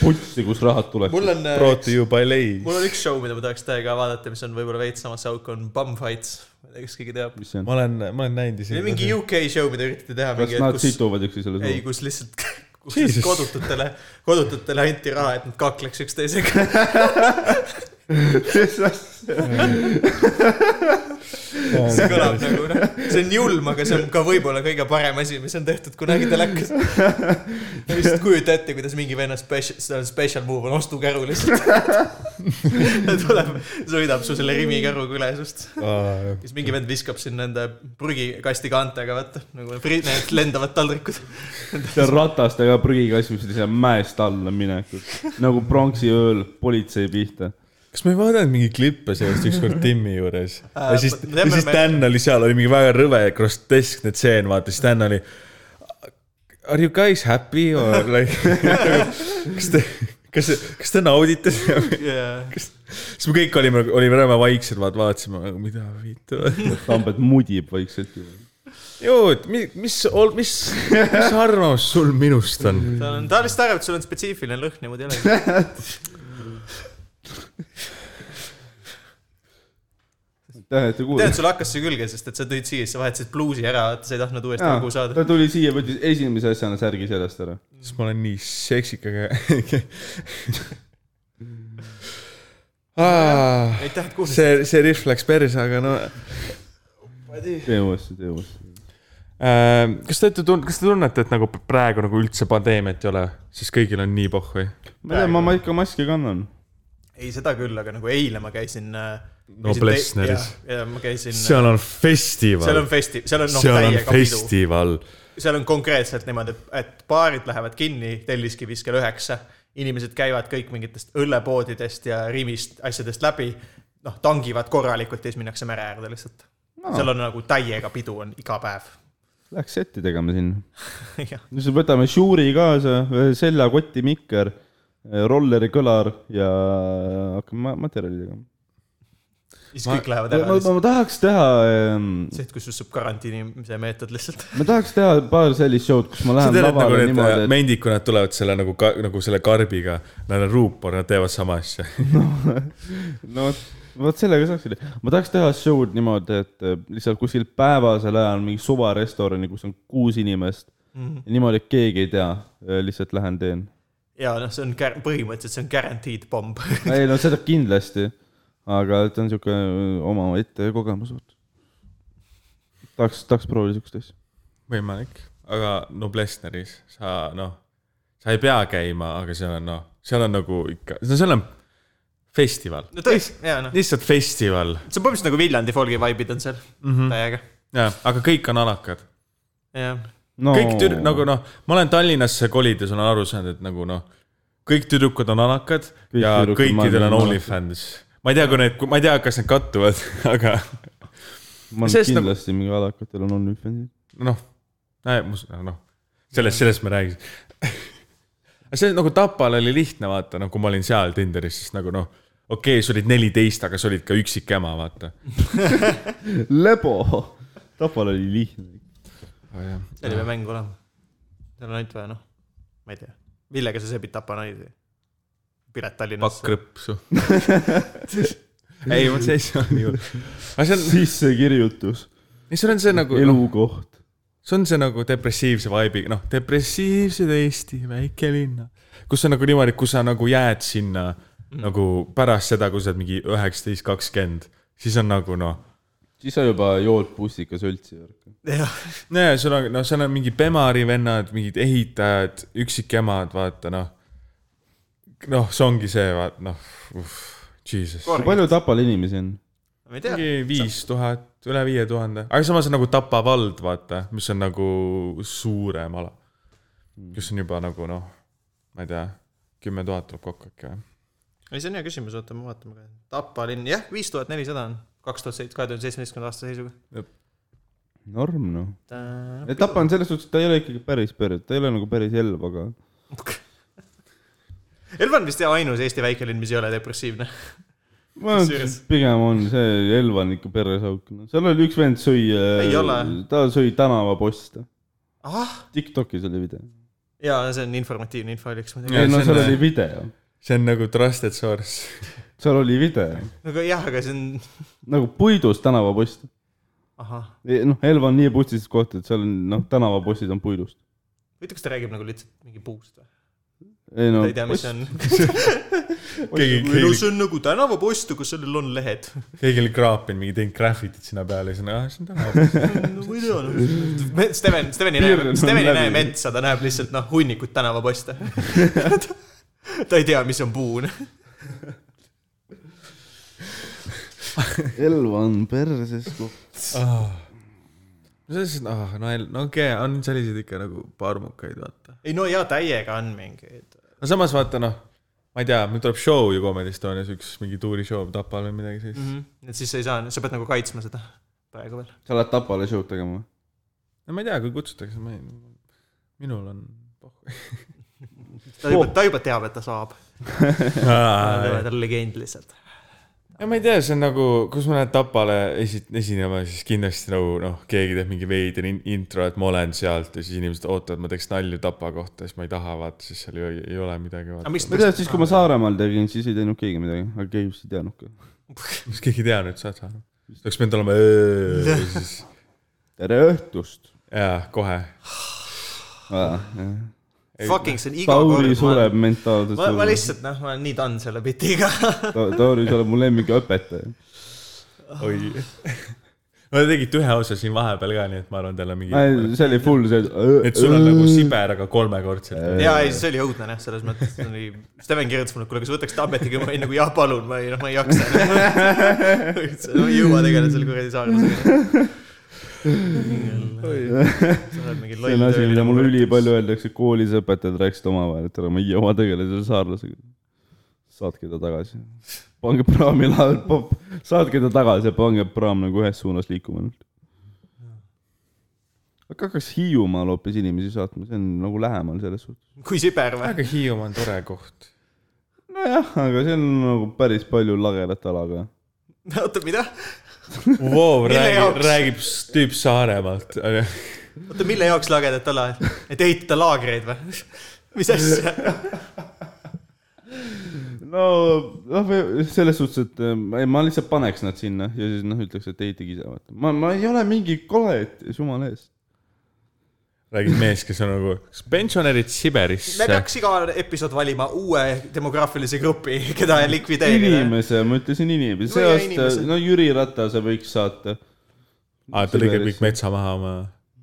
[SPEAKER 2] putsi , kus rahad
[SPEAKER 1] mul
[SPEAKER 2] tuleksid .
[SPEAKER 1] on , äh,
[SPEAKER 3] Brought to you by Lay .
[SPEAKER 1] mul on üks show , mida ma tahaks täiega vaadata , mis on võib-olla veits samasse auku , on Bum Fights . ma ei tea , kas keegi teab .
[SPEAKER 2] mis see on
[SPEAKER 3] ma ? olen , ma olen näinud
[SPEAKER 1] see
[SPEAKER 3] isegi
[SPEAKER 1] oli . mingi UK show , mida üritati teha .
[SPEAKER 2] kas nad situvad üksteisele
[SPEAKER 1] ei ,
[SPEAKER 2] suhu ?
[SPEAKER 1] kus lihtsalt , kus lihtsalt
[SPEAKER 3] Jesus.
[SPEAKER 1] kodututele , kodututele anti raha , et nad kakleks üksteisega . see kõlab nagu noh , see on julm , aga see on ka võib-olla kõige parem asi , mis on tehtud kunagi telekas . lihtsalt kujuta ette , kuidas mingi venna special , see on special move on ostukäru lihtsalt . ta tuleb , sõidab su selle rimikäruga üle sinust . siis mingi vend viskab sind nende prügikasti kaantega , vaata , nagu fri- need lendavad taldrikud .
[SPEAKER 2] see on ratastega prügikass , mis lihtsalt mäest alla minekud . nagu pronksi ööl politsei pihta .
[SPEAKER 3] kas ma ei vaadanud mingeid klippe sellest ükskord Timmi juures ?
[SPEAKER 1] Äh,
[SPEAKER 3] ja siis ,
[SPEAKER 1] me
[SPEAKER 3] ja
[SPEAKER 1] teame,
[SPEAKER 3] siis
[SPEAKER 1] me-
[SPEAKER 3] Dan oli seal , oli mingi väga rõve groteskne tseen , vaata , siis Dan oli . Are you guys happy or like , kas te , kas , kas te naudite seda või ? siis me kõik olime , olime rõve vaiksed , vaata , vaatasime , mida viitu .
[SPEAKER 2] Tambet mudib vaikselt ju .
[SPEAKER 3] jõud , mis , mis , mis , mis arvamus sul minust on ?
[SPEAKER 1] tal on , ta lihtsalt arvab , et sul on spetsiifiline lõhn ja muud ei olegi .
[SPEAKER 2] aitäh , et te
[SPEAKER 1] tead ,
[SPEAKER 2] kuulasite .
[SPEAKER 1] sul hakkas see külge , sest et sa tõid siia , sa vahetasid bluusi ära , vaata , sa ei tahtnud uuesti
[SPEAKER 3] nagu
[SPEAKER 1] lugu saada .
[SPEAKER 2] ta tuli siia , võttis esimese asjana särgi seljast ära .
[SPEAKER 3] siis ma olen nii seksikaga ah, .
[SPEAKER 1] aitäh , et kuulsite .
[SPEAKER 3] see , see rihv läks perse , aga no
[SPEAKER 2] tee uuesti , tee uuesti .
[SPEAKER 3] äh, . kas te olete tund- , kas te tunnete , et nagu praegu nagu üldse pandeemiat ei ole , siis kõigil on nii pohhui ?
[SPEAKER 2] ma ei tea , ma ma ikka maski kannan .
[SPEAKER 1] ei , seda küll , aga nagu eile ma käisin . äh, no
[SPEAKER 3] Plessneris. .
[SPEAKER 1] ja ma käisin , seal
[SPEAKER 3] seal on festival
[SPEAKER 1] on , festi- , seal on noh ,
[SPEAKER 3] seal on
[SPEAKER 1] täiega pidu .
[SPEAKER 3] festival .
[SPEAKER 1] seal on konkreetselt niimoodi , et , et baarid lähevad kinni Telliskivis kell üheksa . inimesed käivad kõik mingitest õllepoodidest ja Rimist asjadest läbi . noh , tangivad korralikult ja siis minnakse mere äärde lihtsalt no. . seal on nagu täiega pidu on iga päev .
[SPEAKER 2] Läheks setti tegema sinna .
[SPEAKER 1] jah ,
[SPEAKER 2] no siis võtame Shuri kaasa , seljakoti mikker , rolleri kõlar ja hakkame ma- materjali tegema .
[SPEAKER 1] siis ma, kõik lähevad
[SPEAKER 2] ma,
[SPEAKER 1] ära
[SPEAKER 2] ma,
[SPEAKER 1] lihtsalt .
[SPEAKER 2] ma tahaks teha ,
[SPEAKER 1] see hetk , kus sul saab karantiini see meetod lihtsalt .
[SPEAKER 2] ma tahaks teha paar sellist show'd , kus ma
[SPEAKER 3] sa
[SPEAKER 2] lähen
[SPEAKER 3] tead , et nagu
[SPEAKER 2] lavale
[SPEAKER 3] need äh,
[SPEAKER 2] niimoodi ,
[SPEAKER 3] mendikud , nad tulevad selle nagu , nagu selle karbiga , nad on ruupor , nad teevad sama asja .
[SPEAKER 2] et no vot- vot sellega saaks , ma tahaks teha show'd niimoodi , et eh, lihtsalt kuskil päevasel ajal mingi suvarestorani , kus on kuus inimest mm
[SPEAKER 3] Mhm.
[SPEAKER 2] -hmm. . niimoodi , et keegi ei tea , lihtsalt lähen teen .
[SPEAKER 1] ja noh , see on kär- põhimõtteliselt see on guaranteed pomb .
[SPEAKER 2] ei no seda kindlasti , aga ta on eh, sihuke omaette kogemus . tahaks , tahaks proovida siukest asja .
[SPEAKER 3] võimalik , aga no Blessneris sa noh , sa ei pea käima , aga seal on noh , seal on nagu ikka , no seal on festival ,
[SPEAKER 1] no tõesti , ja noh ,
[SPEAKER 3] lihtsalt festival
[SPEAKER 1] see on põhimõtteliselt nagu Viljandi folgi vibe'id on seal mm -hmm. täiega .
[SPEAKER 3] ja , aga kõik on alakad ,
[SPEAKER 1] jah ,
[SPEAKER 2] no,
[SPEAKER 3] kõik tüdru- , nagu noh , ma olen Tallinnasse kolides olen aru saanud , et nagu noh , kõik tüdrukud on alakad kõik ja
[SPEAKER 2] tüdrukud maailmas
[SPEAKER 3] kõikidel
[SPEAKER 2] on
[SPEAKER 3] on
[SPEAKER 2] alakad.
[SPEAKER 3] OnlyFans ma ei tea , kui need , ma ei tea , kas need kattuvad , aga
[SPEAKER 2] ma olen
[SPEAKER 3] Sest nagu-
[SPEAKER 2] kindlasti mingi adakatel on OnlyFansid .
[SPEAKER 3] noh , noh , sellest , sellest me räägime . aga see nagu Tapal oli lihtne vaata , noh , kui ma olin seal Tinderis , siis nagu noh , okei okay, , sa olid neliteist , aga sa olid ka üksik ema , vaata .
[SPEAKER 2] lebo , Tapal oli lihtne . Oh,
[SPEAKER 1] seal ei pea mängu olema . seal on ainult vaja , noh , ma ei tea , millega sa sebid tapa naisi ? Piret Tallinnas .
[SPEAKER 3] pakk rõpsu . ei , vot see ei saa nii olla . aga see on ,
[SPEAKER 2] sissekirjutus ,
[SPEAKER 3] see on see nagu , noh ,
[SPEAKER 2] elukoht .
[SPEAKER 3] see on see nagu depressiivse vibe'iga , noh , depressiivsed Eesti väikelinna , kus on nagu niimoodi , kus sa nagu jääd sinna mm. nagu pärast seda , kui sa oled mingi üheksateist , kakskümmend , siis on nagu noh ,
[SPEAKER 2] siis sa juba jood bussikas õltsi .
[SPEAKER 3] nojah , sul on , noh , seal on mingi Bemari vennad , mingid ehitajad , üksikemad , vaata noh . noh , see ongi see , vaat noh , jesus .
[SPEAKER 2] kui palju Tapal inimesi on ?
[SPEAKER 1] ma ei tea ,
[SPEAKER 3] mingi viis tuhat , üle viie tuhande , aga samas on nagu Tapa vald , vaata , mis on nagu suurem ala . kus on juba nagu noh , ma ei tea , kümme tuhat tuleb kokku äkki või ?
[SPEAKER 1] ei see on hea küsimus , oota , me vaatame kohe . Tapa linn , jah , viis tuhat nelisada on kaks tuhat seitse , kahe tuhande seitsmeteistkümnenda aasta seisuga .
[SPEAKER 2] norm noh . Tapa on selles suhtes , et ta ei ole ikkagi päris pere , ta ei ole nagu päris Elv , aga
[SPEAKER 1] Elva on vist jah ainus Eesti väikelinn , mis ei ole depressiivne .
[SPEAKER 2] ma arvan , et
[SPEAKER 1] Kusjuures-
[SPEAKER 2] pigem on see Elva on ikka peresauk , noh , seal oli üks vend sõi äh,
[SPEAKER 1] Ei ole. ,
[SPEAKER 2] ta sõi tänavaposte .
[SPEAKER 1] ahah ,
[SPEAKER 2] Tiktokis oli video .
[SPEAKER 1] Ah, jaa , see on informatiivne infoallikas muidugi .
[SPEAKER 3] Jah,
[SPEAKER 2] ei no
[SPEAKER 3] see on-
[SPEAKER 2] seal oli video ,
[SPEAKER 3] see on nagu trusted source .
[SPEAKER 2] seal oli video ,
[SPEAKER 1] aga jah , aga see on ,
[SPEAKER 2] nagu puidust tänavapost .
[SPEAKER 1] ahah ,
[SPEAKER 2] noh , Elva on nii pustises koht , et seal on noh , tänavapostid on puidust .
[SPEAKER 1] huvitav , kas ta räägib nagu lihtsalt mingi puust või ?
[SPEAKER 2] ei no
[SPEAKER 1] ta ei tea , mis see on .
[SPEAKER 3] keegi ,
[SPEAKER 1] no
[SPEAKER 3] keegi ,
[SPEAKER 1] see on nagu tänavapost , aga sellel on lehed .
[SPEAKER 3] keegi oli kraapinud mingi teinud graffitit sinna peale ja siis on , ah , see on tänav .
[SPEAKER 1] no ma ei tea , noh . Steven , Steven ei
[SPEAKER 2] Piirkond
[SPEAKER 1] näe ,
[SPEAKER 2] on
[SPEAKER 1] Steven ei
[SPEAKER 2] läbi.
[SPEAKER 1] näe metsa , ta näeb lihtsalt noh , hunnikut tänavaposte . ta ei tea , mis on puun .
[SPEAKER 2] Elva on perses koht .
[SPEAKER 3] selles suhtes , ah , Ah. no , no okei okay, , on selliseid ikka nagu parmukaid , vaata .
[SPEAKER 1] ei no jaa , täiega on mingeid .
[SPEAKER 3] no samas vaata noh , ma ei tea , meil tuleb show ju Comedy Estonias , üks mingi tuurishow Tapal või midagi sellist mm .
[SPEAKER 1] Mhm. et siis sa ei saa , sa pead nagu kaitsma seda praegu veel .
[SPEAKER 2] sa lähed Tapale show'd tegema või ?
[SPEAKER 3] -hmm. no ma ei tea , kui kutsutakse , ma ei , minul on .
[SPEAKER 1] ta
[SPEAKER 2] Oh.
[SPEAKER 1] juba , ta juba teab , et ta saab .
[SPEAKER 3] ja
[SPEAKER 1] ta on legend lihtsalt .
[SPEAKER 3] ma ei tea , see on nagu , kus ma lähen Tapale esi- , esinema , siis kindlasti nagu noh , keegi teeb mingi veider in- intro , et ma olen sealt ja siis inimesed ootavad , ma teeks nalju Tapa kohta , siis ma ei taha , vaata , siis seal ei, ei ole midagi .
[SPEAKER 1] aga miks
[SPEAKER 2] ma tean , siis kui ma Saaremaal tegin , siis ei teinud keegi midagi , aga keegi vist ei teadnud ka .
[SPEAKER 3] kas keegi ei teadnud , sa oled saanud ? oleks pidanud olema öö ja siis ,
[SPEAKER 2] tere õhtust .
[SPEAKER 3] jaa , kohe .
[SPEAKER 1] fucking see on iga
[SPEAKER 2] Tauri
[SPEAKER 1] kord .
[SPEAKER 2] sureb mentaalselt .
[SPEAKER 1] ma , ma lihtsalt noh , ma olen nii done selle bitiga .
[SPEAKER 2] Tauri , sa oled mu lemmikõpetaja .
[SPEAKER 3] oi . no te tegite ühe osa siin vahepeal ka , nii et ma arvan , teil on mingi .
[SPEAKER 2] see oli full see .
[SPEAKER 3] et sul on nagu . Siber , aga kolmekordselt .
[SPEAKER 1] jaa , ei , see oli õudne jah , selles mõttes , see oli , Steven kirjutas mulle , et kuule , kas võtaks tabletiga , ma olin nagu jah , palun , ma ei , noh , ma ei jaksa . ma ei jõua tegeleda selle kuradi saarlasega . sa oled mingi
[SPEAKER 2] see on
[SPEAKER 1] loll
[SPEAKER 2] asi , mida mulle . ülipalju öeldakse , koolis õpetajad rääkisid omavahel , et ära ma ei jõua tegeleda selle saarlasega . saatke ta tagasi . pange praami lahe , saatke ta tagasi ja pange praam nagu ühes suunas liikuma . aga hakkaks Hiiumaal hoopis inimesi saatma , see on nagu lähemal selles suhtes .
[SPEAKER 1] kui Siber või ?
[SPEAKER 3] aga Hiiumaa on tore koht .
[SPEAKER 2] nojah , aga see on nagu päris palju lagedat ala ka .
[SPEAKER 1] oota , mida ?
[SPEAKER 3] Wow,
[SPEAKER 1] Mille
[SPEAKER 3] räägib ,
[SPEAKER 1] jaoks?
[SPEAKER 3] räägib s- tüüp Saaremaalt .
[SPEAKER 1] oota , mille jaoks lagedat ala , et ehitada laagreid või ? mis asja ?
[SPEAKER 2] no noh , selles suhtes , et ähm, ei, ma lihtsalt paneks nad sinna ja siis noh , ütleks , et ehitage ise , vaata . ma , ma ei ole mingi kole , et jumala eest .
[SPEAKER 3] räägib mees , kes on nagu , kas pensionärid Siberisse
[SPEAKER 1] me ? peaks iga episood valima uue demograafilise grupi , keda likvideerida .
[SPEAKER 2] inimese , ma ütlesin inimese , see
[SPEAKER 1] No ja
[SPEAKER 2] aasta
[SPEAKER 1] inimese. ,
[SPEAKER 2] no Jüri Ratase võiks saata .
[SPEAKER 3] aa , Ah, ta lõigab kõik
[SPEAKER 2] Siberisse.
[SPEAKER 3] metsa maha oma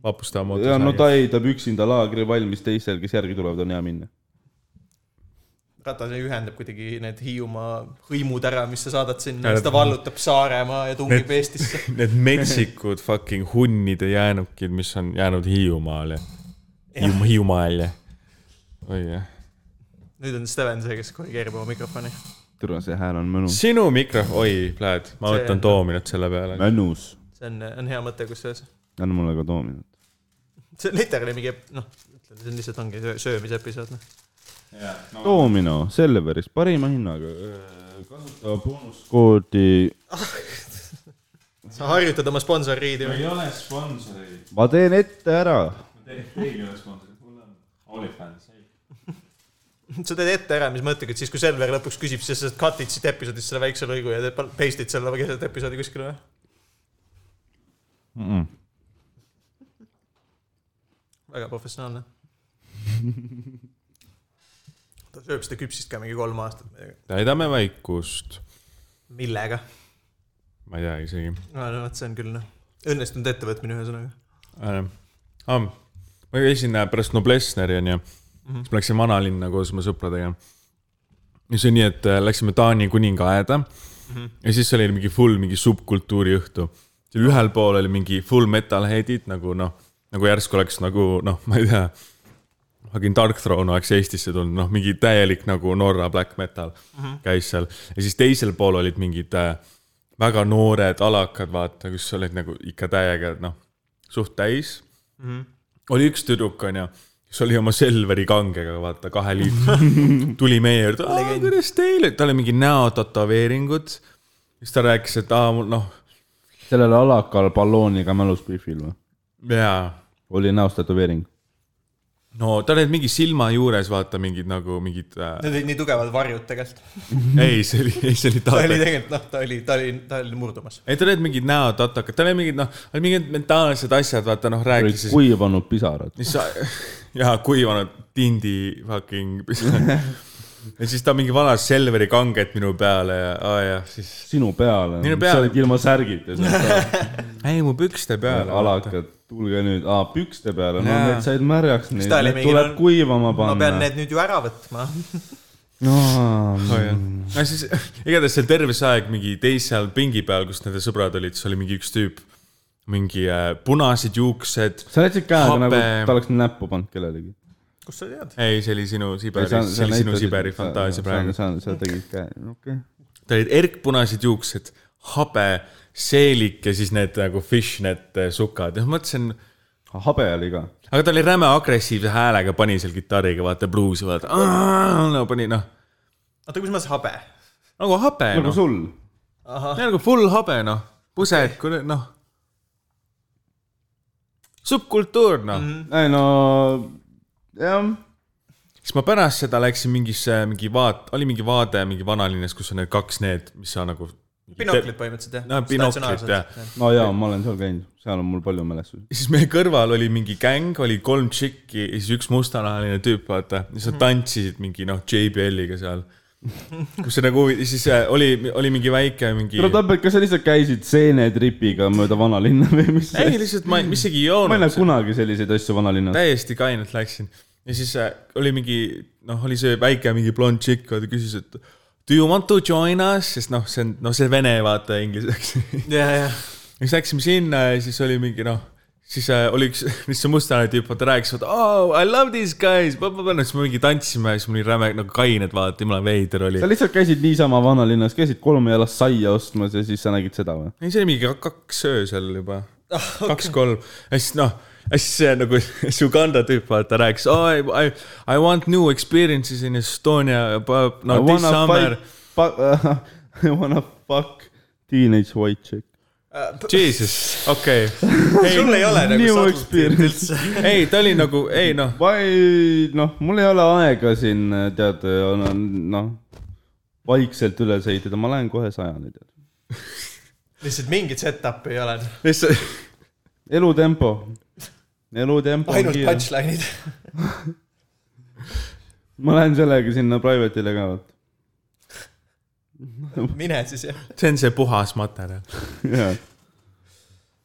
[SPEAKER 3] vapustava
[SPEAKER 2] ja no
[SPEAKER 3] mootori .
[SPEAKER 2] ta ehitab üksinda laagri valmis teistel , kes järgi tulevad , on hea minna .
[SPEAKER 1] Ratas ühendab kuidagi need Hiiumaa hõimud ära , mis sa saadad sinna ,
[SPEAKER 3] Ja
[SPEAKER 1] siis ta
[SPEAKER 3] nad-
[SPEAKER 1] vallutab Saaremaa ja tungib
[SPEAKER 3] Need-
[SPEAKER 1] Eestisse .
[SPEAKER 3] Need metsikud fucking hunnid ja jäänukid , mis on jäänud Hiiumaale . Hiiumaa , Hiiumaale . oi jah .
[SPEAKER 1] nüüd on Steven see , kes korrigeerib oma mikrofoni .
[SPEAKER 2] tere , see hääl on mõnus .
[SPEAKER 3] sinu mikrofon , oi , pläät , ma
[SPEAKER 7] See-
[SPEAKER 3] võtan toominut selle peale .
[SPEAKER 2] mõnus .
[SPEAKER 7] see on , on hea mõte , kusjuures .
[SPEAKER 2] anna mulle ka toominut .
[SPEAKER 7] see on literaali mingi , noh , see on lihtsalt ongi söö- söömise episood , noh .
[SPEAKER 2] Domino , Selveris , parima hinnaga . kasuta boonuskoodi .
[SPEAKER 7] sa harjutad oma sponsorriidi või ?
[SPEAKER 3] ei ole sponsoreid ,
[SPEAKER 2] ma teen ette ära .
[SPEAKER 3] teil ei ole sponsoreid , mul on Olifants .
[SPEAKER 7] sa teed ette ära , mis mõttega , et siis kui Selver lõpuks küsib , siis sa cut'id siit episoodist selle väikse lõigu ja teed- paste'id selle keset episoodi kuskile või ? väga professionaalne . ta sööb seda küpsist ka mingi kolm aastat midagi .
[SPEAKER 3] täidame vaikust ,
[SPEAKER 7] millega ?
[SPEAKER 3] ma ei tea isegi
[SPEAKER 7] no no vot , see on küll noh , õnnestunud ettevõtmine ühesõnaga .
[SPEAKER 3] äh, . Ah, ma käisin äh, pärast Noblessneri onju mm , -hmm. siis ma läksin vanalinna koos oma sõpradega . ja see oli nii , et äh, läksime Taani kuningaaeda mm . -hmm. ja siis oli mingi full mingi subkultuuri õhtu . seal ühel pool oli mingi full metalhead'id nagu noh , nagu järsku oleks nagu noh , ma ei tea . Fucking Dark Throne oleks Eestisse tulnud , noh mingi täielik nagu Norra black metal mm -hmm. käis seal ja siis teisel pool olid mingid äh, väga noored alakad , vaata , kus olid nagu ikka täiega noh , suht täis Mhm. oli üks tüdruk , onju , kes oli oma Selveri kangega , vaata , kahe liitriga . tuli meie juurde , kuidas teil , tal oli mingi näototaveeringud . siis ta rääkis , et aa , mul noh ,
[SPEAKER 2] sellel alakal ballooniga mälus Biffil või ?
[SPEAKER 3] jaa .
[SPEAKER 2] oli näost tätoveering .
[SPEAKER 3] no tal olid mingi silma juures , vaata , mingid nagu mingid äh, ,
[SPEAKER 7] Need olid nii tugevad varjud tegelikult .
[SPEAKER 3] ei , see oli , ei , see oli
[SPEAKER 7] ta oli
[SPEAKER 3] taoline
[SPEAKER 7] tegelikult noh , ta oli , ta oli , ta oli murdumas .
[SPEAKER 3] ei , tal olid mingid näotatakad , tal olid mingid noh , mingid mentaalsed asjad , vaata noh ,
[SPEAKER 2] olid
[SPEAKER 3] rääkis siis ,
[SPEAKER 2] kuivanud pisarad .
[SPEAKER 3] mis sa , jaa , kuivanud tindi fucking ja siis ta mingi valas Selveri kanget minu peale ja , aa jah , siis
[SPEAKER 2] sinu peale .
[SPEAKER 3] Minu peale.
[SPEAKER 2] sa olid ilma särgita .
[SPEAKER 3] ei , mu pükste peale .
[SPEAKER 2] alakad , tulge nüüd , aa pükste peale , no
[SPEAKER 3] Jaa.
[SPEAKER 2] need said märjaks , neid
[SPEAKER 7] ta oli
[SPEAKER 2] need
[SPEAKER 7] mingi-
[SPEAKER 2] tuleb
[SPEAKER 7] no-
[SPEAKER 2] kuivama
[SPEAKER 7] ma pean äh,
[SPEAKER 2] panna .
[SPEAKER 7] need nüüd ju ära võtma .
[SPEAKER 2] no
[SPEAKER 3] no siis igatahes seal terve see aeg mingi teisel pingi peal , kus nende sõbrad olid , siis oli mingi üks tüüp , mingi äh, punased juuksed .
[SPEAKER 2] sa jätsid käega
[SPEAKER 3] Habe-
[SPEAKER 2] nagu ta oleks näppu pannud kellelegi .
[SPEAKER 7] kust sa tead ?
[SPEAKER 3] ei , see oli sinu Siberi , see oli sinu Siberi fantaasia praegu .
[SPEAKER 2] sa , sa tegid käe , okei .
[SPEAKER 3] tal olid erkpunased juuksed , habe , seelik ja siis need nagu fishnet äh, sukad ja ma mõtlesin ,
[SPEAKER 2] habe oli ka .
[SPEAKER 3] aga ta oli räme agressiivse häälega , pani seal kitarriga , vaata bluusi , vaata . no pani noh ,
[SPEAKER 7] oota , kus ma siis habe ?
[SPEAKER 3] nagu habe
[SPEAKER 2] nagu
[SPEAKER 3] noh ,
[SPEAKER 2] sul .
[SPEAKER 3] nagu full habe noh , pused , noh . subkultuur noh mm . -hmm
[SPEAKER 2] ei no , jah ,
[SPEAKER 3] siis ma pärast seda läksin mingisse , mingi vaat- , oli mingi vaade mingi vanalinnas , kus on need kaks need , mis sa nagu .
[SPEAKER 7] binoklid põhimõtteliselt jah ?
[SPEAKER 3] No, binoklid, jah. .
[SPEAKER 2] no jaa , ma olen seal käinud , seal on mul palju mälestusi .
[SPEAKER 3] siis meie kõrval oli mingi gäng , oli kolm tšikki ja siis üks mustanahaline tüüp , vaata , siis nad tantsisid mingi noh , JBL-iga seal . kus see nagu , siis äh, oli , oli mingi väike mingi .
[SPEAKER 2] no Tampet , kas sa lihtsalt käisid seenetripiga mööda vanalinna või mis ?
[SPEAKER 3] ei , lihtsalt ma , ma isegi ei
[SPEAKER 2] ma ei
[SPEAKER 3] joonud
[SPEAKER 2] näe , kunagi selliseid asju vanalinnas .
[SPEAKER 3] täiesti kainelt läksin . ja siis äh, oli mingi , noh , oli see väike mingi blond tšikk , ta küsis , et do you want to join us , sest noh , see on , noh , see vene vaata inglise
[SPEAKER 7] ja , ja ,
[SPEAKER 3] ja siis läksime sinna ja siis oli mingi noh , siis äh, oli üks , mis see mustane tüüp , vaata rääkis , vaata oh, I love these guys , siis me mingi tantsime ja siis mul oli räme nagu kained , vaata , jumala veider oli
[SPEAKER 2] sa . lihtsalt käisid niisama vanalinnas , käisid kolmejalast saia ostmas ja siis sa nägid seda või ?
[SPEAKER 3] ei , see oli mingi kak- kaks öösel juba ,
[SPEAKER 2] Ah,
[SPEAKER 3] kaks-kolm ja siis noh , ja siis see nagu see Uganda tüüp vaata rääkis oh, , I, I , I want new experiences in Estonia , no
[SPEAKER 2] I
[SPEAKER 3] this
[SPEAKER 2] wanna
[SPEAKER 3] summer .
[SPEAKER 2] fuck uh, , I wanna fuck teenage white chick .
[SPEAKER 1] Äh,
[SPEAKER 3] Jesus , okei okay. ,
[SPEAKER 7] sul ei ole nagu
[SPEAKER 2] New
[SPEAKER 7] subtletilt
[SPEAKER 2] experience.
[SPEAKER 7] üldse .
[SPEAKER 3] ei ta oli nagu , ei noh ,
[SPEAKER 2] ma ei , noh , mul ei ole aega siin tead , noh , vaikselt üles ehitada , ma lähen kohe sajani tead .
[SPEAKER 7] lihtsalt mingit set-up'i ei ole ,
[SPEAKER 3] lihtsalt
[SPEAKER 2] elutempo , elutempo on
[SPEAKER 7] ainult
[SPEAKER 2] kiire .
[SPEAKER 7] punchline'id .
[SPEAKER 2] ma lähen sellega sinna private'ile ka ,
[SPEAKER 7] mine siis jah .
[SPEAKER 3] see on see puhas materjal .
[SPEAKER 2] vot .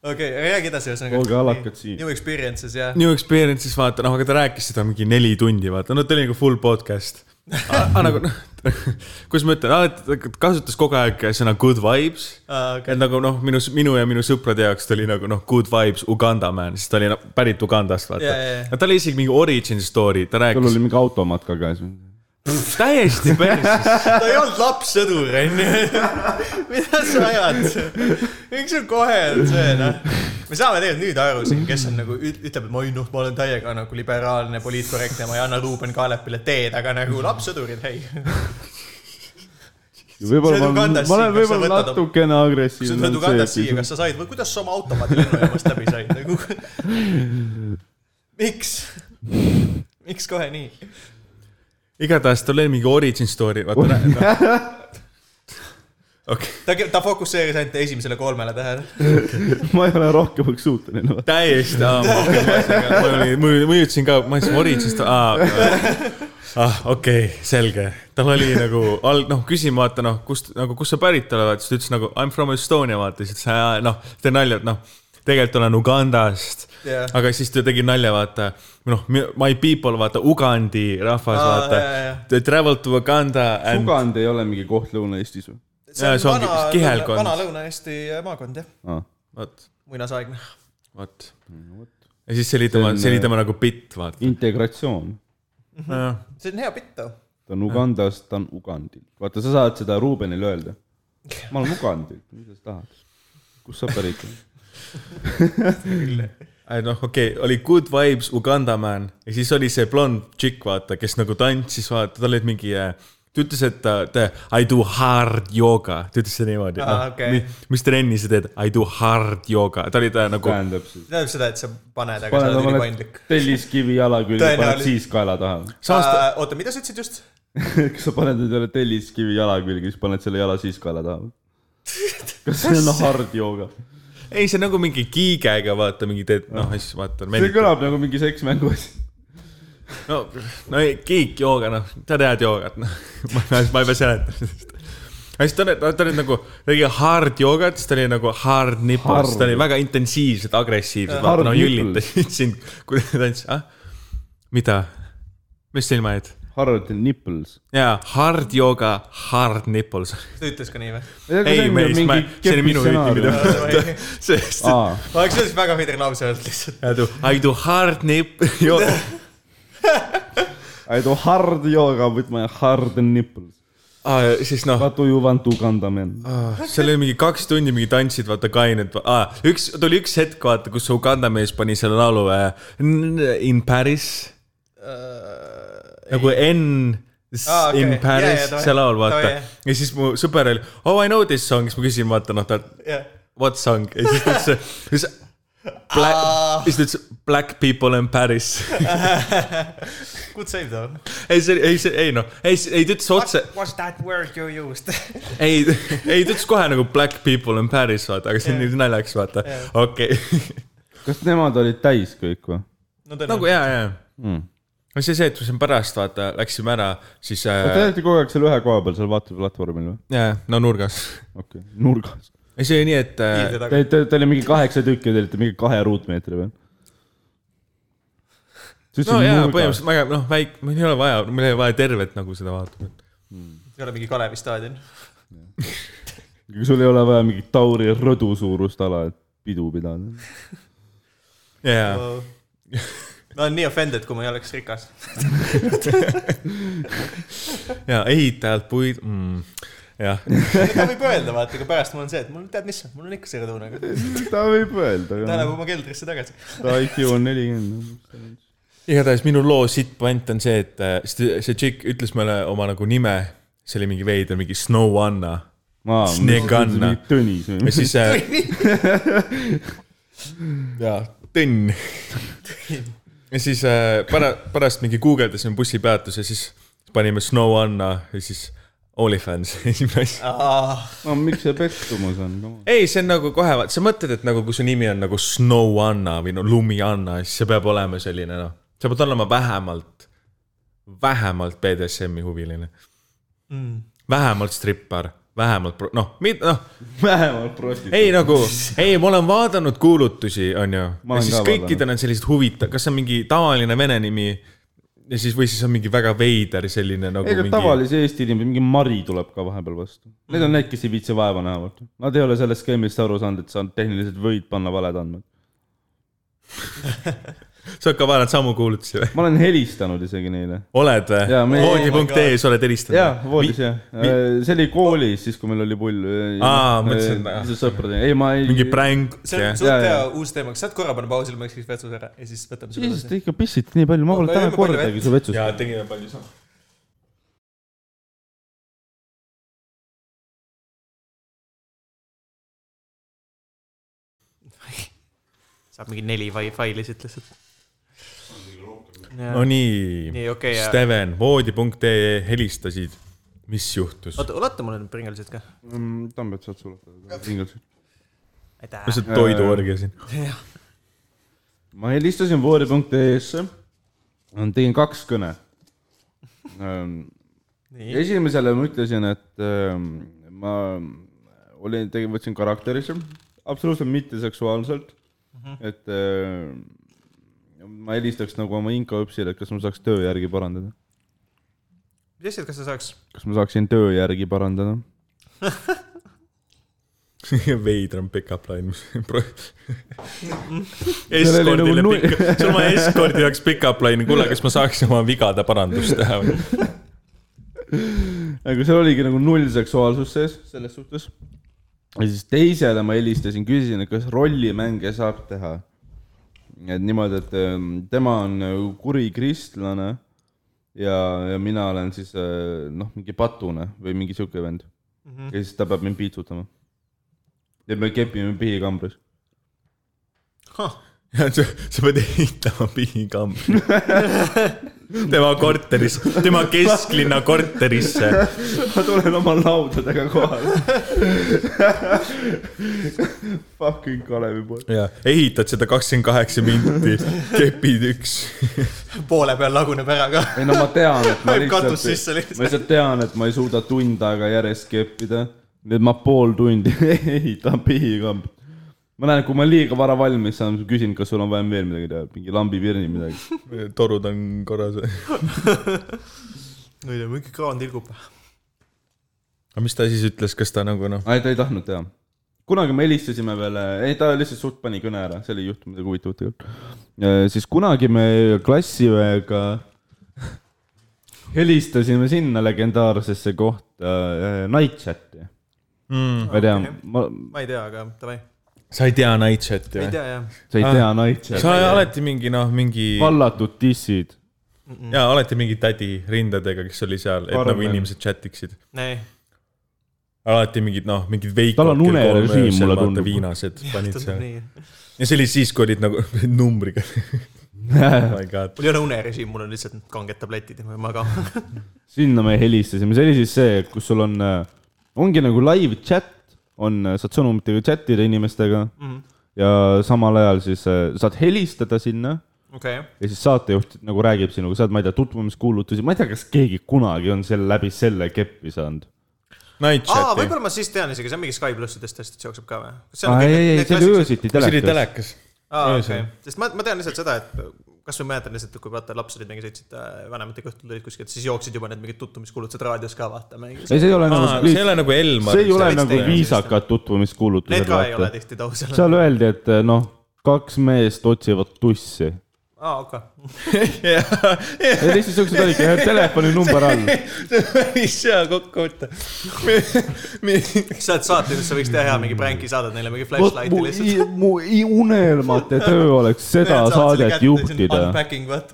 [SPEAKER 7] okei okay, , räägi edasi ühesõnaga .
[SPEAKER 2] olge alakad siin .
[SPEAKER 7] New experiences ja .
[SPEAKER 3] New Experience'is vaata , noh , aga ta rääkis seda mingi neli tundi , vaata , no ta oli nagu full podcast . aga nagu noh , kuidas ma ütlen , alati ta kasutas kogu aeg sõna good vibes .
[SPEAKER 7] okei ,
[SPEAKER 3] et nagu noh , minu , minu ja minu sõprade jaoks ta oli nagu noh , good vibes Uganda man , sest ta oli noh, pärit Ugandast , vaata
[SPEAKER 7] Jaa, jaa, jaa.
[SPEAKER 3] yeah, . Yeah. tal oli isegi mingi origin story , ta
[SPEAKER 2] tal
[SPEAKER 3] rääkis ,
[SPEAKER 2] oli mingi automaat ka käes .
[SPEAKER 3] täiesti päris .
[SPEAKER 1] ta ei olnud lapssõdur , onju . mida sa ajad ? miks sul kohe on see , noh ? me saame tegelikult nüüd aru siin , kes on nagu , ütleb , et ma ei noh , ma olen täiega nagu liberaalne , poliitkorrektne , ma ei anna Ruuben Kaalepile teed , aga nagu lapssõdurid , hei . See on
[SPEAKER 2] võib-olla ma olen ,
[SPEAKER 1] Ugandas
[SPEAKER 2] ma
[SPEAKER 1] siin, kas
[SPEAKER 2] olen
[SPEAKER 1] sa
[SPEAKER 2] võib-olla
[SPEAKER 1] võtad-
[SPEAKER 2] natukene
[SPEAKER 1] kui sa
[SPEAKER 2] agressiivne .
[SPEAKER 1] tuled Ugandast siia , kas sa said või kuidas sa oma automaadi lennujaamast läbi said nagu ? miks ? miks kohe nii ?
[SPEAKER 3] igatahes tal oli mingi origin story , vaata . noh.
[SPEAKER 1] ta , ta fokusseeris ainult esimesele kolmele tähele .
[SPEAKER 2] ma ei ole rohkemaks suuteline .
[SPEAKER 3] täiesti , ma olin , ma mõjutasin ka , ma ütlesin Originist , aa . ah , okei okay, , selge , tal oli nagu alg- , noh , küsin , vaata noh , kust nagu , kust sa pärit oled , siis ta ütles nagu I m from Estonia , vaata , siis ütles aa, noh , tee nalja , et noh , tegelikult olen Ugandast
[SPEAKER 1] Jah.
[SPEAKER 3] yeah. . aga siis ta tegi nalja , vaata , noh , my people , vaata , Ugandi rahvas ,
[SPEAKER 1] Aa,
[SPEAKER 3] vaata
[SPEAKER 1] jah, jah. .
[SPEAKER 3] They travel to Uganda and
[SPEAKER 2] Ugand ei ole mingi koht Lõuna-Eestis või ?
[SPEAKER 3] Jaa, see ongi kihelkond.
[SPEAKER 1] vana Lõuna-Eesti maakond jah ,
[SPEAKER 3] vot ,
[SPEAKER 1] muinasaegne .
[SPEAKER 3] vot . ja siis see oli tema , see oli tema nagu bitt , vaata .
[SPEAKER 2] integratsioon .
[SPEAKER 1] Mhm. see on hea bitt too .
[SPEAKER 2] ta on Ugandast , ta on Ugandil . vaata , sa saad seda Ruubenile öelda . ma olen Ugandilt , mida sa tahad ? kust sa pärit oled ?
[SPEAKER 3] Ei, noh , okei okay, , oli Good Vibes Uganda Man ja siis oli see blond tšikk , vaata , kes nagu tantsis , vaata , tal olid mingi , ta ütles , et ta, ta I do hard yoga , ta ütles see niimoodi
[SPEAKER 1] Aa, okei.
[SPEAKER 3] mis, mis trenni sa teed , I do hard yoga , ta oli ta nagu ,
[SPEAKER 2] tähendab siis .
[SPEAKER 1] tähendab seda , et sa paned , aga sa
[SPEAKER 2] paned
[SPEAKER 1] oled
[SPEAKER 2] omale
[SPEAKER 1] ülipaindlik .
[SPEAKER 2] telliskivi jala külge , paned
[SPEAKER 1] Tõenäoliselt.
[SPEAKER 2] siis kaela taha .
[SPEAKER 3] samas ta ,
[SPEAKER 1] oota , mida sa ütlesid just ?
[SPEAKER 2] kas sa paned endale telliskivi jala külge , siis paned selle jala siis kaela taha ? kas see on hard jooga ?
[SPEAKER 3] ei , see on nagu mingi kiigega , vaata , mingi teed , noh , siis vaata .
[SPEAKER 2] see kõlab nagu mingi seksmängu asi .
[SPEAKER 3] no , no ei , kiik jooga , noh , sa tead joogat , noh . ma ma ei pea seletama seda . aga siis ta oli , ta oli nagu , tegi hard joogat , siis ta oli nagu hard nipple , siis ta oli väga intensiivselt agressiivselt , vaata ,
[SPEAKER 2] Hard
[SPEAKER 3] no
[SPEAKER 2] nipple.
[SPEAKER 3] jüllitasid sind , kui ta tantsis , ah . mida ? mis silma jäid ?
[SPEAKER 2] Hard nipples .
[SPEAKER 3] jaa , hard jooga , hard nipples .
[SPEAKER 1] ta ütles ka nii või ?
[SPEAKER 3] ei , ma ei , ma ei , see oli minu hüüdimine . sest ,
[SPEAKER 2] aa ,
[SPEAKER 1] ma oleks sellest väga veider lause öelnud lihtsalt .
[SPEAKER 2] Ah.
[SPEAKER 3] I do hard nip- , jooga
[SPEAKER 2] I do hard yoga with my hard nipples .
[SPEAKER 3] ah, . siis noh ,
[SPEAKER 2] What do you want to kanda man ?
[SPEAKER 3] Ah, seal oli mingi kaks tundi mingi tantsid , vaata kained ah, , üks , tuli üks hetk , vaata , kus Uganda mees pani selle laulu äh, In Paris äh, . nagu N
[SPEAKER 1] Aa,
[SPEAKER 3] ah,
[SPEAKER 1] okei.
[SPEAKER 3] okay. In
[SPEAKER 1] Jaa,
[SPEAKER 3] Paris
[SPEAKER 1] jaa,
[SPEAKER 3] yeah,
[SPEAKER 1] too-
[SPEAKER 3] yeah, , see laul , vaata
[SPEAKER 1] too-
[SPEAKER 3] yeah.
[SPEAKER 1] jah. .
[SPEAKER 3] ja siis mu sõber oli , oh I know this song , siis ma küsisin , vaata noh , ta , what song ja siis ta ütles , siis Black ,
[SPEAKER 1] Ah.
[SPEAKER 3] siis ta ütles Black people in Paris .
[SPEAKER 1] Good save though .
[SPEAKER 3] ei , see , ei , see , ei noh , ei , ei ta ütles otse ,
[SPEAKER 1] What's that word you used ?
[SPEAKER 3] ei , ei ta ütles kohe nagu Black people in Paris , vaata , aga see on
[SPEAKER 1] Jah.
[SPEAKER 3] nii naljakas , vaata
[SPEAKER 1] Jah. ,
[SPEAKER 3] okei .
[SPEAKER 2] kas nemad olid täis kõik või ?
[SPEAKER 1] no tõenäoliselt .
[SPEAKER 3] nagu ja , ja mm. . no see , see , et me siin pärast vaata läksime ära , siis
[SPEAKER 2] Te
[SPEAKER 3] äh,
[SPEAKER 2] olete kogu aeg seal ühe koha peal seal vaateplatvormil või ?
[SPEAKER 3] jaa, no nurgas .
[SPEAKER 2] okei okay. , nurgas .
[SPEAKER 3] ei , see oli nii , et äh,
[SPEAKER 2] Te , te , te oli mingi kaheksa tükki , te olite mingi kahe ruutmeetri peal .
[SPEAKER 3] no jaa , põhimõtteliselt väga noh , väike , meil ei ole vaja , meil ei ole vaja tervet nagu seda vaatama .
[SPEAKER 1] ei ole mingi Kalevi staadion .
[SPEAKER 2] sul ei ole vaja mingit Tauri rõdu suurust ala , et pidu pidada .
[SPEAKER 3] jaa ,
[SPEAKER 1] ma olen nii offended , kui ma ei oleks rikas .
[SPEAKER 3] jaa , ehitajalt puid mm. , jah ,
[SPEAKER 1] ta võib öelda , vaata , aga pärast mul on see , et mul tead , mis , mul on ikka see rõdune , aga
[SPEAKER 2] ta võib öelda ,
[SPEAKER 1] ta
[SPEAKER 2] aga
[SPEAKER 1] läheb oma keldrisse tagasi .
[SPEAKER 2] ta IQ on nelikümmend .
[SPEAKER 3] igatahes minu loo sitt point on see , et äh, see see tšikk ütles meile oma nagu nime , see oli mingi veider , mingi Snow Anna
[SPEAKER 2] maa ,
[SPEAKER 3] Sneganna.
[SPEAKER 2] Tõnis või
[SPEAKER 3] ja ? siis äh, . jaa , tõnn . ja siis äh, pära- , pärast mingi guugeldasime bussipeatuse , siis panime Snow Anna ja siis Olifants esimene asi .
[SPEAKER 2] no miks see pettumus on ?
[SPEAKER 3] ei , see on nagu kohe , vaat sa mõtled , et nagu kui su nimi on nagu Snow Anna või no Lumi Anna , siis see peab olema selline noh , sa pead olema vähemalt , vähemalt BDSM-i huviline mm. . vähemalt strippar , vähemalt pro- noh , noh
[SPEAKER 2] vähemalt prostituut .
[SPEAKER 3] ei nagu , ei , ma olen vaadanud kuulutusi , onju .
[SPEAKER 2] Ma
[SPEAKER 3] ja
[SPEAKER 2] olen
[SPEAKER 3] siis
[SPEAKER 2] ka
[SPEAKER 3] kõikidel on sellised huvitav , kas see on mingi tavaline vene nimi ja siis , või siis on mingi väga veider selline nagu
[SPEAKER 2] ega
[SPEAKER 3] mingi...
[SPEAKER 2] tavalise Eesti inimene , mingi Mari tuleb ka vahepeal vastu . Need on need , kes ei viitsi vaeva näha , vaata . Nad ei ole sellest skeemist aru saanud , et sa tehniliselt võid panna valed andmed .
[SPEAKER 3] sa ka vaevalt samu kuulutusi või ?
[SPEAKER 2] ma olen helistanud isegi neile .
[SPEAKER 3] oled või
[SPEAKER 2] Jaa, ? me-
[SPEAKER 3] voodi.ee-s oled helistanud ?
[SPEAKER 2] jaa , voodis jah . see oli koolis , siis kui meil oli pull .
[SPEAKER 3] Aa, mõtlesin, et-
[SPEAKER 2] et . sõpradega , ei ma ei .
[SPEAKER 3] mingi prank
[SPEAKER 7] see on
[SPEAKER 3] jah ?
[SPEAKER 2] Jaa,
[SPEAKER 7] suht hea
[SPEAKER 2] jaa.
[SPEAKER 7] uus teema , kas saad korra panna pausile , ma ükskord vetsus ära ja siis võtame selle
[SPEAKER 2] Jeesus ,
[SPEAKER 7] edasi ?
[SPEAKER 2] te ikka pissite nii palju , ma pole
[SPEAKER 7] Aga
[SPEAKER 2] täna
[SPEAKER 7] jõime palju
[SPEAKER 2] kordagi
[SPEAKER 7] vett.
[SPEAKER 2] su vetsus .
[SPEAKER 3] jaa , tegime palju sama .
[SPEAKER 1] saab mingi neli fai- faili siit lihtsalt .
[SPEAKER 3] no nii,
[SPEAKER 1] Nii, okei, ja-
[SPEAKER 3] Steven , voodi.ee helistasid , mis juhtus ?
[SPEAKER 1] oota , ulata mulle need pringelsid ka .
[SPEAKER 2] Mm, Tambet saad suletada .
[SPEAKER 1] aitäh .
[SPEAKER 3] lihtsalt toidu orgiasin .
[SPEAKER 2] ma helistasin voodi.ee-sse , tegin kaks kõne .
[SPEAKER 1] nii ,
[SPEAKER 2] esimesele ma ütlesin , et ähm, ma olin , tegin , võtsin karakterisse , absoluutselt mitteseksuaalselt mm , -hmm. et ähm, ma helistaks nagu oma inkaõpsile , et kas ma saaks töö järgi parandada ,
[SPEAKER 1] mis asjad , kas sa saaks ?
[SPEAKER 2] kas ma saaksin töö järgi parandada .
[SPEAKER 3] veidram pick-up line , mis .
[SPEAKER 2] Seal oli nagu
[SPEAKER 3] eskordile
[SPEAKER 2] nu-
[SPEAKER 3] pikk , sul ma eskordi jaoks pick-up line , kuule , kas ma saaks oma vigade parandust teha või ?
[SPEAKER 2] aga seal oligi nagu null seksuaalsust sees selles suhtes . ja siis teisele ma helistasin , küsisin , et kas rollimänge saab teha . et niimoodi , et ähm, tema on nagu kuri kristlane ja , ja mina olen siis äh, noh , mingi patune või mingi sihuke vend mm . -hmm. ja siis ta peab mind piitsutama . ja me kepime pihikambris .
[SPEAKER 3] sa sa pead ehitama pihikambri . tema korteris , tema kesklinna korterisse .
[SPEAKER 2] ma tulen oma laudadega kohale . Fucking Kalevi poolt .
[SPEAKER 3] ja ehitad seda kakskümmend kaheksa minti , kepid üks .
[SPEAKER 7] poole peal laguneb ära ka .
[SPEAKER 2] ei no ma tean , et ma
[SPEAKER 7] Vajub
[SPEAKER 2] lihtsalt
[SPEAKER 7] katus , sisse lihtsalt.
[SPEAKER 2] ma lihtsalt tean , et ma ei suuda tund aega järjest keppida . nüüd ma pool tundi ehitan pihikamp . ma näen , kui ma liiga vara valmis saan , küsin , kas sul on vaja veel midagi teha , mingi lambivirni midagi .
[SPEAKER 3] torud on korras .
[SPEAKER 1] no ei tea , mingi kraan tilgub .
[SPEAKER 3] aga mis ta siis ütles , kas ta nagu noh ,
[SPEAKER 2] ei , ta ei tahtnud teha . kunagi me helistasime veel , ei ta lihtsalt suht pani kõne ära , see oli juhtum midagi huvitavat tegelikult . siis kunagi me klassiõega helistasime sinna legendaarsesse kohta äh, Nightchati mm, . ma ei tea okay. , ma ,
[SPEAKER 7] ma ei tea , aga davai .
[SPEAKER 3] sa ei tea Nightchati
[SPEAKER 7] ei
[SPEAKER 3] või ?
[SPEAKER 7] tea jah .
[SPEAKER 2] sa ei
[SPEAKER 3] Ah.
[SPEAKER 2] tea naitse .
[SPEAKER 3] sa alati mingi noh , mingi
[SPEAKER 2] vallatud dissid .
[SPEAKER 3] ja Mm. alati mingi tädi rindadega , kes oli seal , et
[SPEAKER 2] Arvan.
[SPEAKER 3] nagu inimesed chatiksid .
[SPEAKER 1] ei ,
[SPEAKER 3] alati mingid noh , mingid veikud .
[SPEAKER 2] Tal on unerežiim, mulle tundub.
[SPEAKER 3] viinased panid
[SPEAKER 1] tundub
[SPEAKER 3] seal .
[SPEAKER 1] nii .
[SPEAKER 3] ja see oli siis , kui olid nagu numbriga . oh my god .
[SPEAKER 1] mul ei ole unerežiim , mul on lihtsalt kanged tabletid ja ma ei maga .
[SPEAKER 2] sinna me helistasime , see oli siis see , kus sul on , ongi nagu live chat , on , saad sõnumitega chat ida inimestega mm -hmm. ja samal ajal siis äh, saad helistada sinna
[SPEAKER 1] okei ,
[SPEAKER 2] ja siis saatejuht nagu räägib sinuga , saad , ma ei tea , tutvumiskuulutusi , ma ei tea , kas keegi kunagi on selle läbi selle keppi saanud .
[SPEAKER 1] aa ,
[SPEAKER 3] Nightchati .
[SPEAKER 1] võib-olla ma siis tean isegi , see on mingi Sky plussidest asjad jookseb ka või ?
[SPEAKER 2] ei , ei , ei , see oli öösiti
[SPEAKER 3] see oli
[SPEAKER 2] telekas .
[SPEAKER 3] telekas .
[SPEAKER 1] aa , okei
[SPEAKER 3] Öösel. ,
[SPEAKER 1] sest ma , ma tean lihtsalt seda , et kasvõi mäletan lihtsalt , kui vaata lapsed olid , mingi sõitsid äh, vanematega õhtul tulid kuskilt , siis jooksid juba need mingid tutvumiskuulutused raadios ka vaatama .
[SPEAKER 2] ei , see ei ole nagu ,
[SPEAKER 3] see ei ole nagu Elmar .
[SPEAKER 2] see ei ole
[SPEAKER 1] Veits
[SPEAKER 2] nagu
[SPEAKER 1] teine asi,
[SPEAKER 2] viisakad tutvumiskuulutused .
[SPEAKER 1] Need ka ei ole tihti tõusnud .
[SPEAKER 2] seal öeldi , et noh , kaks meest otsivad tussi .
[SPEAKER 1] aa , okei .
[SPEAKER 2] ja lihtsalt siuksed olidki , telefoninumber all .
[SPEAKER 3] päris hea kokkuvõte .
[SPEAKER 1] sa oled saatejuht , sa võiks teha hea mingi pränki , saadad neile mingi
[SPEAKER 2] Hmm. vot mu
[SPEAKER 1] flashlighti , lihtsalt .
[SPEAKER 2] i- mu i- unelmate töö oleks seda saadet juhtida .
[SPEAKER 7] Unpacking , vaat .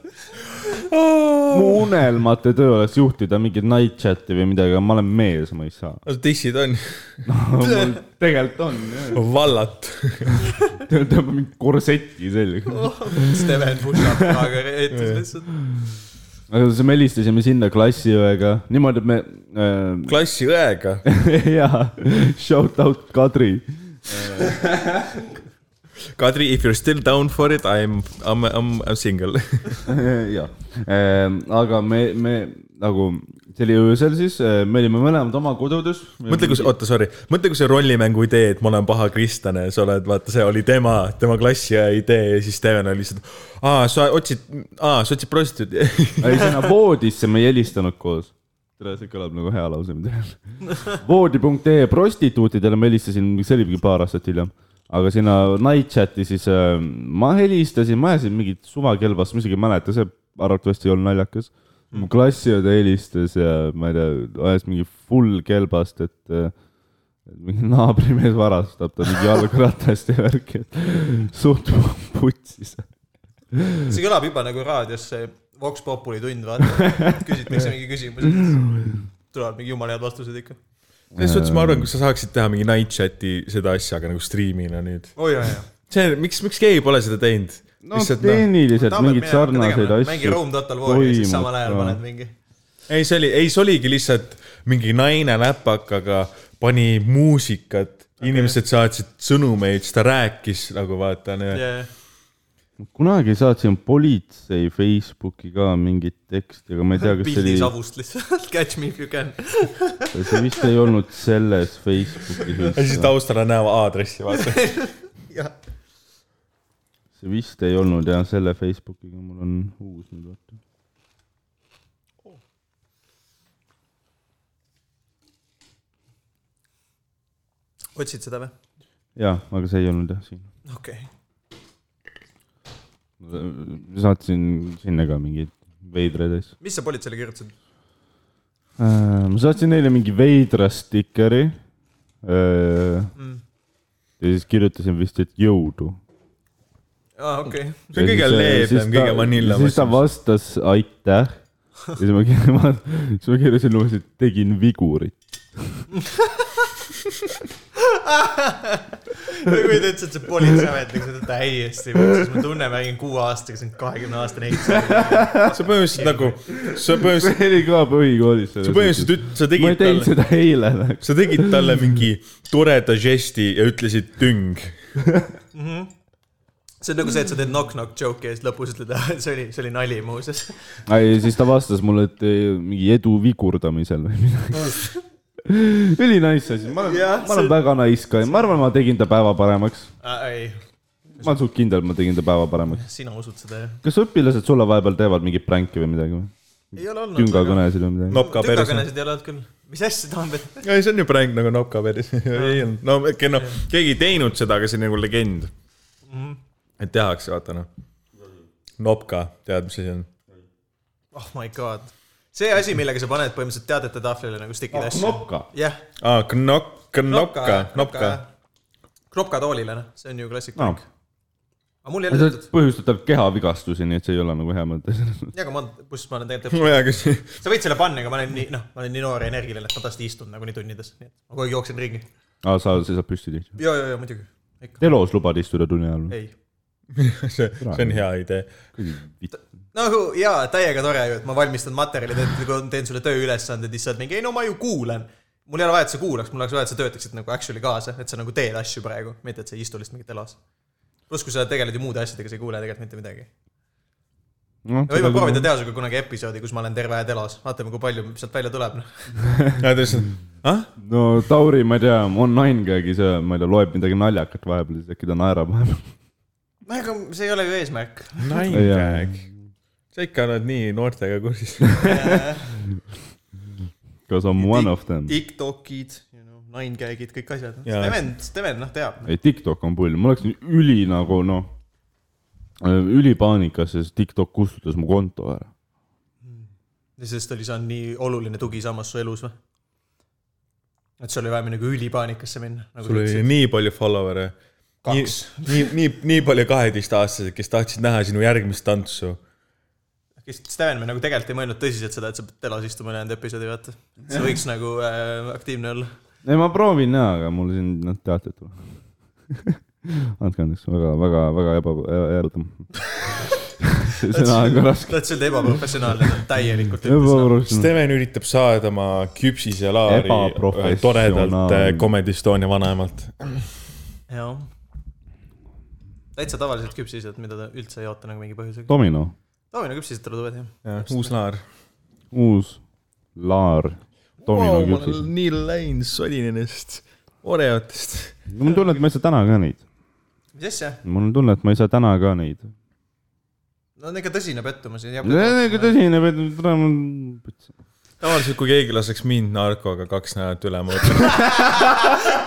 [SPEAKER 2] mu unelmate töö oleks juhtida mingit night chat'i või midagi , aga ma olen mees , ma ei saa .
[SPEAKER 3] dissid on
[SPEAKER 2] tegelikult on ,
[SPEAKER 3] vallat .
[SPEAKER 2] tõmbab mingi korseti selga .
[SPEAKER 7] Steven push-up , aga eetris lihtsalt .
[SPEAKER 2] aga siis me helistasime sinna klassiõega niimoodi , et me
[SPEAKER 3] klassiõega .
[SPEAKER 2] äh, , jaa , shout out Kadri .
[SPEAKER 3] Kadri , if you are still down for it , I am , I am , I am single .
[SPEAKER 2] jah , Äh, aga me , me nagu , see oli öösel siis , me olime mõlemad oma kodudes .
[SPEAKER 3] mõtle , kui , oota , sorry , mõtle , kui see rollimängu idee , et ma olen paha kristlane , sa oled , vaata , see oli tema , tema klassiõe idee ja siis Steven oli lihtsalt . aa , sa otsid , aa , sa otsid prostituuti .
[SPEAKER 2] ei , sinna voodisse me ei helistanud koos . tere , see kõlab nagu hea E lause , mida öelda . voodi.ee prostituutidele ma helistasin , see oli mingi paar aastat hiljem . aga sinna Nightchati siis äh, ma helistasin , ma ajasin mingit suvakelbast , ma isegi ei mäleta , see arvatavasti ei olnud naljakas . mu klassiõde helistas ja ma ei tea , ajas mingi full kelbast , et äh, et mingi naabrimees varastab ta mingi jalgratast ja värki , et suht putsis .
[SPEAKER 1] see kõlab juba nagu raadios see Vox Populi tund , vaata . küsitakse mingi küsimusi . tulevad mingi jumala head vastused ikka .
[SPEAKER 3] selles suhtes ma arvan , kui sa saaksid teha mingi night chat'i seda asja , aga nagu striimina nüüd .
[SPEAKER 1] oi , oi , oi .
[SPEAKER 3] see , miks , miks keegi pole seda teinud ?
[SPEAKER 2] no tehniliselt mingeid sarnaseid
[SPEAKER 1] mängi Room
[SPEAKER 2] asju .
[SPEAKER 1] Total War'i ja siis
[SPEAKER 2] toimub,
[SPEAKER 1] samal ajal
[SPEAKER 2] jaa.
[SPEAKER 1] paned mingi .
[SPEAKER 3] noh, ei , see oli , ei , see oligi lihtsalt mingi naine läpakaga pani muusikat okay. , inimesed saatsid sõnumeid , siis ta rääkis nagu vaata yeah. ,
[SPEAKER 2] kunagi saatsin politsei Facebooki ka mingit teksti , aga ma ei tea , kas see
[SPEAKER 1] pildi
[SPEAKER 2] oli ,
[SPEAKER 1] savust lihtsalt , catch me if you can .
[SPEAKER 2] see vist ei olnud selles Facebookis
[SPEAKER 3] ja . siis taustal on näha aadressi , vaata .
[SPEAKER 2] see vist ei olnud jah , selle Facebookiga mul on uus nüüd vaata .
[SPEAKER 1] otsid seda või ?
[SPEAKER 2] jaa , aga see ei olnud jah siin .
[SPEAKER 1] okei okay. .
[SPEAKER 2] saatsin sinna ka mingeid veidraid asju .
[SPEAKER 1] mis sa politseile kirjutasid ?
[SPEAKER 2] ma saatsin neile mingi veidra stikeri . ja siis kirjutasin vist , et jõudu .
[SPEAKER 1] aa , Ah, okei okay. .
[SPEAKER 3] see on kõige leebem , kõige vanilla .
[SPEAKER 2] äh, siis ta vastas aitäh . ja siis ma kirjutasin , siis ma kirjutasin umbes , et tegin vigurit .
[SPEAKER 1] kui ta ütles , et see politseiametnik seda täiesti , siis ma tunnen , ma olin kuueaastane , see on kahekümne aastane ehitus .
[SPEAKER 3] sa põhimõtteliselt nagu , sa põhimõtteliselt ,
[SPEAKER 2] see oli ka põhikoolis .
[SPEAKER 3] sa põhimõtteliselt üt- , sa
[SPEAKER 2] ma ei
[SPEAKER 3] tegid
[SPEAKER 2] teinud
[SPEAKER 3] talle ,
[SPEAKER 2] seda eile . noh.
[SPEAKER 3] sa tegid talle mingi toreda žesti ja ütlesid tüng .
[SPEAKER 1] see on nagu see , et sa teed knock-knock joke'i ja siis lõpus ütled , see oli , see oli nali muuseas .
[SPEAKER 2] ei , siis ta vastas mulle , et eh, mingi edu vigurdamisel või midagi . üli nice asi , ma
[SPEAKER 1] Jah,
[SPEAKER 2] olen , ma olen
[SPEAKER 1] see-
[SPEAKER 2] väga nice guy , ma arvan , ma tegin ta päeva paremaks .
[SPEAKER 1] ei ,
[SPEAKER 2] ma olen suht kindel , ma tegin ta päeva paremaks .
[SPEAKER 1] sina usud seda jah ?
[SPEAKER 2] kas õpilased sulle vahepeal teevad mingit pränki või midagi või ?
[SPEAKER 1] ei ole olnud .
[SPEAKER 2] küngakõnesid või midagi no. ?
[SPEAKER 3] nopka perse .
[SPEAKER 1] tüngakõnesid ei ole olnud küll . mis asja Tambet ?
[SPEAKER 3] ei , see on ju präng nagu nopka perse . ei olnud , no okei, noh , keegi ei teinud seda , aga see on nagu legend . et tehakse , vaata noh . nopka , tead , mis asi on ?
[SPEAKER 1] oh my god . see asi , millega sa paned põhimõtteliselt teadete tahvlile nagu stikid asju .
[SPEAKER 2] nopka .
[SPEAKER 1] jah .
[SPEAKER 3] aa , knok- , Ah, knopka , nopka .
[SPEAKER 1] knopka toolile , noh , see on ju
[SPEAKER 2] No.
[SPEAKER 3] Ah.
[SPEAKER 1] klassikaline . aga mul ei ole
[SPEAKER 2] see
[SPEAKER 1] tehtud .
[SPEAKER 2] põhjustab kehavigastusi , nii et see ei ole nagu hea mõte .
[SPEAKER 1] jaa , aga ma , kus ma olen tegelikult
[SPEAKER 3] ma ei tea , kas see
[SPEAKER 1] sa võid selle panna , aga ma olen nii , noh , ma olen nii noor ja energiline , et ma tast istun nagunii tundides , nii et ma kogu aeg jooksen ringi .
[SPEAKER 2] aa , sa seisad püsti tihti .
[SPEAKER 1] ja , ja , ja muidugi , ikka ,
[SPEAKER 2] telos lubad istuda tunni ajal või ?
[SPEAKER 1] ei .
[SPEAKER 3] see on hea idee .
[SPEAKER 1] nagu jaa , täiega tore ju , et ma valmistan materjali , teen sulle tööülesanded , siis sa oled mingi , ei no ma ju kuulan . mul ei ole vaja , et sa kuulaks , mul oleks vaja , et sa töötaksid nagu actually kaasa , et sa nagu teed asju praegu , mitte et sa ei istu lihtsalt mingi telas . pluss , kui sa tegeled ju muude asjadega , sa ei kuule tegelikult mitte midagi .
[SPEAKER 2] no
[SPEAKER 1] me võime proovida teha sinuga kunagi episoodi , kus ma olen terve aja telas , vaatame , kui palju sealt välja tuleb , noh .
[SPEAKER 3] ja ta ütles , et ah ,
[SPEAKER 2] no Tauri , ma ei tea , online keegi , see , ma ei tea , loeb midagi naljakat vahepeal , siis äkki ta naerab vahepeal .
[SPEAKER 1] no ega see ei ole ju eesmärk .
[SPEAKER 3] naine . sa ikka oled nii noortega kursis .
[SPEAKER 2] Cause I m one of them .
[SPEAKER 1] Tiktokid , you know , ninegagid , kõik asjad .
[SPEAKER 3] Jaa.
[SPEAKER 1] Steven , Steven , noh , teab .
[SPEAKER 2] ei , TikTok on pull , ma oleks nii üli nagu noh , ülipaanikas , sest TikTok kustutas mu konto ära .
[SPEAKER 1] sest oli , see on nii oluline tugisammas su elus või ? et sul oli vaja nagu ülipaanikasse minna , nagu
[SPEAKER 3] sul oli nii palju follower'e . nii
[SPEAKER 1] kaks .,
[SPEAKER 3] nii , nii , nii palju kaheteistaastaseid , kes tahtsid näha sinu järgmist tantsu .
[SPEAKER 1] Mm. kes , Steven , me nagu tegelikult ei mõelnud tõsiselt seda , et sa pead telas istuma ülejäänud episoodi , vaata . see võiks nagu äh, aktiivne olla .
[SPEAKER 2] ei , ma proovin jaa , aga mul siin , noh , teated tulevad . andke andeks , väga , väga , väga eba , erutav . see sõna on ka raske .
[SPEAKER 1] oled selline ebaprofessionaalne , täielikult ütles .
[SPEAKER 2] ebaprofessionaalne .
[SPEAKER 3] Steven üritab saada oma küpsise laari
[SPEAKER 2] Ebaprofessionaal.
[SPEAKER 3] ühelt toredalt eh, Comedy Estonia vanaemalt .
[SPEAKER 1] jah . täitsa tavalised küpsised , mida ta üldse ei oota nagu mingi põhjusega .
[SPEAKER 2] Domino ,
[SPEAKER 1] Taavina küpsised talle tulevad , jah .
[SPEAKER 3] uus laar .
[SPEAKER 2] uus laar . Domino
[SPEAKER 3] Wow, ma
[SPEAKER 2] küpsis
[SPEAKER 3] olen . nii läinud , solin ennast Oreotest .
[SPEAKER 2] mul on tunne , et ma ei saa täna ka neid .
[SPEAKER 1] mis asja ?
[SPEAKER 2] mul on tunne , et ma ei saa täna ka neid .
[SPEAKER 1] nagu- no on ikka tõsine pettumus .
[SPEAKER 2] tõsine ,
[SPEAKER 3] tavaliselt , kui keegi laseks mind narkoga kaks nädalat üle , ma mõtleks .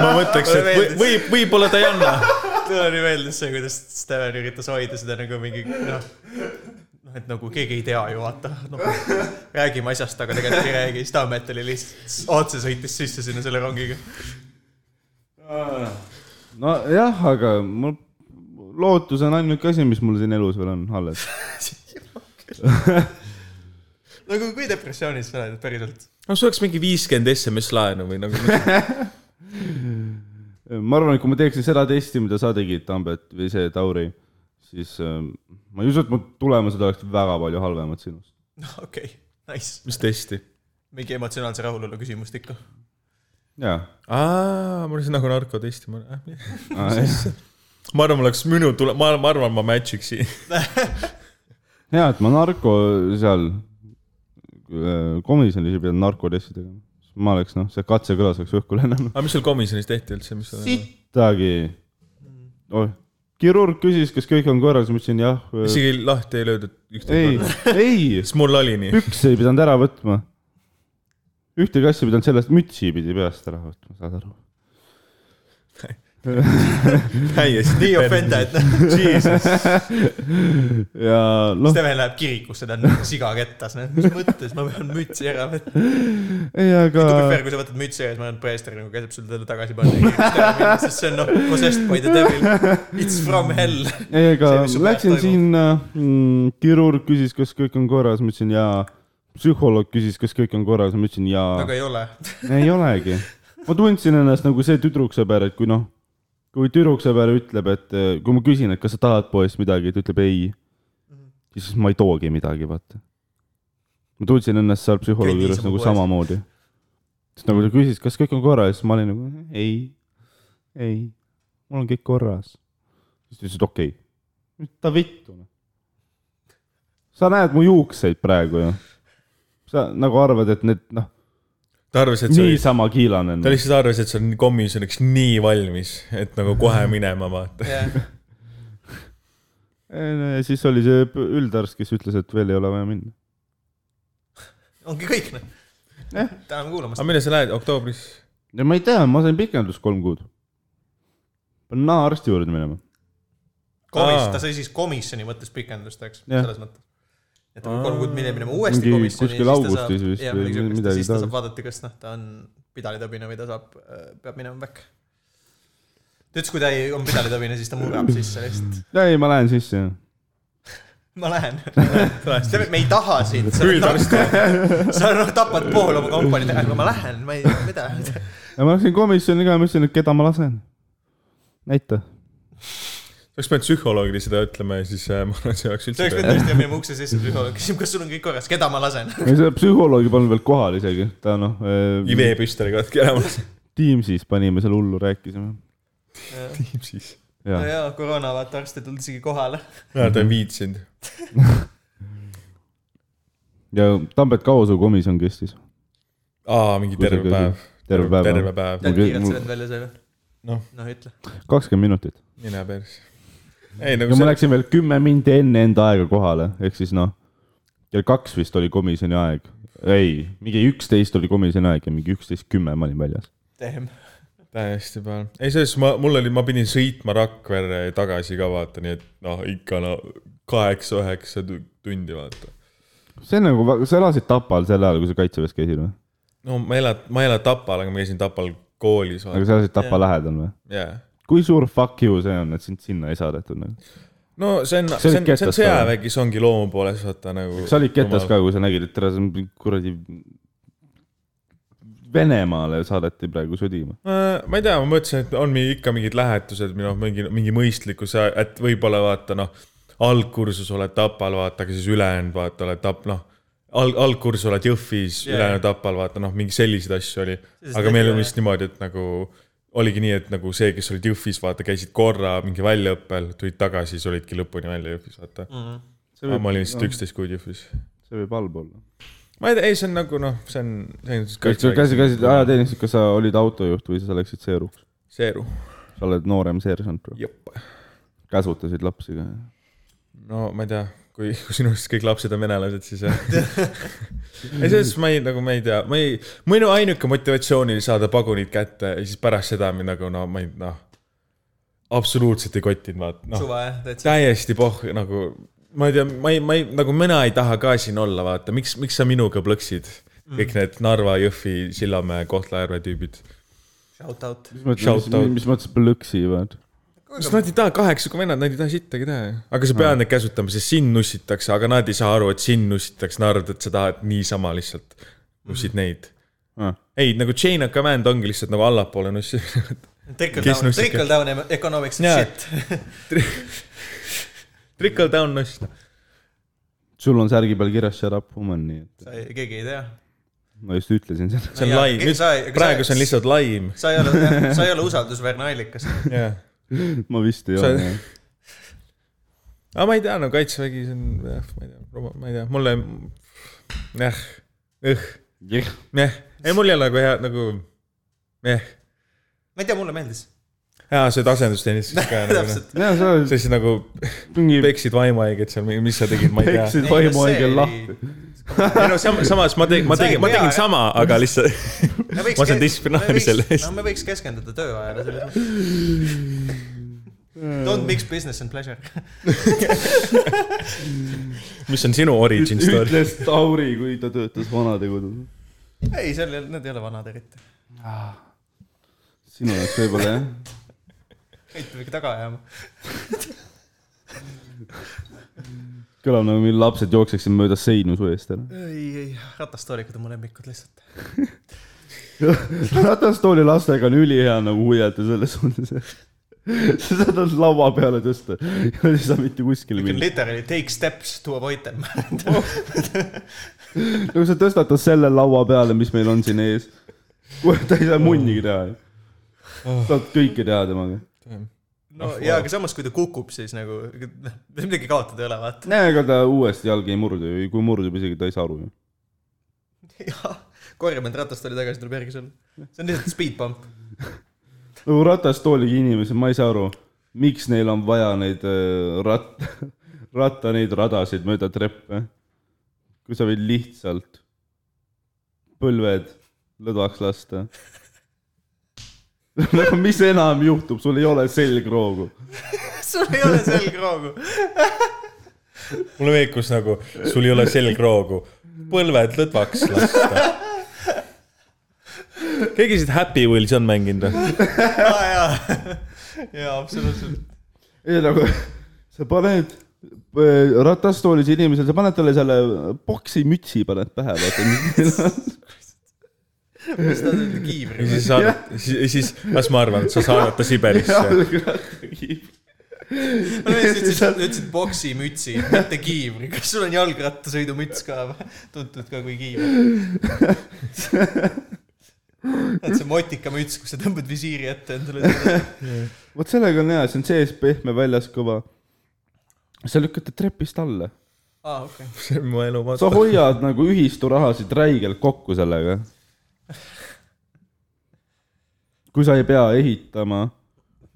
[SPEAKER 3] ma mõtleks , et või- võib , võib-olla ta ei anna .
[SPEAKER 1] mulle meeldis see , kuidas Steven üritas hoida seda nagu mingi noh , noh , et nagu keegi ei tea ju vaata no, , räägime asjast , aga tegelikult ei räägi , siis ta ometi oli lihtsalt otse sõitis sisse sinna selle rongiga .
[SPEAKER 2] nojah , aga mul lootus on ainuke asi , mis mul siin elus veel on alles .
[SPEAKER 1] nagu kui depressioonis sa oled päriselt ?
[SPEAKER 3] no see oleks mingi viiskümmend SMS laenu või nagu .
[SPEAKER 2] Äh, ma arvan , et kui ma teeksin seda testi , mida sa tegid , Tambet või see Tauri , siis ähm, ma ei usu , et mu tulemused oleks väga palju halvemad sinust .
[SPEAKER 1] noh , okei okay, , nice .
[SPEAKER 3] mis testi ?
[SPEAKER 1] mingi emotsionaalse rahulolu küsimust ikka .
[SPEAKER 2] jaa .
[SPEAKER 3] aa , mul on see nagu narkotesti , ma ,
[SPEAKER 2] Ah,
[SPEAKER 3] ma arvan , mul oleks minu tule- , ma , ma arvan , ma match iksin .
[SPEAKER 2] hea , et ma narko seal äh, komisjonis ei pidanud narkotesti tegema . ma oleks noh , see katsekõlas oleks õhku lennanud .
[SPEAKER 3] aga mis seal komisjonis tehti üldse , mis seal ?
[SPEAKER 2] midagi oh, . kirurg küsis , kas kõik on korras , ma ütlesin jah .
[SPEAKER 3] isegi lahti ei löödud
[SPEAKER 2] ei
[SPEAKER 3] üksteist ,
[SPEAKER 2] ei ,
[SPEAKER 3] siis mul oli nii .
[SPEAKER 2] pükse ei pidanud ära võtma . ühtegi asja ei pidanud sellest , mütsi pidi peast ära võtma , saad aru .
[SPEAKER 3] täiesti .
[SPEAKER 1] nii . offended ,
[SPEAKER 2] ja noh ,
[SPEAKER 1] Steven läheb kirikusse , ta on nagu siga kettas , noh , mis mõttes ma pean mütsi ära võtma .
[SPEAKER 2] ei aga
[SPEAKER 1] tubli fair , kui sa võtad mütsi ära , siis ma olen preester nagu käsib sul talle tagasi panna . sest see on noh , possessed by the devil , it's from hell .
[SPEAKER 2] ei , aga
[SPEAKER 1] see, mis su peas
[SPEAKER 2] läksin
[SPEAKER 1] toimub.
[SPEAKER 2] sinna mm, , kirurg küsis , kas kõik on korras , ma ütlesin jaa . psühholoog küsis , kas kõik on korras , ma ütlesin jaa .
[SPEAKER 1] aga ei ole .
[SPEAKER 2] ei olegi . ma tundsin ennast nagu see tüdruksõber , et kui noh , kui tüdruksõber ütleb , et eh, kui ma küsin , et kas sa tahad poest midagi , ta ütleb ei , siis ma ei toogi midagi , vaata . ma tundsin ennast seal
[SPEAKER 1] Käid
[SPEAKER 2] psühholoogi juures
[SPEAKER 1] niisama
[SPEAKER 2] nagu
[SPEAKER 1] poes.
[SPEAKER 2] samamoodi . sest nagu ta küsis , kas kõik on korras , siis ma olin nagu ei , ei , mul on kõik korras . siis ta ütles , et okei okay. . ta vittu . sa näed mu juukseid praegu ju . sa nagu arvad , et need noh ,
[SPEAKER 3] ta arvas , et see oli
[SPEAKER 2] niisama kiilan
[SPEAKER 3] ta
[SPEAKER 2] enne .
[SPEAKER 3] lihtsalt arvas , et see on komisjoniks nii valmis , et nagu kohe minema vaata .
[SPEAKER 2] siis oli see p- üldarst , kes ütles , et veel ei ole vaja minna .
[SPEAKER 1] ongi kõik , noh . täname kuulamast .
[SPEAKER 3] aga millal sa lähed , oktoobris ?
[SPEAKER 2] ja ma ei tea , ma sain pikendust kolm kuud . pean naaarsti juurde minema .
[SPEAKER 1] komis-
[SPEAKER 3] Aa. ,
[SPEAKER 1] ta sai siis komisjoni mõttes pikendust , eks ,
[SPEAKER 2] Jah.
[SPEAKER 1] selles mõttes . et kui kolm kuud minna , minema uuesti
[SPEAKER 2] Mingi
[SPEAKER 1] komisjoni .
[SPEAKER 2] kuskil augustis vist või midagi
[SPEAKER 1] siis ta
[SPEAKER 2] taolist.
[SPEAKER 1] saab vaadata , kas noh , ta on pidalitõbine või ta saab , peab minema back . ta ütles , kui ta ei , on pidalitõbine , siis ta murrab sisse lihtsalt .
[SPEAKER 2] ei , ma lähen sisse .
[SPEAKER 1] ma lähen . me ei taha sind , sa
[SPEAKER 3] Üldarst.
[SPEAKER 1] sa noh , tapad pool oma kompaniid ära , aga ma lähen , ma ei , mida .
[SPEAKER 2] ja ma läksin komisjoni ka , ma ütlesin , et keda ma lasen . näita .
[SPEAKER 3] oleks pidanud psühholoogile seda ütlema ja siis äh, ma arvan , et see oleks
[SPEAKER 1] see
[SPEAKER 3] üldse
[SPEAKER 1] oleks pidanud tõesti minema ukse sisse , psühholoog küsib , kas sul on kõik korras , keda ma lasen .
[SPEAKER 2] ja selle psühholoogi polnud veel kohal isegi , ta noh .
[SPEAKER 3] mingi veepüstoli katki ära mõelnud .
[SPEAKER 2] Teamsis panime seal hullu , rääkisime .
[SPEAKER 3] siis .
[SPEAKER 2] ja ,
[SPEAKER 1] jaa , koroona vaata , arst ei tulnud isegi kohale .
[SPEAKER 3] Nad on viitsinud .
[SPEAKER 2] ja Tambet kaua su komisjon kestis ?
[SPEAKER 3] aa , mingi
[SPEAKER 2] Kui see
[SPEAKER 3] terve
[SPEAKER 2] käis-
[SPEAKER 3] päev .
[SPEAKER 2] terve päev,
[SPEAKER 3] terve
[SPEAKER 2] jah.
[SPEAKER 3] päev ,
[SPEAKER 1] tead ,
[SPEAKER 2] Mul-
[SPEAKER 1] kiirelt
[SPEAKER 2] mul-
[SPEAKER 1] see vend välja sai või ?
[SPEAKER 3] Noh. ,
[SPEAKER 1] ütle .
[SPEAKER 2] kakskümmend minutit .
[SPEAKER 3] mine pers . ei nagu
[SPEAKER 2] ja ma
[SPEAKER 3] see ,
[SPEAKER 2] läksin veel kümme mindi enne enda aega kohale , ehk siis noh , kell kaks vist oli komisjoni aeg . ei , mingi üksteist oli komisjoni aeg ja mingi üksteist kümme ma olin väljas .
[SPEAKER 1] Damn .
[SPEAKER 3] täiesti peal . ei , selles ma , mul oli , ma pidin sõitma Rakverre ja tagasi ka vaata , nii et noh , ikka no kaheksa-üheksa tu- tundi vaata .
[SPEAKER 2] see on nagu , sa elasid Tapal sel ajal , kui sa kaitseväes käisid või ?
[SPEAKER 3] no ma elan , ma ei ela Tapal , aga ma käisin Tapal koolis
[SPEAKER 2] aga
[SPEAKER 3] vaata ,
[SPEAKER 2] sa elasid Tapa
[SPEAKER 1] Jah.
[SPEAKER 2] lähedal või ?
[SPEAKER 3] jaa
[SPEAKER 2] kui suur fuck you see on , et sind sinna ei saadetud nagu ?
[SPEAKER 3] no see on ,
[SPEAKER 2] oli
[SPEAKER 3] see on , see on
[SPEAKER 2] ketas
[SPEAKER 3] sõjavägi , see ongi loomu poolest vaata nagu .
[SPEAKER 2] sa olid ketas ka , kui sa nägid , et tere , see on mingi kuradi Venemaale saadeti praegu sõdima .
[SPEAKER 3] ma ei tea , ma mõtlesin , et on mingi, ikka mingid lähetused või noh , mingi , mingi mõistlikkus , et võib-olla vaata noh , algkursus oled Tapal , vaata , aga siis ülejäänud vaata oled Tap- , noh , alg- , algkursus oled
[SPEAKER 1] Jaa.
[SPEAKER 3] Jõhvis yeah. , ülejäänud Tapal , vaata noh , mingi selliseid asju oli .
[SPEAKER 1] Sest
[SPEAKER 3] aga meil
[SPEAKER 1] ega-
[SPEAKER 3] oli vist niimoodi , et nagu oligi nii , et nagu see , kes olid Jõhvis , vaata , käisid korra mingi väljaõppel , tulid tagasi , siis olidki lõpuni välja Jõhvis , vaata . aga ma olin
[SPEAKER 2] Mm.
[SPEAKER 3] lihtsalt üksteist kuud Jõhvis
[SPEAKER 2] see võib halb olla .
[SPEAKER 3] ma ei tea , ei see on nagu noh , see on , see on
[SPEAKER 2] kas sa käisid , käisid ajateenistus , kas sa olid autojuht või sa läksid seeruks ?
[SPEAKER 3] seeru .
[SPEAKER 2] sa oled noorem seersant ,
[SPEAKER 3] jep .
[SPEAKER 2] käsutasid lapsi ka
[SPEAKER 3] no ma ei tea , kui kui sinu arust kõik lapsed on venelased , siis jah . ei , selles suhtes ma ei , nagu ma ei tea , ma ei , minu ainuke motivatsioon oli saada pagunid kätte ja siis pärast seda mind nagu no ma ei , noh . absoluutselt ei kottinud , vaata , noh
[SPEAKER 1] suva jah , täitsa .
[SPEAKER 3] täiesti poh- , nagu ma ei tea , ma ei , ma ei , nagu mina ei taha ka siin olla , vaata , miks , miks sa minuga plõksid ? kõik need Narva , Jõhvi , Sillamäe , Kohtla-Järve tüübid .
[SPEAKER 1] Shout out .
[SPEAKER 3] Shout out.
[SPEAKER 2] mis mõttes plõksi , vaata .
[SPEAKER 3] sest nad ei taha kaheksaga vennad , nad ei taha sittagi teha ju . aga sa pead neid käsutama , sest sind nussitakse , aga nad ei saa aru , et sind nussitakse , nad arvavad , et sa tahad niisama lihtsalt
[SPEAKER 1] Mm.
[SPEAKER 3] nussid neid .
[SPEAKER 2] Ah.
[SPEAKER 3] ei , nagu chain of command ongi lihtsalt nagu allapoole nussi .
[SPEAKER 1] Trickle
[SPEAKER 3] Kes
[SPEAKER 1] down ,
[SPEAKER 3] nussikas?
[SPEAKER 1] trickle down em- economics is
[SPEAKER 3] Jaa.
[SPEAKER 1] shit .
[SPEAKER 3] Trickle down nuss .
[SPEAKER 2] sul on särgi peal kirjas shut up woman , nii et
[SPEAKER 1] keegi ei tea .
[SPEAKER 2] ma just ütlesin seda .
[SPEAKER 3] see on
[SPEAKER 1] jaa,
[SPEAKER 3] laim ,
[SPEAKER 1] aga
[SPEAKER 3] nüüd
[SPEAKER 1] sa- aga sa-
[SPEAKER 3] praegu see on lihtsalt laim .
[SPEAKER 1] sa ei ole , sa ei ole usaldusväärne allikas .
[SPEAKER 3] jah
[SPEAKER 2] ma vist ei
[SPEAKER 3] Sa-
[SPEAKER 2] ole .
[SPEAKER 3] aga ma ei tea , no kaitsevägi , see on , jah , ma ei tea , ma ei tea , mulle , jah , õh , jah , ei mul ei ole nagu hea nagu , jah ,
[SPEAKER 1] ma ei tea , mulle meeldis .
[SPEAKER 3] hea see asendustennis ka nagu ,
[SPEAKER 1] täpselt .
[SPEAKER 2] ja sa oled
[SPEAKER 3] sa siis nagu
[SPEAKER 2] mingi
[SPEAKER 3] peksid vaimahaiget seal , mis sa tegid , ma ei tea .
[SPEAKER 2] peksid vaimu haigel lahti ..
[SPEAKER 3] ei no sam- , samas ma tegin , ma
[SPEAKER 1] Sa ei
[SPEAKER 3] tegin , ma
[SPEAKER 1] pea,
[SPEAKER 3] tegin
[SPEAKER 1] jah.
[SPEAKER 3] sama , aga lihtsalt , Ma saan distsiplinaari selle eest.
[SPEAKER 1] no me võiks keskenduda tööajale selles mõttes . Don't mix business and pleasure .
[SPEAKER 3] mis on sinu origin story .
[SPEAKER 2] ütles Tauri , kui ta töötas vanadekodus .
[SPEAKER 1] ei , seal ei ole , need ei ole vanad eriti .
[SPEAKER 2] sinu jaoks võib-olla jah .
[SPEAKER 1] kõik peab ikka taga ajama .
[SPEAKER 2] kõlab nagu meil lapsed jookseksid mööda seinu su eest ära .
[SPEAKER 1] ei , ei , ratastoolikud on mu lemmikud lihtsalt .
[SPEAKER 2] ratastooli lastega on ülihea nagu uielda selles suunas . sa saad nad laua peale tõsta ja ei saa mitte kuskile
[SPEAKER 1] You can
[SPEAKER 2] minna .
[SPEAKER 1] literally take steps to avoid them .
[SPEAKER 2] nagu sa tõstatad selle laua peale , mis meil on siin ees . ta ei saa munnigi teha . saad kõike teha temaga .
[SPEAKER 1] no jaa , aga samas , kui ta kukub , siis nagu noh, midagi kaotada ei ole , vaata .
[SPEAKER 2] näe , ega ta uuesti jalga ei murdu ju , kui murdub isegi ta ei saa aru ju .
[SPEAKER 1] jah , korjame end ratastooli tagasi , tuleb järgi sulle . see on lihtsalt speed bump .
[SPEAKER 2] nagu ratastooliga inimesed , ma ei saa aru , miks neil on vaja neid äh, rat- , ratta neid radasid mööda treppe . kui sa võid lihtsalt põlved lõdvaks lasta . nagu mis enam juhtub , sul ei ole selgroogu .
[SPEAKER 1] sul ei ole selgroogu .
[SPEAKER 3] mulle meeldib , kus nagu sul ei ole selgroogu , põlved lõdvaks lasta . keegi siit Happy Wheels on mänginud või ?
[SPEAKER 1] aa jaa , jaa absoluutselt .
[SPEAKER 2] ei nagu , sa paned äh, ratastoolis inimesel , sa paned talle selle boksi mütsi paned pähe , vaata mis neil on .
[SPEAKER 1] mis ta nüüd kiivri
[SPEAKER 3] ja
[SPEAKER 1] või ?
[SPEAKER 3] siis saadet- , siis , siis , las ma arvan , et sa saadad ta Siberisse .
[SPEAKER 1] ma ütlesin , sa ütlesid boksimütsi , mitte kiivri . kas sul on jalgrattasõidumüts ka või ? tuntud ka kui kiivri . see motikamüts , kus sa tõmbad visiiri ette endale .
[SPEAKER 2] vot sellega on hea , see on sees pehme , väljas kõva . sa lükkad ta trepist alla ,
[SPEAKER 1] aa , okei okay. .
[SPEAKER 3] see on mu elu
[SPEAKER 2] sa
[SPEAKER 3] vaata .
[SPEAKER 2] hoiad nagu ühistu rahasid räigelt kokku sellega . kui sa ei pea ehitama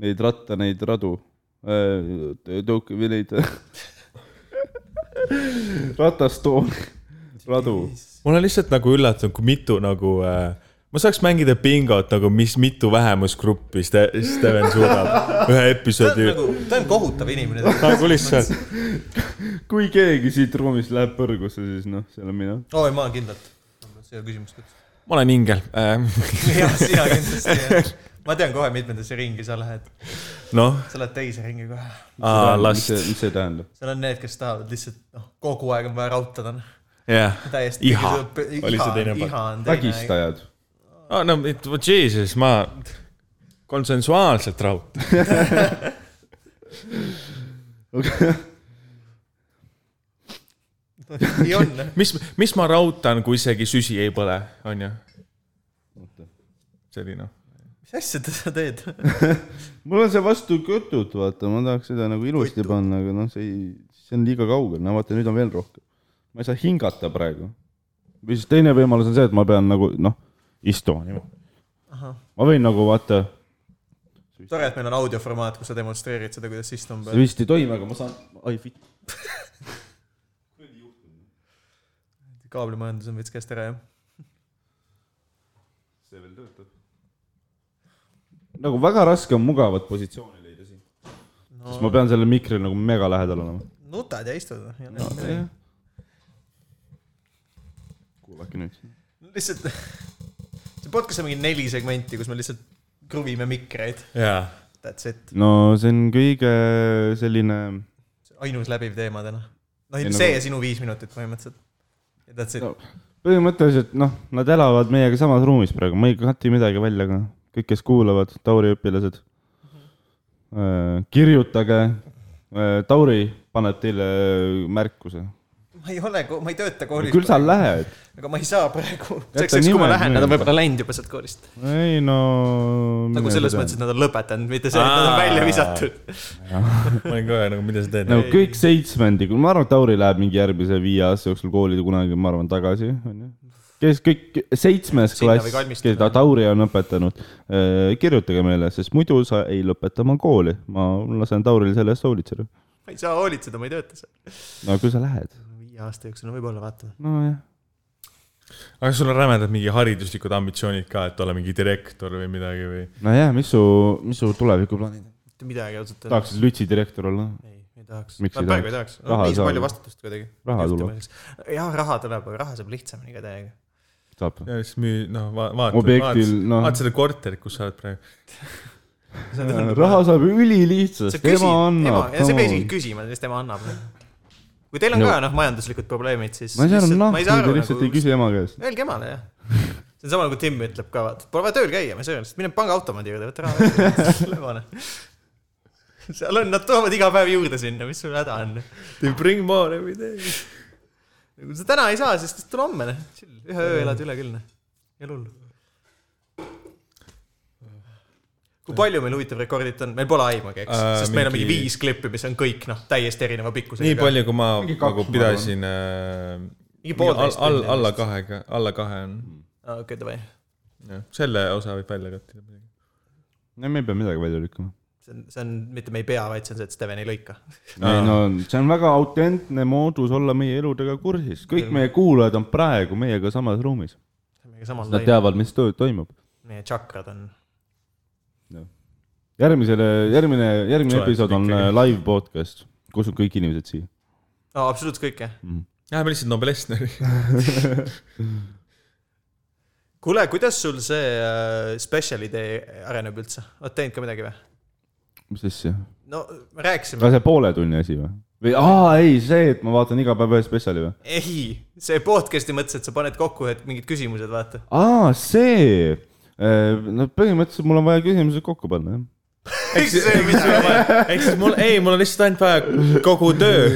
[SPEAKER 2] neid ratta , neid radu , äh, tõuke või neid ratastooli , radu .
[SPEAKER 3] ma olen lihtsalt nagu üllatunud , kui mitu nagu äh, , ma saaks mängida bingot nagu , mis mitu vähemusgruppi Ste- , Steven suudab ühe
[SPEAKER 1] ta on
[SPEAKER 3] episoodi
[SPEAKER 1] nagu , ta on kohutav inimene .
[SPEAKER 3] nagu lihtsalt ,
[SPEAKER 2] kui keegi siit ruumist läheb põrgusse , siis noh , see olen mina .
[SPEAKER 1] oi , ma olen kindlalt . see ei ole küsimust üldse .
[SPEAKER 3] ma olen ingel äh, .
[SPEAKER 1] jah , sina kindlasti jah . ma tean kohe , mitmendasse ringi sa lähed .
[SPEAKER 3] noh ,
[SPEAKER 1] sa lähed teise ringi kohe .
[SPEAKER 2] mis
[SPEAKER 3] last ,
[SPEAKER 2] see , mis see tähendab ?
[SPEAKER 1] seal on need , kes tahavad lihtsalt , noh , kogu aeg on vaja raudtada .
[SPEAKER 3] jah .
[SPEAKER 1] täiesti .
[SPEAKER 3] iha , oli see teine
[SPEAKER 1] iha
[SPEAKER 3] part .
[SPEAKER 1] on teine .
[SPEAKER 2] vägistajad .
[SPEAKER 3] aa , Oh, no et- vot jesus , ma konsensuaalselt raud- .
[SPEAKER 1] nii on
[SPEAKER 3] mis , mis ma raudtan , kui isegi süsi ei põle , on ju ? selline .
[SPEAKER 1] mis asja te- sa teed ?
[SPEAKER 2] mul on see vastu kütut , vaata , ma tahaks seda nagu ilusti panna , aga noh , see ei , see on liiga kaugel , no vaata , nüüd on veel rohkem . ma ei saa hingata praegu . või siis teine võimalus on see , et ma pean nagu noh , istuma niimoodi . ma võin nagu vaata ,
[SPEAKER 1] tore , et meil on audioformaat , kus sa demonstreerid seda , kuidas istuma
[SPEAKER 2] see
[SPEAKER 1] peab .
[SPEAKER 2] vist ei toimi , aga ma saan , ai vitt .
[SPEAKER 1] kaablimajandus on veits käest ära , jah .
[SPEAKER 3] see veel töötab .
[SPEAKER 2] nagu väga raske on mugavat positsiooni leida siin no. . sest ma pean sellele mikrile nagu mega lähedal olema .
[SPEAKER 1] nutad ja istud , noh .
[SPEAKER 2] kuulake nüüd .
[SPEAKER 1] lihtsalt , see podcast on mingi neli segmenti , kus me lihtsalt kruvime mikreid .
[SPEAKER 3] jaa .
[SPEAKER 1] That's it ,
[SPEAKER 2] no see on kõige selline ,
[SPEAKER 1] ainus läbiv teema täna . noh ,
[SPEAKER 2] Ei,
[SPEAKER 1] see
[SPEAKER 2] nagu-
[SPEAKER 1] ja sinu viis minutit põhimõtteliselt . That's it
[SPEAKER 2] No. . põhimõtteliselt noh , nad elavad meiega samas ruumis praegu , ma ei kati midagi välja ka . kõik , kes kuulavad , Tauri õpilased , kirjutage . Tauri paneb teile äh, märkuse .
[SPEAKER 1] ma ei ole , ma ei tööta koolis .
[SPEAKER 2] küll sa . lähed .
[SPEAKER 1] aga ma ei saa praegu .
[SPEAKER 2] Jäta
[SPEAKER 1] selleks ajaks , kui ma
[SPEAKER 2] nimed
[SPEAKER 1] lähen , nad on
[SPEAKER 2] meelde.
[SPEAKER 1] võib-olla läinud juba sealt koolist .
[SPEAKER 2] ei no .
[SPEAKER 1] nagu selles mõttes , et nad on lõpetanud , mitte see , et nad on välja visatud .
[SPEAKER 3] ma olin kohe nagu , mida sa teed ?
[SPEAKER 2] nagu kõik seitsmendikud , ma arvan , et Tauri läheb mingi järgmise viie aasta jooksul kooli kunagi , ma arvan , tagasi , onju . kes kõik , seitsmes
[SPEAKER 1] Sinna või
[SPEAKER 2] klass ,
[SPEAKER 1] kalmistule.
[SPEAKER 2] keda Tauri on õpetanud , kirjutage meile , sest muidu sa ei lõpeta oma kooli . ma lasen Tauril selle eest hoolitseda .
[SPEAKER 1] ma ei saa hoolitseda , ma ei tööta seal .
[SPEAKER 2] no küll sa lähed .
[SPEAKER 1] viie aasta jooksul , no võib-olla vaatame .
[SPEAKER 2] nojah .
[SPEAKER 3] aga sul on rämedad mingi hariduslikud ambitsioonid ka , et olla mingi direktor või midagi või ?
[SPEAKER 2] nojah , mis su , mis su tulevikuplaanid on ?
[SPEAKER 1] mitte midagi ausalt öeldes .
[SPEAKER 2] tahaksid lütsi direktor olla ?
[SPEAKER 1] ei , ei tahaks .
[SPEAKER 2] Miks ei
[SPEAKER 1] praegu ei tahaks .
[SPEAKER 2] Raha ei saa
[SPEAKER 1] piisab palju
[SPEAKER 2] ju.
[SPEAKER 1] vastutust kuidagi .
[SPEAKER 2] Raha tuleb. .
[SPEAKER 1] jah , raha tuleb , aga raha saab lihtsamini ka täiega .
[SPEAKER 2] saab .
[SPEAKER 3] ja siis müü , noh , vaata , vaata
[SPEAKER 2] objektil , noh ,
[SPEAKER 3] vaata seda korterit , kus sa oled praegu .
[SPEAKER 2] raha saab ülilihtsast , ema annab .
[SPEAKER 1] ja sa ei pea isegi küsima , siis tema annab . kui teil on
[SPEAKER 2] No.
[SPEAKER 1] ka noh , majanduslikud probleemid , siis .
[SPEAKER 2] ma ei saa aru , noh , ta lihtsalt ei . küsi ema käest .
[SPEAKER 1] nagu Öelge emale jah see on sama nagu Tim ütleb ka , vaata , pole vaja tööl käia , ma ei saa öelda , mine pangaautomaadi juurde , võta raha välja , löö vahele . seal on , nad toovad iga päev juurde sinna , mis sul häda on ?
[SPEAKER 3] They bring more every day .
[SPEAKER 1] kui Nagu sa täna ei saa , siis tule homme , noh , chill , ühe öö elad üle küll , noh , ei ole hullu . kui palju meil huvitav rekordit on , meil pole aimugi , eks
[SPEAKER 3] Äh,
[SPEAKER 1] äh, , sest meil on mingi
[SPEAKER 3] mingi-
[SPEAKER 1] viis klippi , mis on kõik , noh , täiesti erineva pikkusega .
[SPEAKER 3] nii . palju , kui ma
[SPEAKER 2] Mingi kaks,
[SPEAKER 3] nagu
[SPEAKER 2] ma
[SPEAKER 3] pidasin äh, .
[SPEAKER 1] mingi
[SPEAKER 3] all
[SPEAKER 1] poolteist ,
[SPEAKER 3] all ,
[SPEAKER 1] tundi
[SPEAKER 3] alla
[SPEAKER 1] vist.
[SPEAKER 3] kahega , alla kahe on .
[SPEAKER 2] Mm.
[SPEAKER 1] Ah, okei , davai ,
[SPEAKER 3] jah , selle osa võib välja kattida muidugi .
[SPEAKER 2] no me ei pea midagi välja lükkama .
[SPEAKER 1] see on , see on mitte me ei pea , vaid see on see , et Steven ei lõika .
[SPEAKER 2] ei no see on väga autentne moodus olla meie eludega kursis , kõik meie kuulajad on praegu meiega samas ruumis .
[SPEAKER 1] meiega samal
[SPEAKER 2] Nad
[SPEAKER 1] lainel ,
[SPEAKER 2] teavad , mis töö toimub .
[SPEAKER 1] meie tšakrad on ,
[SPEAKER 2] järgmisele , järgmine , järgmine
[SPEAKER 3] Soe,
[SPEAKER 2] episood on
[SPEAKER 3] ikkagi.
[SPEAKER 2] äh, live podcast , kus on kõik inimesed siia .
[SPEAKER 1] no Ah, absoluutselt kõik , jah .
[SPEAKER 3] Läheme lihtsalt Nobelestneri .
[SPEAKER 1] kuule , kuidas sul see äh, special idee areneb üldse , oled teinud ka midagi või ?
[SPEAKER 2] mis asja ?
[SPEAKER 1] no me rääkisime
[SPEAKER 2] aga see poole tunni asi või ? või aa , ei see , et ma vaatan iga päev ühe spetsiali või ?
[SPEAKER 1] ei , see podcast'i mõttes , et sa paned kokku ühed mingid küsimused , vaata .
[SPEAKER 2] aa , see . no põhimõtteliselt mul on vaja küsimused kokku panna , jah .
[SPEAKER 3] ehk siis mul , ei , mul on lihtsalt ainult vaja kogu töö .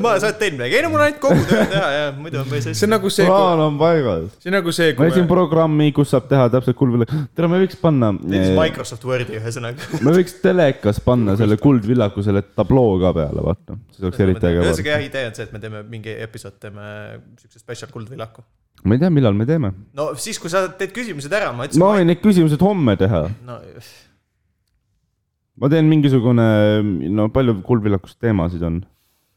[SPEAKER 1] ma , sa oled teinud midagi , ei no mul on ainult kogu töö teha ja muidu on päris hästi .
[SPEAKER 3] see on nagu see ,
[SPEAKER 2] plaan on paigas .
[SPEAKER 3] see on nagu see ,
[SPEAKER 2] ma
[SPEAKER 3] kui
[SPEAKER 2] leidsin
[SPEAKER 3] me ,
[SPEAKER 2] programmi , kus saab teha täpselt kulvile , tere , me võiks panna , äh, me
[SPEAKER 1] Microsoft Wordi ühesõnaga .
[SPEAKER 2] võiks telekas panna selle kuldvillaku selle tabloo ka peale , vaata , see oleks eriti äge
[SPEAKER 1] ühesõnaga
[SPEAKER 2] vaadata .
[SPEAKER 1] jah , idee on see , et me teeme mingi episood , teeme siukse spetsial kuldvillaku .
[SPEAKER 2] ma ei tea , millal me teeme .
[SPEAKER 1] no siis , kui sa teed küsimused ära , ma
[SPEAKER 2] ma
[SPEAKER 1] ütlesin .
[SPEAKER 2] võin need küsimused homme teha ,
[SPEAKER 1] no
[SPEAKER 2] ma teen mingisugune , no palju kuldvillakus teemasid on ?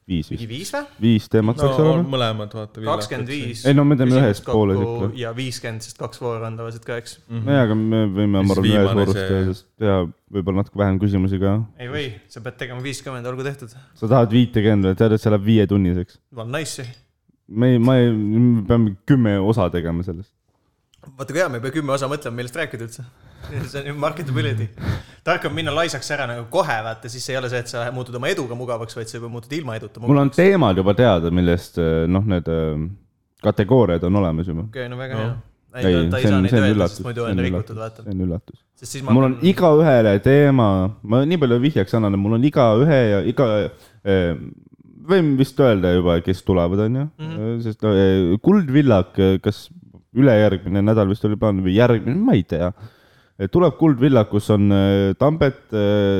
[SPEAKER 2] viis vist
[SPEAKER 1] mingi , viis või ?
[SPEAKER 2] viis teemat
[SPEAKER 3] no
[SPEAKER 2] saaks olema
[SPEAKER 3] on . mõlemad , vaata .
[SPEAKER 1] kakskümmend . viis .
[SPEAKER 2] Ei, no me teeme ühes pooles ikka.
[SPEAKER 1] ja viiskümmend , sest kaks vooru on tavaliselt ka , eks .
[SPEAKER 2] nojah , aga me võime , ma
[SPEAKER 3] Siis
[SPEAKER 2] arvan , ühes
[SPEAKER 3] mm-hmm. viimane
[SPEAKER 2] voorus
[SPEAKER 3] see-
[SPEAKER 2] teha , sest teha võib-olla natuke vähem küsimusi ka
[SPEAKER 1] ei või , sa pead tegema viiskümmend , olgu tehtud .
[SPEAKER 2] sa tahad viitekümmet või , tead , et see läheb viietunniseks .
[SPEAKER 1] on nice .
[SPEAKER 2] me ei , ma ei , me peame kümme osa tegema sellest .
[SPEAKER 1] vaata kui hea , me ei pea kümme osa mõtlema , millest rääkida üldse . see on ju marketability . tark on minna laisaks ära nagu kohe , vaata , siis ei ole see , et sa muutud oma eduga mugavaks , vaid sa juba muutud ilma eduta
[SPEAKER 2] mul on
[SPEAKER 1] mugavaks .
[SPEAKER 2] teemad juba teada , millest eh, noh , need eh, kategooriad on olemas juba .
[SPEAKER 1] okei , no väga hea .
[SPEAKER 2] ei ,
[SPEAKER 1] ei , ta ei
[SPEAKER 2] see
[SPEAKER 1] saa
[SPEAKER 2] on ,
[SPEAKER 1] neid
[SPEAKER 2] see on
[SPEAKER 1] öelda , sest
[SPEAKER 2] üllatus , see
[SPEAKER 1] muidu
[SPEAKER 2] on
[SPEAKER 1] on rikutud ,
[SPEAKER 2] üllatus ,
[SPEAKER 1] vaata .
[SPEAKER 2] see on üllatus .
[SPEAKER 1] sest siis ma
[SPEAKER 2] mul on igaühele teema , ma nii palju vihjeks annan , et mul on igaühe ja iga , võin vist öelda juba , kes tulevad , on ju ,
[SPEAKER 1] Mhm.
[SPEAKER 2] sest no, eh, Kuldvillak , kas ülejärgmine nädal vist oli plaan või järgmine , ma ei tea . tuleb Kuldvillak , kus on eh, Tambet ,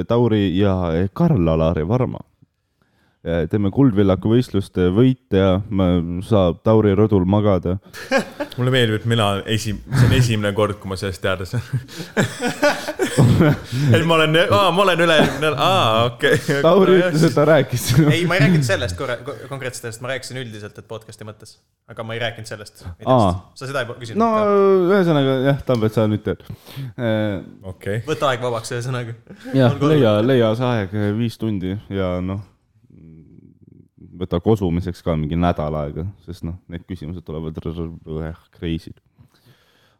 [SPEAKER 2] Tauri ja Karl-Alari Varma . teeme Kuldvillaku võistlust , võitja ma- saab Tauri rõdul magada
[SPEAKER 3] mulle meeldib , et mina esi- , see on esimene kord , kui ma sellest teada saan . et ma olen , aa , ma olen üle-eelmine , aa , okei .
[SPEAKER 2] Lauri ütles , et ta rääkis .
[SPEAKER 1] ei , ma ei rääkinud sellest korra , konkreetselt sellest , ma rääkisin üldiselt , et podcast'i mõttes . aga ma ei rääkinud sellest .
[SPEAKER 2] Aa.
[SPEAKER 1] sa seda ei küsinud
[SPEAKER 2] no
[SPEAKER 1] ka ?
[SPEAKER 2] ühesõnaga jah , Tambet , sa nüüd tead . Äh,
[SPEAKER 3] okei .
[SPEAKER 1] võta aeg vabaks , ühesõnaga .
[SPEAKER 2] jah , leia , leia see aeg äh, viis tundi ja noh , võta kosumiseks ka mingi nädal aega , sest noh , need küsimused tulevad r- r- kreisid .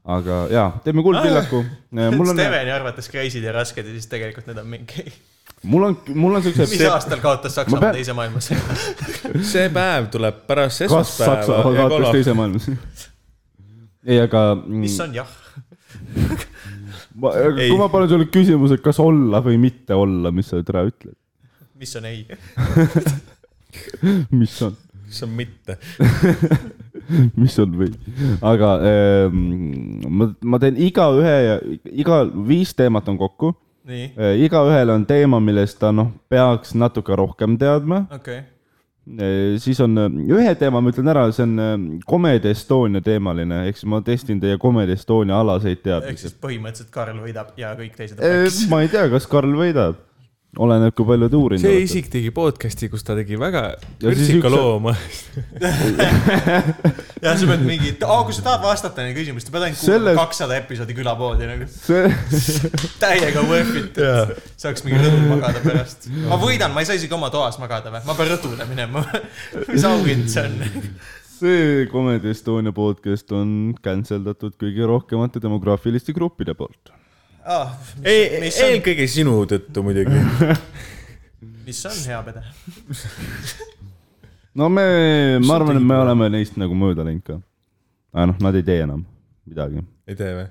[SPEAKER 2] aga jaa , teeme kuldpillaku . mul on ,
[SPEAKER 1] Steveni arvates crazy'd ja rasked ja siis tegelikult need on mingi ,
[SPEAKER 2] mul on , mul on
[SPEAKER 1] mis
[SPEAKER 2] siukse ,
[SPEAKER 1] aastal kaotas Saksamaa
[SPEAKER 2] pean-
[SPEAKER 1] pean... teise maailmasõja ?
[SPEAKER 3] see päev tuleb pärast
[SPEAKER 2] kas Saksa
[SPEAKER 3] esmaspäeva ja
[SPEAKER 2] kaotas
[SPEAKER 3] kolmapäeva .
[SPEAKER 2] teise maailmasõja ? ei , aga mm,
[SPEAKER 1] mis on jah ?
[SPEAKER 2] ma, kui ma panen sulle küsimuse , kas olla või mitte olla , mis sa täna ütled ,
[SPEAKER 1] mis on ei ?
[SPEAKER 2] mis on ,
[SPEAKER 3] see on mitte .
[SPEAKER 2] mis on või , aga ähm, ma , ma teen igaühe ja iga viis teemat on kokku .
[SPEAKER 1] nii ,
[SPEAKER 2] igaühel on teema , millest ta noh , peaks natuke rohkem teadma .
[SPEAKER 1] okei okay. .
[SPEAKER 2] siis on äh, ühe teema , ma ütlen ära , see on äh, Comedy Estonia teemaline , ehk siis ma testin teie Comedy Estonia alaseid
[SPEAKER 1] ehk
[SPEAKER 2] teadmisi Äh,
[SPEAKER 1] siis . põhimõtteliselt Karl võidab ja kõik teised on pekkis .
[SPEAKER 2] ma ei tea , kas Karl võidab , oleneb , kui palju te uurinud
[SPEAKER 8] see
[SPEAKER 2] olete .
[SPEAKER 8] isik tegi podcast'i , kus ta tegi väga
[SPEAKER 2] Ja siis
[SPEAKER 8] vürtsika
[SPEAKER 2] üks-
[SPEAKER 8] loo oma .
[SPEAKER 1] ja sa pead mingi , kui sa tahad vastata neile küsimustele , pead ainult kuulama
[SPEAKER 2] Selles-
[SPEAKER 1] kakssada episoodi külapoodi nagu .
[SPEAKER 2] see
[SPEAKER 1] täiega worth it , saaks mingi rõdul magada pärast . ma võidan , ma ei saa isegi oma toas magada või , ma pean rõdule minema . mis auhind see on ?
[SPEAKER 2] see Comedy Estonia podcast on cancel datud kõige rohkemate demograafiliste gruppide poolt .
[SPEAKER 3] ei ,
[SPEAKER 1] Ah, mis on ,
[SPEAKER 3] eelkõige sinu tõttu muidugi .
[SPEAKER 1] mis on hea pede ?
[SPEAKER 2] no me , ma arvan , et me oleme neist nagu mööda läinud ka . aga noh , nad ei tee enam midagi .
[SPEAKER 3] ei tee või ?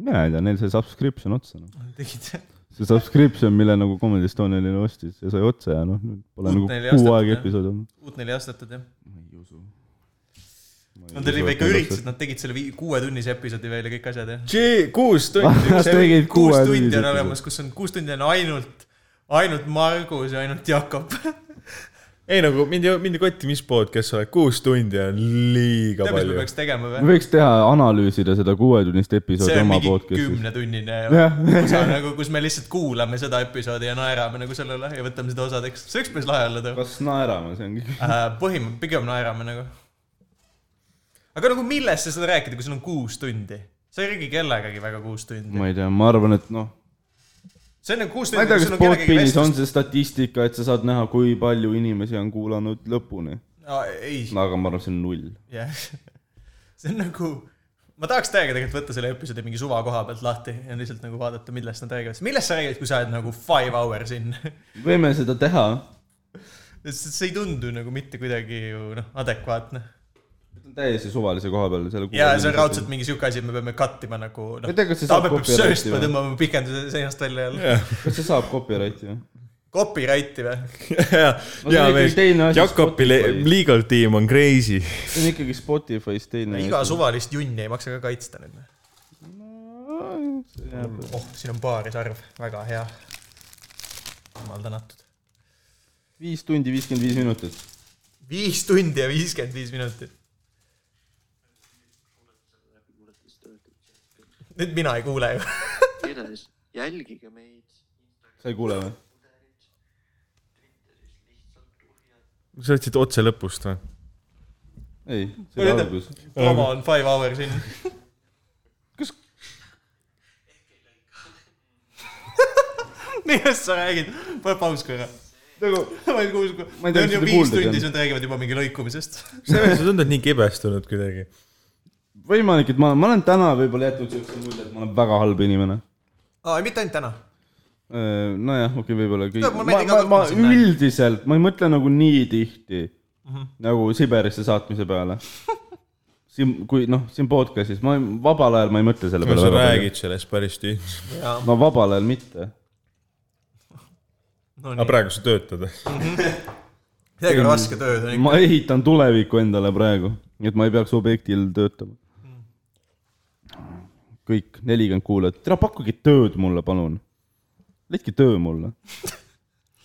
[SPEAKER 2] mina ei tea , neil sai subscription otsa no. .
[SPEAKER 1] tegid
[SPEAKER 2] see subscription , mille nagu Comedy Estonia neile ostis , see sai otsa ja noh , nüüd pole
[SPEAKER 1] Uut
[SPEAKER 2] nagu
[SPEAKER 1] neile ei
[SPEAKER 2] kuu
[SPEAKER 1] ostetud,
[SPEAKER 2] aega
[SPEAKER 1] jah?
[SPEAKER 2] episoodi olnud .
[SPEAKER 1] uut neile ei ostetud jah ?
[SPEAKER 2] ma ei usu .
[SPEAKER 1] Nad olid ikka üritasid , nad tegid selle vii- kuuetunnise episoodi veel ja kõik asjad jah ?
[SPEAKER 3] kuus tundi .
[SPEAKER 2] Nad tegid
[SPEAKER 1] kuus
[SPEAKER 2] kuue
[SPEAKER 1] tundi
[SPEAKER 2] tundi
[SPEAKER 1] on . olemas , kus on kuus tundi on ainult , ainult Margus ja ainult Jakob .
[SPEAKER 3] ei nagu mind ei , mind ei kotti , mis podcast sa oled , kuus tundi on liiga
[SPEAKER 1] tead , mis me
[SPEAKER 3] palju .
[SPEAKER 1] peaks tegema või ?
[SPEAKER 2] võiks teha , analüüsida seda kuuetunnist episoodi
[SPEAKER 1] see on
[SPEAKER 2] oma
[SPEAKER 1] mingi
[SPEAKER 2] podcast'is .
[SPEAKER 1] kümnetunnine
[SPEAKER 2] Jah.
[SPEAKER 1] osa nagu , kus me lihtsalt kuulame seda episoodi ja naerame nagu selle üle ja võtame seda osadeks . see võiks päris lahe olla too .
[SPEAKER 2] kas naerama , see ongi .
[SPEAKER 1] põhim- , pigem naerame nagu . aga nagu millest sa seda rääkida , kui sul on kuus tundi ? sa ei räägi kellegagi väga kuus tundi .
[SPEAKER 2] ma ei tea , ma arvan , et noh
[SPEAKER 1] see on nagu kuus
[SPEAKER 2] ma
[SPEAKER 1] tundi ,
[SPEAKER 2] ei tea ,
[SPEAKER 1] kui
[SPEAKER 2] kas
[SPEAKER 1] sul on kellegagi
[SPEAKER 2] Podbeanis on
[SPEAKER 1] vestlus .
[SPEAKER 2] see statistika , et sa saad näha , kui palju inimesi on kuulanud lõpuni .
[SPEAKER 1] ei ,
[SPEAKER 2] aga ma arvan , see on null .
[SPEAKER 1] jah . see on nagu , ma tahaks täiega tegelikult võtta selle episoodi mingi suva koha pealt lahti ja lihtsalt nagu vaadata , millest nad räägivad . millest sa räägid , kui sa oled nagu five hours in ?
[SPEAKER 2] võime seda teha .
[SPEAKER 1] see see ei tundu nagu mitte kuidagi ju noh , adekvaatne .
[SPEAKER 2] täiesti suvalise koha peal selle .
[SPEAKER 1] ja see on raudselt . mingi siuke asi , et me peame cut ima nagu
[SPEAKER 2] Ma
[SPEAKER 1] noh
[SPEAKER 2] ei tea, kas see . saab
[SPEAKER 1] Taabe peab
[SPEAKER 2] copyrighti
[SPEAKER 1] sööstma ,
[SPEAKER 2] või?
[SPEAKER 1] tõmbame pikenduse seinast välja jälle .
[SPEAKER 2] kas see saab copyrighti või ?
[SPEAKER 1] Copyrighti või ?
[SPEAKER 2] see
[SPEAKER 3] ja
[SPEAKER 2] on ikkagi
[SPEAKER 3] meil
[SPEAKER 2] teine asi
[SPEAKER 3] Jakobi le-
[SPEAKER 2] Spotify's.
[SPEAKER 3] legal tiim on crazy .
[SPEAKER 2] see on ikkagi Spotify's teine .
[SPEAKER 1] iga suvalist junni ei maksa ka kaitsta nüüd . oh , siin on paarisarv , väga hea . jumal tänatud .
[SPEAKER 2] viis tundi , viiskümmend viis minutit .
[SPEAKER 1] viis tundi ja viiskümmend viis minutit . nüüd mina ei kuule ju .
[SPEAKER 9] igatahes jälgige meid .
[SPEAKER 2] sa ei kuule või ?
[SPEAKER 3] sa võtsid otse lõpust või ?
[SPEAKER 2] ei , see oli
[SPEAKER 1] Oli ta-
[SPEAKER 2] algus .
[SPEAKER 1] promo on five hours in . kus ? millest sa räägid ? pane paus korra .
[SPEAKER 2] nagu ,
[SPEAKER 1] ma ei kuulnud ,
[SPEAKER 2] Ma
[SPEAKER 1] kui .
[SPEAKER 2] ei
[SPEAKER 1] on
[SPEAKER 2] tea, kas
[SPEAKER 1] ju
[SPEAKER 2] seda
[SPEAKER 1] viis
[SPEAKER 2] kuulda
[SPEAKER 1] tundi ,
[SPEAKER 2] pean.
[SPEAKER 1] siis nad räägivad juba mingi lõikumisest .
[SPEAKER 3] sa tundud nii kibestunud kuidagi .
[SPEAKER 2] võimalik , et ma , ma olen täna võib-olla jätnud siukse mulje , et ma olen väga halb inimene .
[SPEAKER 1] aa , ei mitte ainult täna .
[SPEAKER 2] nojah , Äh, okei okay, , võib-olla kõik .
[SPEAKER 1] Tead, mul
[SPEAKER 2] ma ,
[SPEAKER 1] meeldib
[SPEAKER 2] ma
[SPEAKER 1] ka ,
[SPEAKER 2] ma
[SPEAKER 1] kokku sinna.
[SPEAKER 2] üldiselt , ma ei mõtle nagu nii tihti mm
[SPEAKER 1] Mhm.
[SPEAKER 2] -hmm. nagu Siberisse saatmise peale . siin , kui noh , siin podcast'is ma ei- vabal ajal ma ei mõtle selle peale
[SPEAKER 3] sa . räägid sellest päris tihti .
[SPEAKER 2] no vabal ajal mitte .
[SPEAKER 3] aga praegu sa töötad ?
[SPEAKER 1] täiega raske tööd on ikka .
[SPEAKER 2] ma ehitan tulevikku endale praegu , et ma ei peaks objektil töötama . kõik nelikümmend kuulajat , tere pakkuge tööd mulle , palun . leidke töö mulle .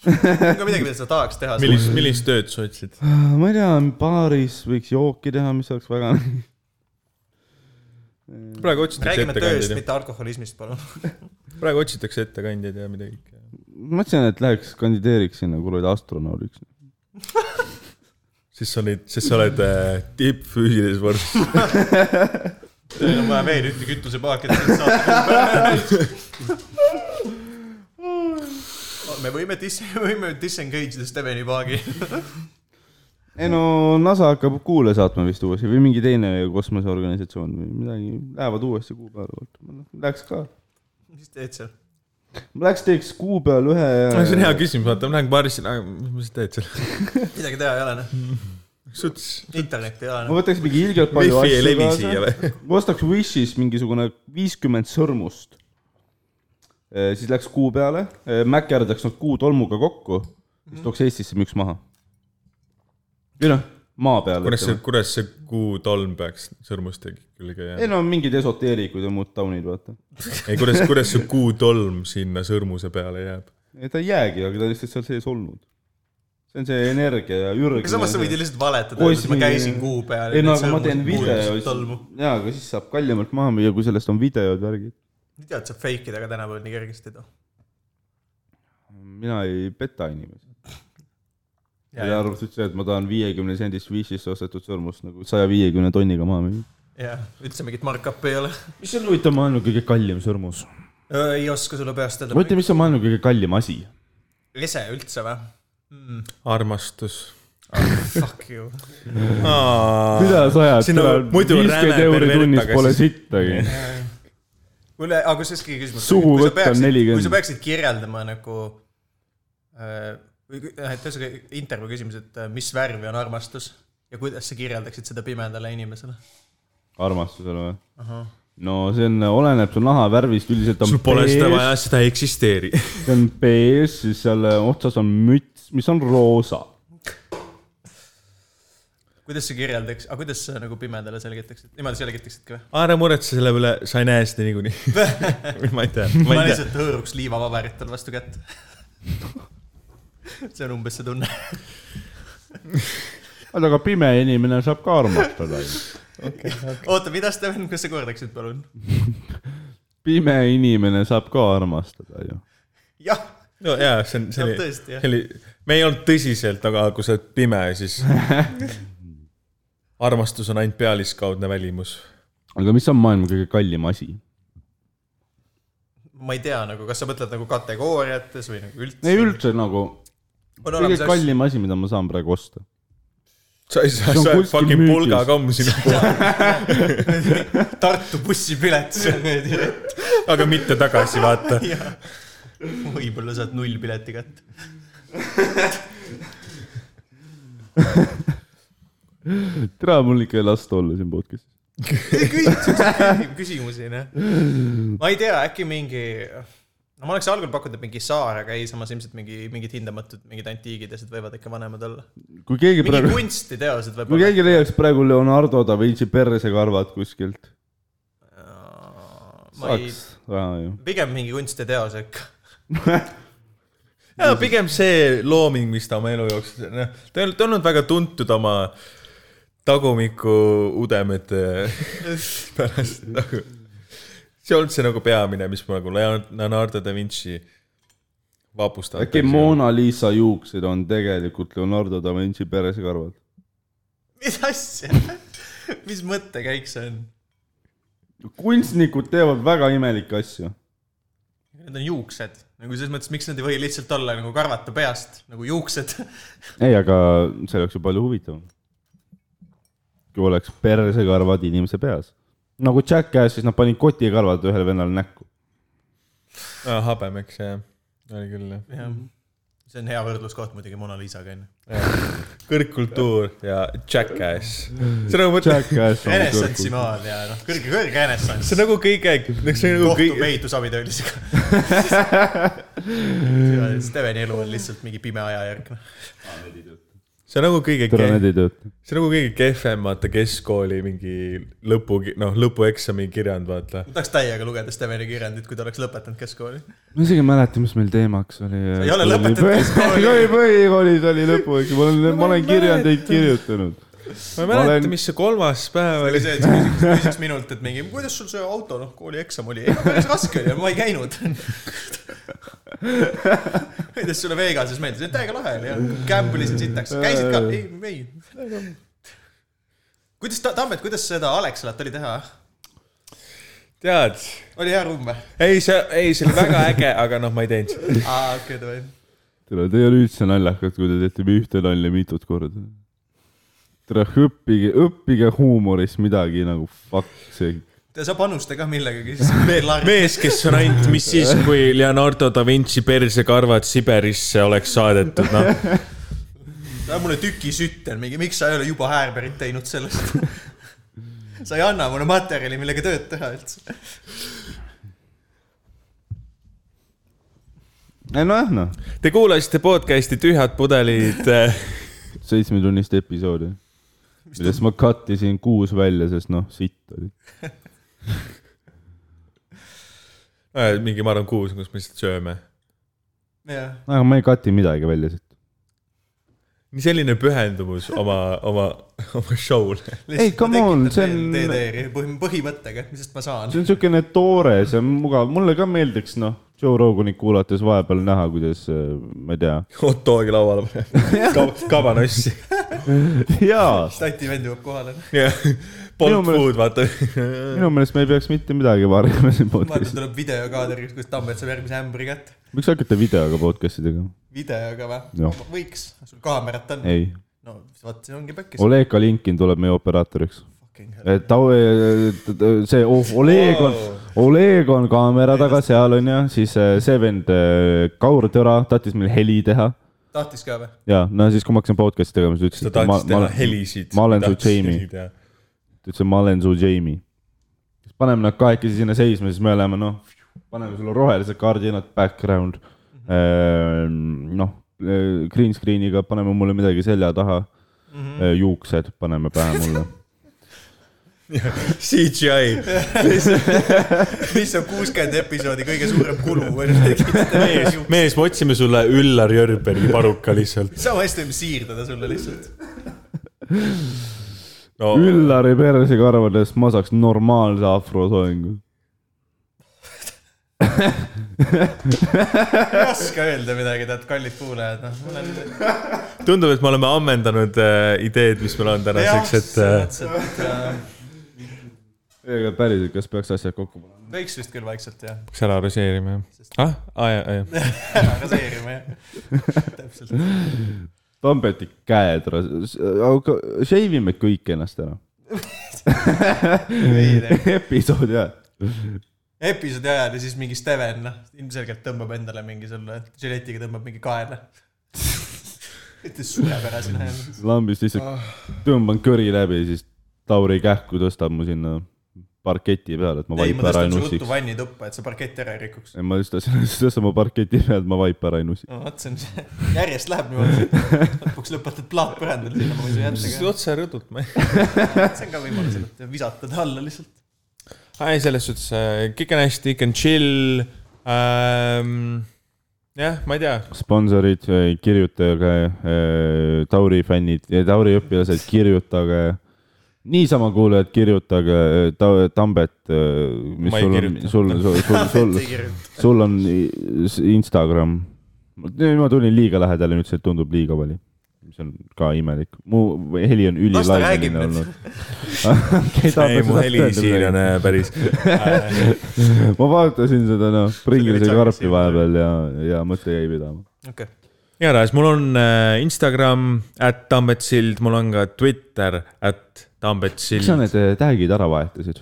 [SPEAKER 1] on ka midagi , mida sa tahaks teha .
[SPEAKER 3] millist , millist tööd sa otsid ?
[SPEAKER 2] ma ei tea , baaris võiks jooki teha , mis oleks väga
[SPEAKER 3] praegu otsitakse
[SPEAKER 1] räägime tööst ,
[SPEAKER 3] ettekandeid .
[SPEAKER 1] mitte alkoholismist , palun .
[SPEAKER 3] praegu otsitakse ettekandjaid ja midagi .
[SPEAKER 2] ma mõtlesin , et läheks kandideeriks sinna kuradi astronaudiks .
[SPEAKER 3] siis sa olid , siis sa oled äh, tippfüüsilises vormis .
[SPEAKER 1] meil on vaja veel ühte kütusepaaki , et siit saata . me võime dis- , võime disengage ida Steveni paagi .
[SPEAKER 2] ei no NASA hakkab kuule saatma vist uuesti või mingi teine kosmoseorganisatsioon või midagi , lähevad uuesti kuu peale , läheks ka .
[SPEAKER 1] mis teed seal ?
[SPEAKER 2] ma läheks teeks kuu peal ühe ja
[SPEAKER 3] see on hea küsimus , vaata , ma lähen baarisse , mis sa teed seal ?
[SPEAKER 1] midagi teha ei ole , noh .
[SPEAKER 3] suts .
[SPEAKER 1] internetti ei ole , noh.
[SPEAKER 2] ma võtaks mingi ilgelt palju
[SPEAKER 3] wifi ei
[SPEAKER 2] asju
[SPEAKER 3] levi siia
[SPEAKER 2] kaasa ,
[SPEAKER 3] või ?
[SPEAKER 2] ostaks Wish'is mingisugune viiskümmend sõrmust . siis läheks kuu peale , mäkerdaks nad kuu tolmuga kokku ,
[SPEAKER 3] Mhm.
[SPEAKER 2] siis tooks Eestisse müks maha . või noh , maa peale .
[SPEAKER 3] kuidas see , kuidas see kuu tolm peaks sõrmust tegi külge
[SPEAKER 2] ei
[SPEAKER 3] jääma ?
[SPEAKER 2] no mingid esoteerikud ja muud taunid , vaata .
[SPEAKER 3] ei , kuidas , kuidas see kuu tolm sinna sõrmuse peale jääb ?
[SPEAKER 2] ei ta ei jäägi , aga ta on lihtsalt seal sees olnud . see on see energia ja ürg .
[SPEAKER 1] aga samas sa võid ju lihtsalt valetada , et ma
[SPEAKER 2] Kosmiline-
[SPEAKER 1] käisin kuu peal .
[SPEAKER 2] ei no aga ma teen video , jaa , aga siis saab kallimalt maha müüa , kui sellest on videod , värgid .
[SPEAKER 1] tead , saab fake ida , aga tänapäeval nii kergesti ei too .
[SPEAKER 2] mina ei peta inimesi .
[SPEAKER 1] Jaa,
[SPEAKER 2] ja
[SPEAKER 1] jaa.
[SPEAKER 2] arvasid üldse , et ma tahan viiekümne sendist viisist ostetud sõrmust nagu saja viiekümne tonniga maha müüa .
[SPEAKER 1] jah , üldse mingit mark-up'i ei ole .
[SPEAKER 2] mis on huvitav maailma kõige kallim sõrmus ?
[SPEAKER 1] ei oska sulle peast öelda .
[SPEAKER 2] mõtle , mis on maailma kõige kallim asi .
[SPEAKER 1] rese üldse või ?
[SPEAKER 3] armastus .
[SPEAKER 1] Fuck you .
[SPEAKER 2] mida sa ajad ,
[SPEAKER 3] Sinna muidu
[SPEAKER 2] viiskümmend
[SPEAKER 3] räme
[SPEAKER 2] euri
[SPEAKER 3] pervert
[SPEAKER 2] tunnis
[SPEAKER 3] tagasi.
[SPEAKER 2] pole sittagi .
[SPEAKER 1] kuule , aga kusjuures kõige küsimus .
[SPEAKER 2] Suhu võtta on 40.
[SPEAKER 1] kui sa peaksid kirjeldama nagu äh, , et ühesõnaga intervjuu küsimus , et äh, mis värvi on armastus ja kuidas sa kirjeldaksid seda pimedale inimesele ?
[SPEAKER 2] armastusele või ? no see on , oleneb su naha värvist , üldiselt on
[SPEAKER 3] sul pole seda
[SPEAKER 2] beež,
[SPEAKER 3] vaja , seda ei eksisteeri .
[SPEAKER 2] see on beež , siis seal otsas on müts , mis on roosa .
[SPEAKER 1] kuidas sa kirjeldaks , aga kuidas sa nagu pimedale selgitaksid , niimoodi selgitaksidki või ?
[SPEAKER 3] ära muretse selle üle , sa ei näe seda niikuinii . ma ei tea , ma
[SPEAKER 1] ma
[SPEAKER 3] ei tea .
[SPEAKER 1] lihtsalt hõõruks liivapaberit tal vastu kätt . see on umbes see tunne .
[SPEAKER 2] oota , aga pime inimene saab ka armastada ju .
[SPEAKER 1] oota , mida Steven , kas sa kordaksid , palun ?
[SPEAKER 2] pime inimene saab ka armastada ju .
[SPEAKER 1] jah ,
[SPEAKER 3] no jaa , see on , see
[SPEAKER 1] Jah,
[SPEAKER 3] oli ,
[SPEAKER 1] tõesti, jah.
[SPEAKER 3] see oli , me ei olnud tõsiselt , aga kui sa oled pime , siis armastus on ainult pealiskaudne välimus .
[SPEAKER 2] aga mis on maailma kõige kallim asi ?
[SPEAKER 1] ma ei tea nagu , kas sa mõtled nagu kategooriates või nagu üldse ?
[SPEAKER 2] ei üldse nagu ,
[SPEAKER 1] on
[SPEAKER 2] kõige
[SPEAKER 1] olemas asju ,
[SPEAKER 2] kallim asi , mida ma saan praegu osta .
[SPEAKER 3] sa ei saa ,
[SPEAKER 2] See on
[SPEAKER 3] sa oled
[SPEAKER 2] kuskil
[SPEAKER 3] fucking
[SPEAKER 2] müügis.
[SPEAKER 3] pulgakomm sinu poole ,
[SPEAKER 1] Tartu bussipilet , see on meie direkt .
[SPEAKER 3] aga mitte tagasi , vaata .
[SPEAKER 1] võib-olla saad null pileti kätte .
[SPEAKER 2] tere , mul ikka ei lasta olla siin podcast'is .
[SPEAKER 1] küsimusi , küsimusi , noh . ma ei tea , äkki mingi , no ma oleks algul pakkunud , et mingi saar , aga ei , samas ilmselt mingi , mingid hindamatud , mingid antiigid ja asjad võivad ikka vanemad olla .
[SPEAKER 2] kui keegi
[SPEAKER 1] mingi
[SPEAKER 2] praegu ,
[SPEAKER 1] kunstiteosed
[SPEAKER 2] kui
[SPEAKER 1] võib-olla .
[SPEAKER 2] keegi leiaks praegu Leonardo da Vinci persekarvad kuskilt ,
[SPEAKER 1] ma ei ,
[SPEAKER 2] saaks raha ju .
[SPEAKER 1] pigem mingi kunstiteos ikka .
[SPEAKER 3] jaa , pigem see looming , mis ta oma elu jooksul , noh , ta ei olnud , ta ei olnud väga tuntud oma tagumiku udemete pärast nagu . see ei olnud see nagu peamine , mis ma nagu Leon- Leonardo da Vinci vapustab .
[SPEAKER 2] äkki Mona Lisa juuksed on tegelikult Leonardo da Vinci persekarvad ?
[SPEAKER 1] mis asja ? mis mõttekäik see on ?
[SPEAKER 2] kunstnikud teevad väga imelikke asju .
[SPEAKER 1] Need on juuksed , nagu selles mõttes , miks nad ei või lihtsalt olla nagu karvata peast nagu juuksed .
[SPEAKER 2] ei , aga see oleks ju palju huvitavam . kui oleks persekarvad inimese peas . nagu Jackassis nad panid kotikarvad ühele vennale näkku .
[SPEAKER 3] ah, . habemeks jah , oli küll jah .
[SPEAKER 1] see on hea võrdluskoht muidugi Mona Lisaga onju .
[SPEAKER 3] kõrgkultuur ja jackass . see on nagu mõtle ,
[SPEAKER 2] Jackass on
[SPEAKER 1] Enessensi
[SPEAKER 2] kõrgkuld .
[SPEAKER 1] maal ja noh , kõrge , kõrge Enessens
[SPEAKER 3] see on . nagu kõige , see on nagu
[SPEAKER 1] kohtub
[SPEAKER 3] kõige ,
[SPEAKER 1] ehitusabilisega . Steveni elu on lihtsalt mingi pime ajajärk . noh.
[SPEAKER 3] see on nagu kõige ,
[SPEAKER 2] tere , need
[SPEAKER 3] see
[SPEAKER 2] ei tööta .
[SPEAKER 3] on nagu kõige kehvem , vaata keskkooli mingi lõpu , noh , lõpueksami kirjand , vaata .
[SPEAKER 1] ma tahaks täiega lugeda Steveni kirjandit , kui ta oleks lõpetanud keskkooli .
[SPEAKER 2] ma isegi ei mäleta , mis meil teemaks oli .
[SPEAKER 1] ei ole lõpetatud keskkooli.
[SPEAKER 2] põhikoolis oli lõpuks , ma olen , ma olen kirjandeid kirjutanud .
[SPEAKER 3] ma ei mäleta olen... ,
[SPEAKER 2] olen-
[SPEAKER 3] mis see kolmas päev oli .
[SPEAKER 1] see , et sa küsiks, küsiks minult , et mingi , kuidas sul see auto , noh , koolieksam oli . päris raske oli , ma ei käinud . kuidas sulle Vegases meeldis ? täiega lahe oli jah , gamblesin sitaks , käisid ka ? ei , ei . kuidas , Tambet , kuidas seda Alexalat oli teha ?
[SPEAKER 3] tead ,
[SPEAKER 1] oli hea ruum või ?
[SPEAKER 3] ei see , ei see oli väga äge , aga noh , ma ei teinud seda .
[SPEAKER 1] aa , okei , davai .
[SPEAKER 2] tere , te ei ole üldse naljakad , kui te teete ühte nalja mitut korda . tere , õppige , õppige huumorist midagi nagu fuck see .
[SPEAKER 1] sa panusta ka millegagi , siis on veel larm .
[SPEAKER 3] mees , kes on ainult , mis siis , kui Leonardo da Vinci persekarvad Siberisse oleks saadetud , noh .
[SPEAKER 1] mulle tüki sütt on mingi , miks sa ei ole juba häärberit teinud sellest ? sa ei anna mulle materjali , millega tööd teha üldse .
[SPEAKER 2] ei nojah , noh ,
[SPEAKER 3] Te kuulasite podcast'i Tühjad pudelid .
[SPEAKER 2] seitsmetunnist episoodi , millest ma cut isin kuus välja , sest noh , sitt oli .
[SPEAKER 3] Äh, mingi , ma arvan , kuus , kus me lihtsalt sööme .
[SPEAKER 1] jah ,
[SPEAKER 2] aga ma ei cut'i midagi välja siit .
[SPEAKER 3] nii selline pühendumus oma , oma , oma show'le .
[SPEAKER 2] Ei, come on, see on-
[SPEAKER 1] on . põhimõttega , sest ma saan
[SPEAKER 2] see . on siukene toores ja mugav , mulle ka meeldiks , noh , Joe Roganit kuulates vahepeal näha , kuidas , ma ei tea ,
[SPEAKER 3] hot dog'i lauale paneb , kabanossi .
[SPEAKER 2] jaa ,
[SPEAKER 1] Stati vend jõuab kohale .
[SPEAKER 3] jah ,
[SPEAKER 2] Minu
[SPEAKER 3] Bolt
[SPEAKER 2] meelest-
[SPEAKER 3] Food , vaata .
[SPEAKER 2] minu meelest me ei peaks mitte midagi varjama siin
[SPEAKER 1] vaata ,
[SPEAKER 2] podcast'is .
[SPEAKER 1] tuleb videokaader , kus Tambet saab järgmise ämbri kätte .
[SPEAKER 2] miks hakata videoga podcast'i tegema ?
[SPEAKER 1] videoga või
[SPEAKER 2] Jah. ?
[SPEAKER 1] võiks , sul kaamerat on .
[SPEAKER 2] ei ,
[SPEAKER 1] no vot , see ongi päkkis .
[SPEAKER 2] Oleg Kalinkin tuleb meie operaatoriks . et ta , see oh, Oleg on , Oleg on kaamera taga seal on ju , siis eh, see vend eh, Kaur Tõra tahtis meil heli teha
[SPEAKER 1] tahtis ka või ?
[SPEAKER 2] ja no siis , kui ma hakkasin podcast'i tegema , siis
[SPEAKER 3] ta
[SPEAKER 2] ta
[SPEAKER 3] tahtis
[SPEAKER 2] ütles ,
[SPEAKER 3] teha helisid .
[SPEAKER 2] ma olen su Jamie. . ta ütles , et ma olen su Jamie . siis paneme nad kahekesi sinna seisma , siis me oleme noh , paneme sulle rohelised kardinad , background ,
[SPEAKER 3] Mhm.
[SPEAKER 2] noh , green screen'iga paneme mulle midagi selja taha ,
[SPEAKER 3] Mhm.
[SPEAKER 2] juuksed paneme pähe mulle
[SPEAKER 3] CGI ,
[SPEAKER 1] mis on kuuskümmend episoodi kõige suurem kulu või ?
[SPEAKER 3] mees , me otsime sulle Üllar Jörbergi paruka lihtsalt .
[SPEAKER 1] sama hästi võime siirdada sulle lihtsalt .
[SPEAKER 3] no
[SPEAKER 2] Üllari persega arvades ma saaks normaalse afrosoengu .
[SPEAKER 1] raske öelda midagi , tead , kallid kuulajad , noh , mul on .
[SPEAKER 3] tundub , et me oleme ammendanud äh, ideed , mis meil on tänaseks , et äh,
[SPEAKER 2] ega päriselt , kas peaks asjad kokku panema ?
[SPEAKER 1] võiks vist küll vaikselt jah ,
[SPEAKER 3] peaks ära arroseerima jah . ah , aa jaa , jaa .
[SPEAKER 1] ära raseerima jah . täpselt .
[SPEAKER 2] Tambeti käed ras- , aga shave ime kõik ennast ära . episood jah .
[SPEAKER 1] episoodi ajal ja siis mingi Steven , noh , ilmselgelt tõmbab endale mingi selle žiletiga tõmbab mingi kaela . ütles suurepärase noh, näeme .
[SPEAKER 2] lambist lihtsalt tõmban köri läbi , siis Tauri kähku tõstab mu sinna parketi peale , et ma
[SPEAKER 1] ei ,
[SPEAKER 2] vaipa
[SPEAKER 1] ma
[SPEAKER 2] ära ei
[SPEAKER 1] tõstan su ruttu
[SPEAKER 2] nussiks .
[SPEAKER 1] vannituppa , et sa parkett ära ei rikuks .
[SPEAKER 2] ei , ma just tahtsin tõsta oma parketi peale , et ma vaipa ära ei nussiks .
[SPEAKER 1] no vot , see on see , järjest läheb niimoodi . lõpuks lõpetad plaatpõrandal , sinna ma ei saa jätta
[SPEAKER 3] otse rõdult ma ei .
[SPEAKER 1] ka . see on ka võimalus , et visata ta alla lihtsalt .
[SPEAKER 3] aa ei , selles suhtes äh, kõik on hästi , kõik on chill ähm, . jah , ma ei tea ,
[SPEAKER 2] sponsorid , kirjutage , Tauri fännid , Tauri õpilased , kirjutage . niisama kuulajad , kirjutage , Tambet , mis
[SPEAKER 3] Ma ei
[SPEAKER 2] sul on ,
[SPEAKER 3] kirjuta.
[SPEAKER 2] sul , sul , sul , sul on Instagram . ma tulin liiga lähedale , nüüd see tundub liiga vali . see on ka imelik , mu heli on
[SPEAKER 1] Las ta räägib
[SPEAKER 2] ülilaineline
[SPEAKER 1] nüüd.
[SPEAKER 2] olnud
[SPEAKER 3] ei mu heli siin on . äh, päris .
[SPEAKER 2] ma vaatasin seda noh , pringilise
[SPEAKER 1] veits
[SPEAKER 2] karpi
[SPEAKER 1] agressiivne.
[SPEAKER 2] vahepeal ja , ja mõte jäi pidama .
[SPEAKER 1] okei okay. ,
[SPEAKER 3] igatahes mul on äh, Instagram , at tambetsild , mul on ka Twitter , at
[SPEAKER 2] miks sa
[SPEAKER 3] tambetsild .
[SPEAKER 2] need eh, tag'id ära vahetasid ?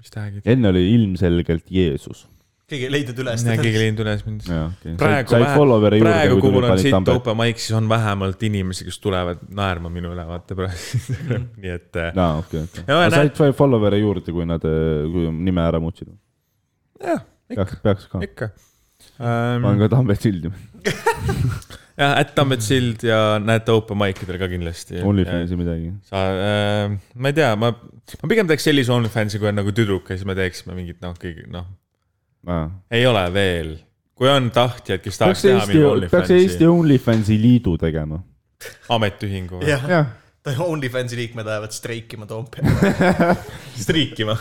[SPEAKER 3] mis tähegi ?
[SPEAKER 2] enne oli ilmselgelt Jeesus .
[SPEAKER 1] keegi ei leidnud üles .
[SPEAKER 3] keegi ei leidnud üles mind .
[SPEAKER 2] Okay.
[SPEAKER 3] praegu , praegu kui mul on siit open mic , siis on vähemalt inimesi , kes tulevad naerma minu üle , vaata praegu . nii et äh,
[SPEAKER 2] aa , okei , okei .
[SPEAKER 3] Ja ma
[SPEAKER 2] sa
[SPEAKER 3] näen-
[SPEAKER 2] said five follower'e juurde , kui nad , kui nime ära muutsid ?
[SPEAKER 3] jah ,
[SPEAKER 2] peaks , peaks ka .
[SPEAKER 3] ikka .
[SPEAKER 2] ma olen ka Tambet Sildim .
[SPEAKER 3] jah , at tambetsild ja näete open mic idel ka kindlasti .
[SPEAKER 2] OnlyFansi midagi .
[SPEAKER 3] sa äh, , ma ei tea , ma , ma pigem teeks sellise OnlyFansi , kui on nagu tüdruk ja siis me teeksime mingit noh , kõigi noh , ei ole veel . kui on tahtjaid , kes tahaks
[SPEAKER 2] peaks
[SPEAKER 3] teha
[SPEAKER 2] Eesti
[SPEAKER 3] mingi ,
[SPEAKER 2] peaks Eesti
[SPEAKER 3] OnlyFansi
[SPEAKER 2] OnlyFansi liidu tegema .
[SPEAKER 3] ametiühingu või ?
[SPEAKER 1] jah ,
[SPEAKER 2] jah ,
[SPEAKER 1] ta OnlyFansi liikmed lähevad streikima Toompeale .
[SPEAKER 3] striikima .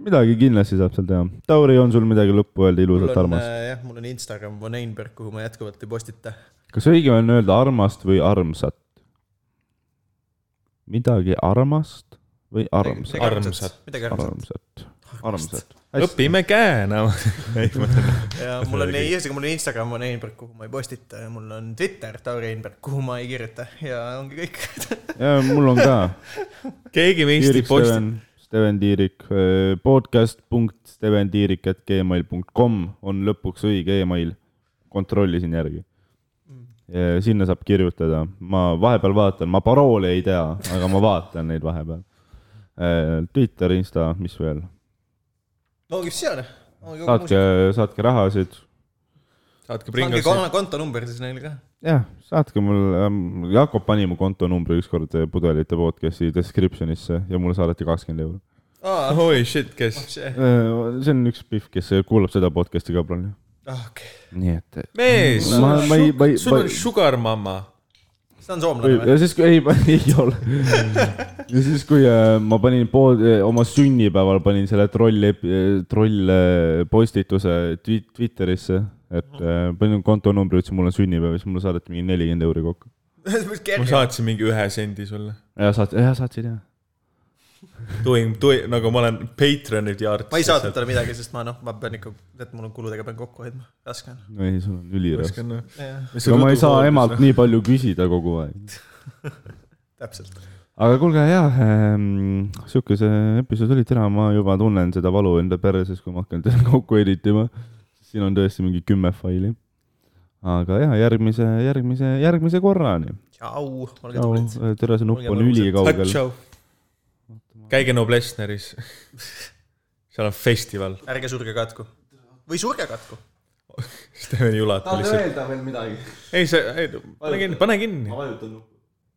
[SPEAKER 2] midagi kindlasti saab seal teha . Tauri , on sul midagi lõppu öelda
[SPEAKER 1] mul
[SPEAKER 2] ilusat ,
[SPEAKER 1] on , äh,
[SPEAKER 2] armast ?
[SPEAKER 1] jah , mul on Instagram von Einberg , kuhu ma jätkuvalt ei postita .
[SPEAKER 2] kas õige on öelda armast või armsat ? midagi armast või armsat ?
[SPEAKER 3] armsat. .
[SPEAKER 1] midagi armsat .
[SPEAKER 2] armsat , armsat .
[SPEAKER 3] õpime käänama .
[SPEAKER 1] ja mul on , ühesõnaga mul on Instagram von Einberg , kuhu ma ei postita ja mul on Twitter , Tauri Einberg , kuhu ma ei kirjuta ja ongi kõik .
[SPEAKER 2] ja mul on ka .
[SPEAKER 3] keegi meist ei
[SPEAKER 2] Tiirik
[SPEAKER 3] posti .
[SPEAKER 2] Steven , Steven Tiirik , äh, podcast.steventiirik.gmail.com on lõpuks õige email . kontrollisin järgi . sinna saab kirjutada , ma vahepeal vaatan , ma paroole ei tea , aga ma vaatan neid vahepeal . Twitter , Insta , mis veel ,
[SPEAKER 1] ongi see on . pange
[SPEAKER 2] saatke , saatke rahasid ,
[SPEAKER 3] saatke pringasse .
[SPEAKER 1] kon- kontonumber siis neile ka .
[SPEAKER 2] jah , saatke mulle , Jakob pani mu kontonumbri ükskord äh, pudelite podcast'i description'isse ja mulle saadeti kakskümmend euri .
[SPEAKER 1] aa ,
[SPEAKER 3] Holy shit , kes ?
[SPEAKER 1] see ,
[SPEAKER 2] see on üks pihv , kes kuulab seda podcast'i ka praegu .
[SPEAKER 1] ah, okei .
[SPEAKER 2] nii et
[SPEAKER 3] mees , sul
[SPEAKER 2] Ma-
[SPEAKER 3] on
[SPEAKER 2] ma ei- ma ei-
[SPEAKER 3] su- sul
[SPEAKER 2] ma-
[SPEAKER 3] on sugar mama .
[SPEAKER 1] see on soomlane
[SPEAKER 2] või
[SPEAKER 1] või ?
[SPEAKER 2] ja siis , kui ei , ei ole . ja siis , kui äh, ma panin pood , oma sünnipäeval panin selle troll , troll äh, postituse twi- Twitterisse , et äh, panin kontonumbri , ütlesin , mul on sünnipäev , siis mulle saadeti mingi nelikümmend euri kokku .
[SPEAKER 3] ma saatsin mingi ühe sendi sulle .
[SPEAKER 2] ja saat- , ja saatsid jah .
[SPEAKER 3] Doing , doing , nagu ma olen Patreonid ja artist .
[SPEAKER 1] ma ei saatnud . talle midagi , sest ma noh , ma pean ikka , tead , mul on kuludega pean kokku hoidma , raske on .
[SPEAKER 2] ei , sul on üliraske .
[SPEAKER 3] noh.
[SPEAKER 1] jah ,
[SPEAKER 2] aga ma ei saa emalt . nii palju küsida kogu aeg .
[SPEAKER 1] täpselt .
[SPEAKER 2] aga kuulge jah ähm, , sihuke see episood oli täna , ma juba tunnen seda valu enda perses , kui ma hakkan teda kokku editima . siin on tõesti mingi kümme faili . aga ja järgmise , järgmise , järgmise korrani .
[SPEAKER 1] tšau , olge
[SPEAKER 2] Nou,
[SPEAKER 1] tublid .
[SPEAKER 2] terase nupp on
[SPEAKER 1] Olge
[SPEAKER 2] ülikaugel .
[SPEAKER 3] käige Noblessneris . seal on festival .
[SPEAKER 1] ärge surge katku . või surge katku .
[SPEAKER 3] Steven Julat lihtsalt .
[SPEAKER 2] öelda veel midagi ?
[SPEAKER 3] ei , see , pane kinni , pane kinni .
[SPEAKER 2] vajutan nuppu .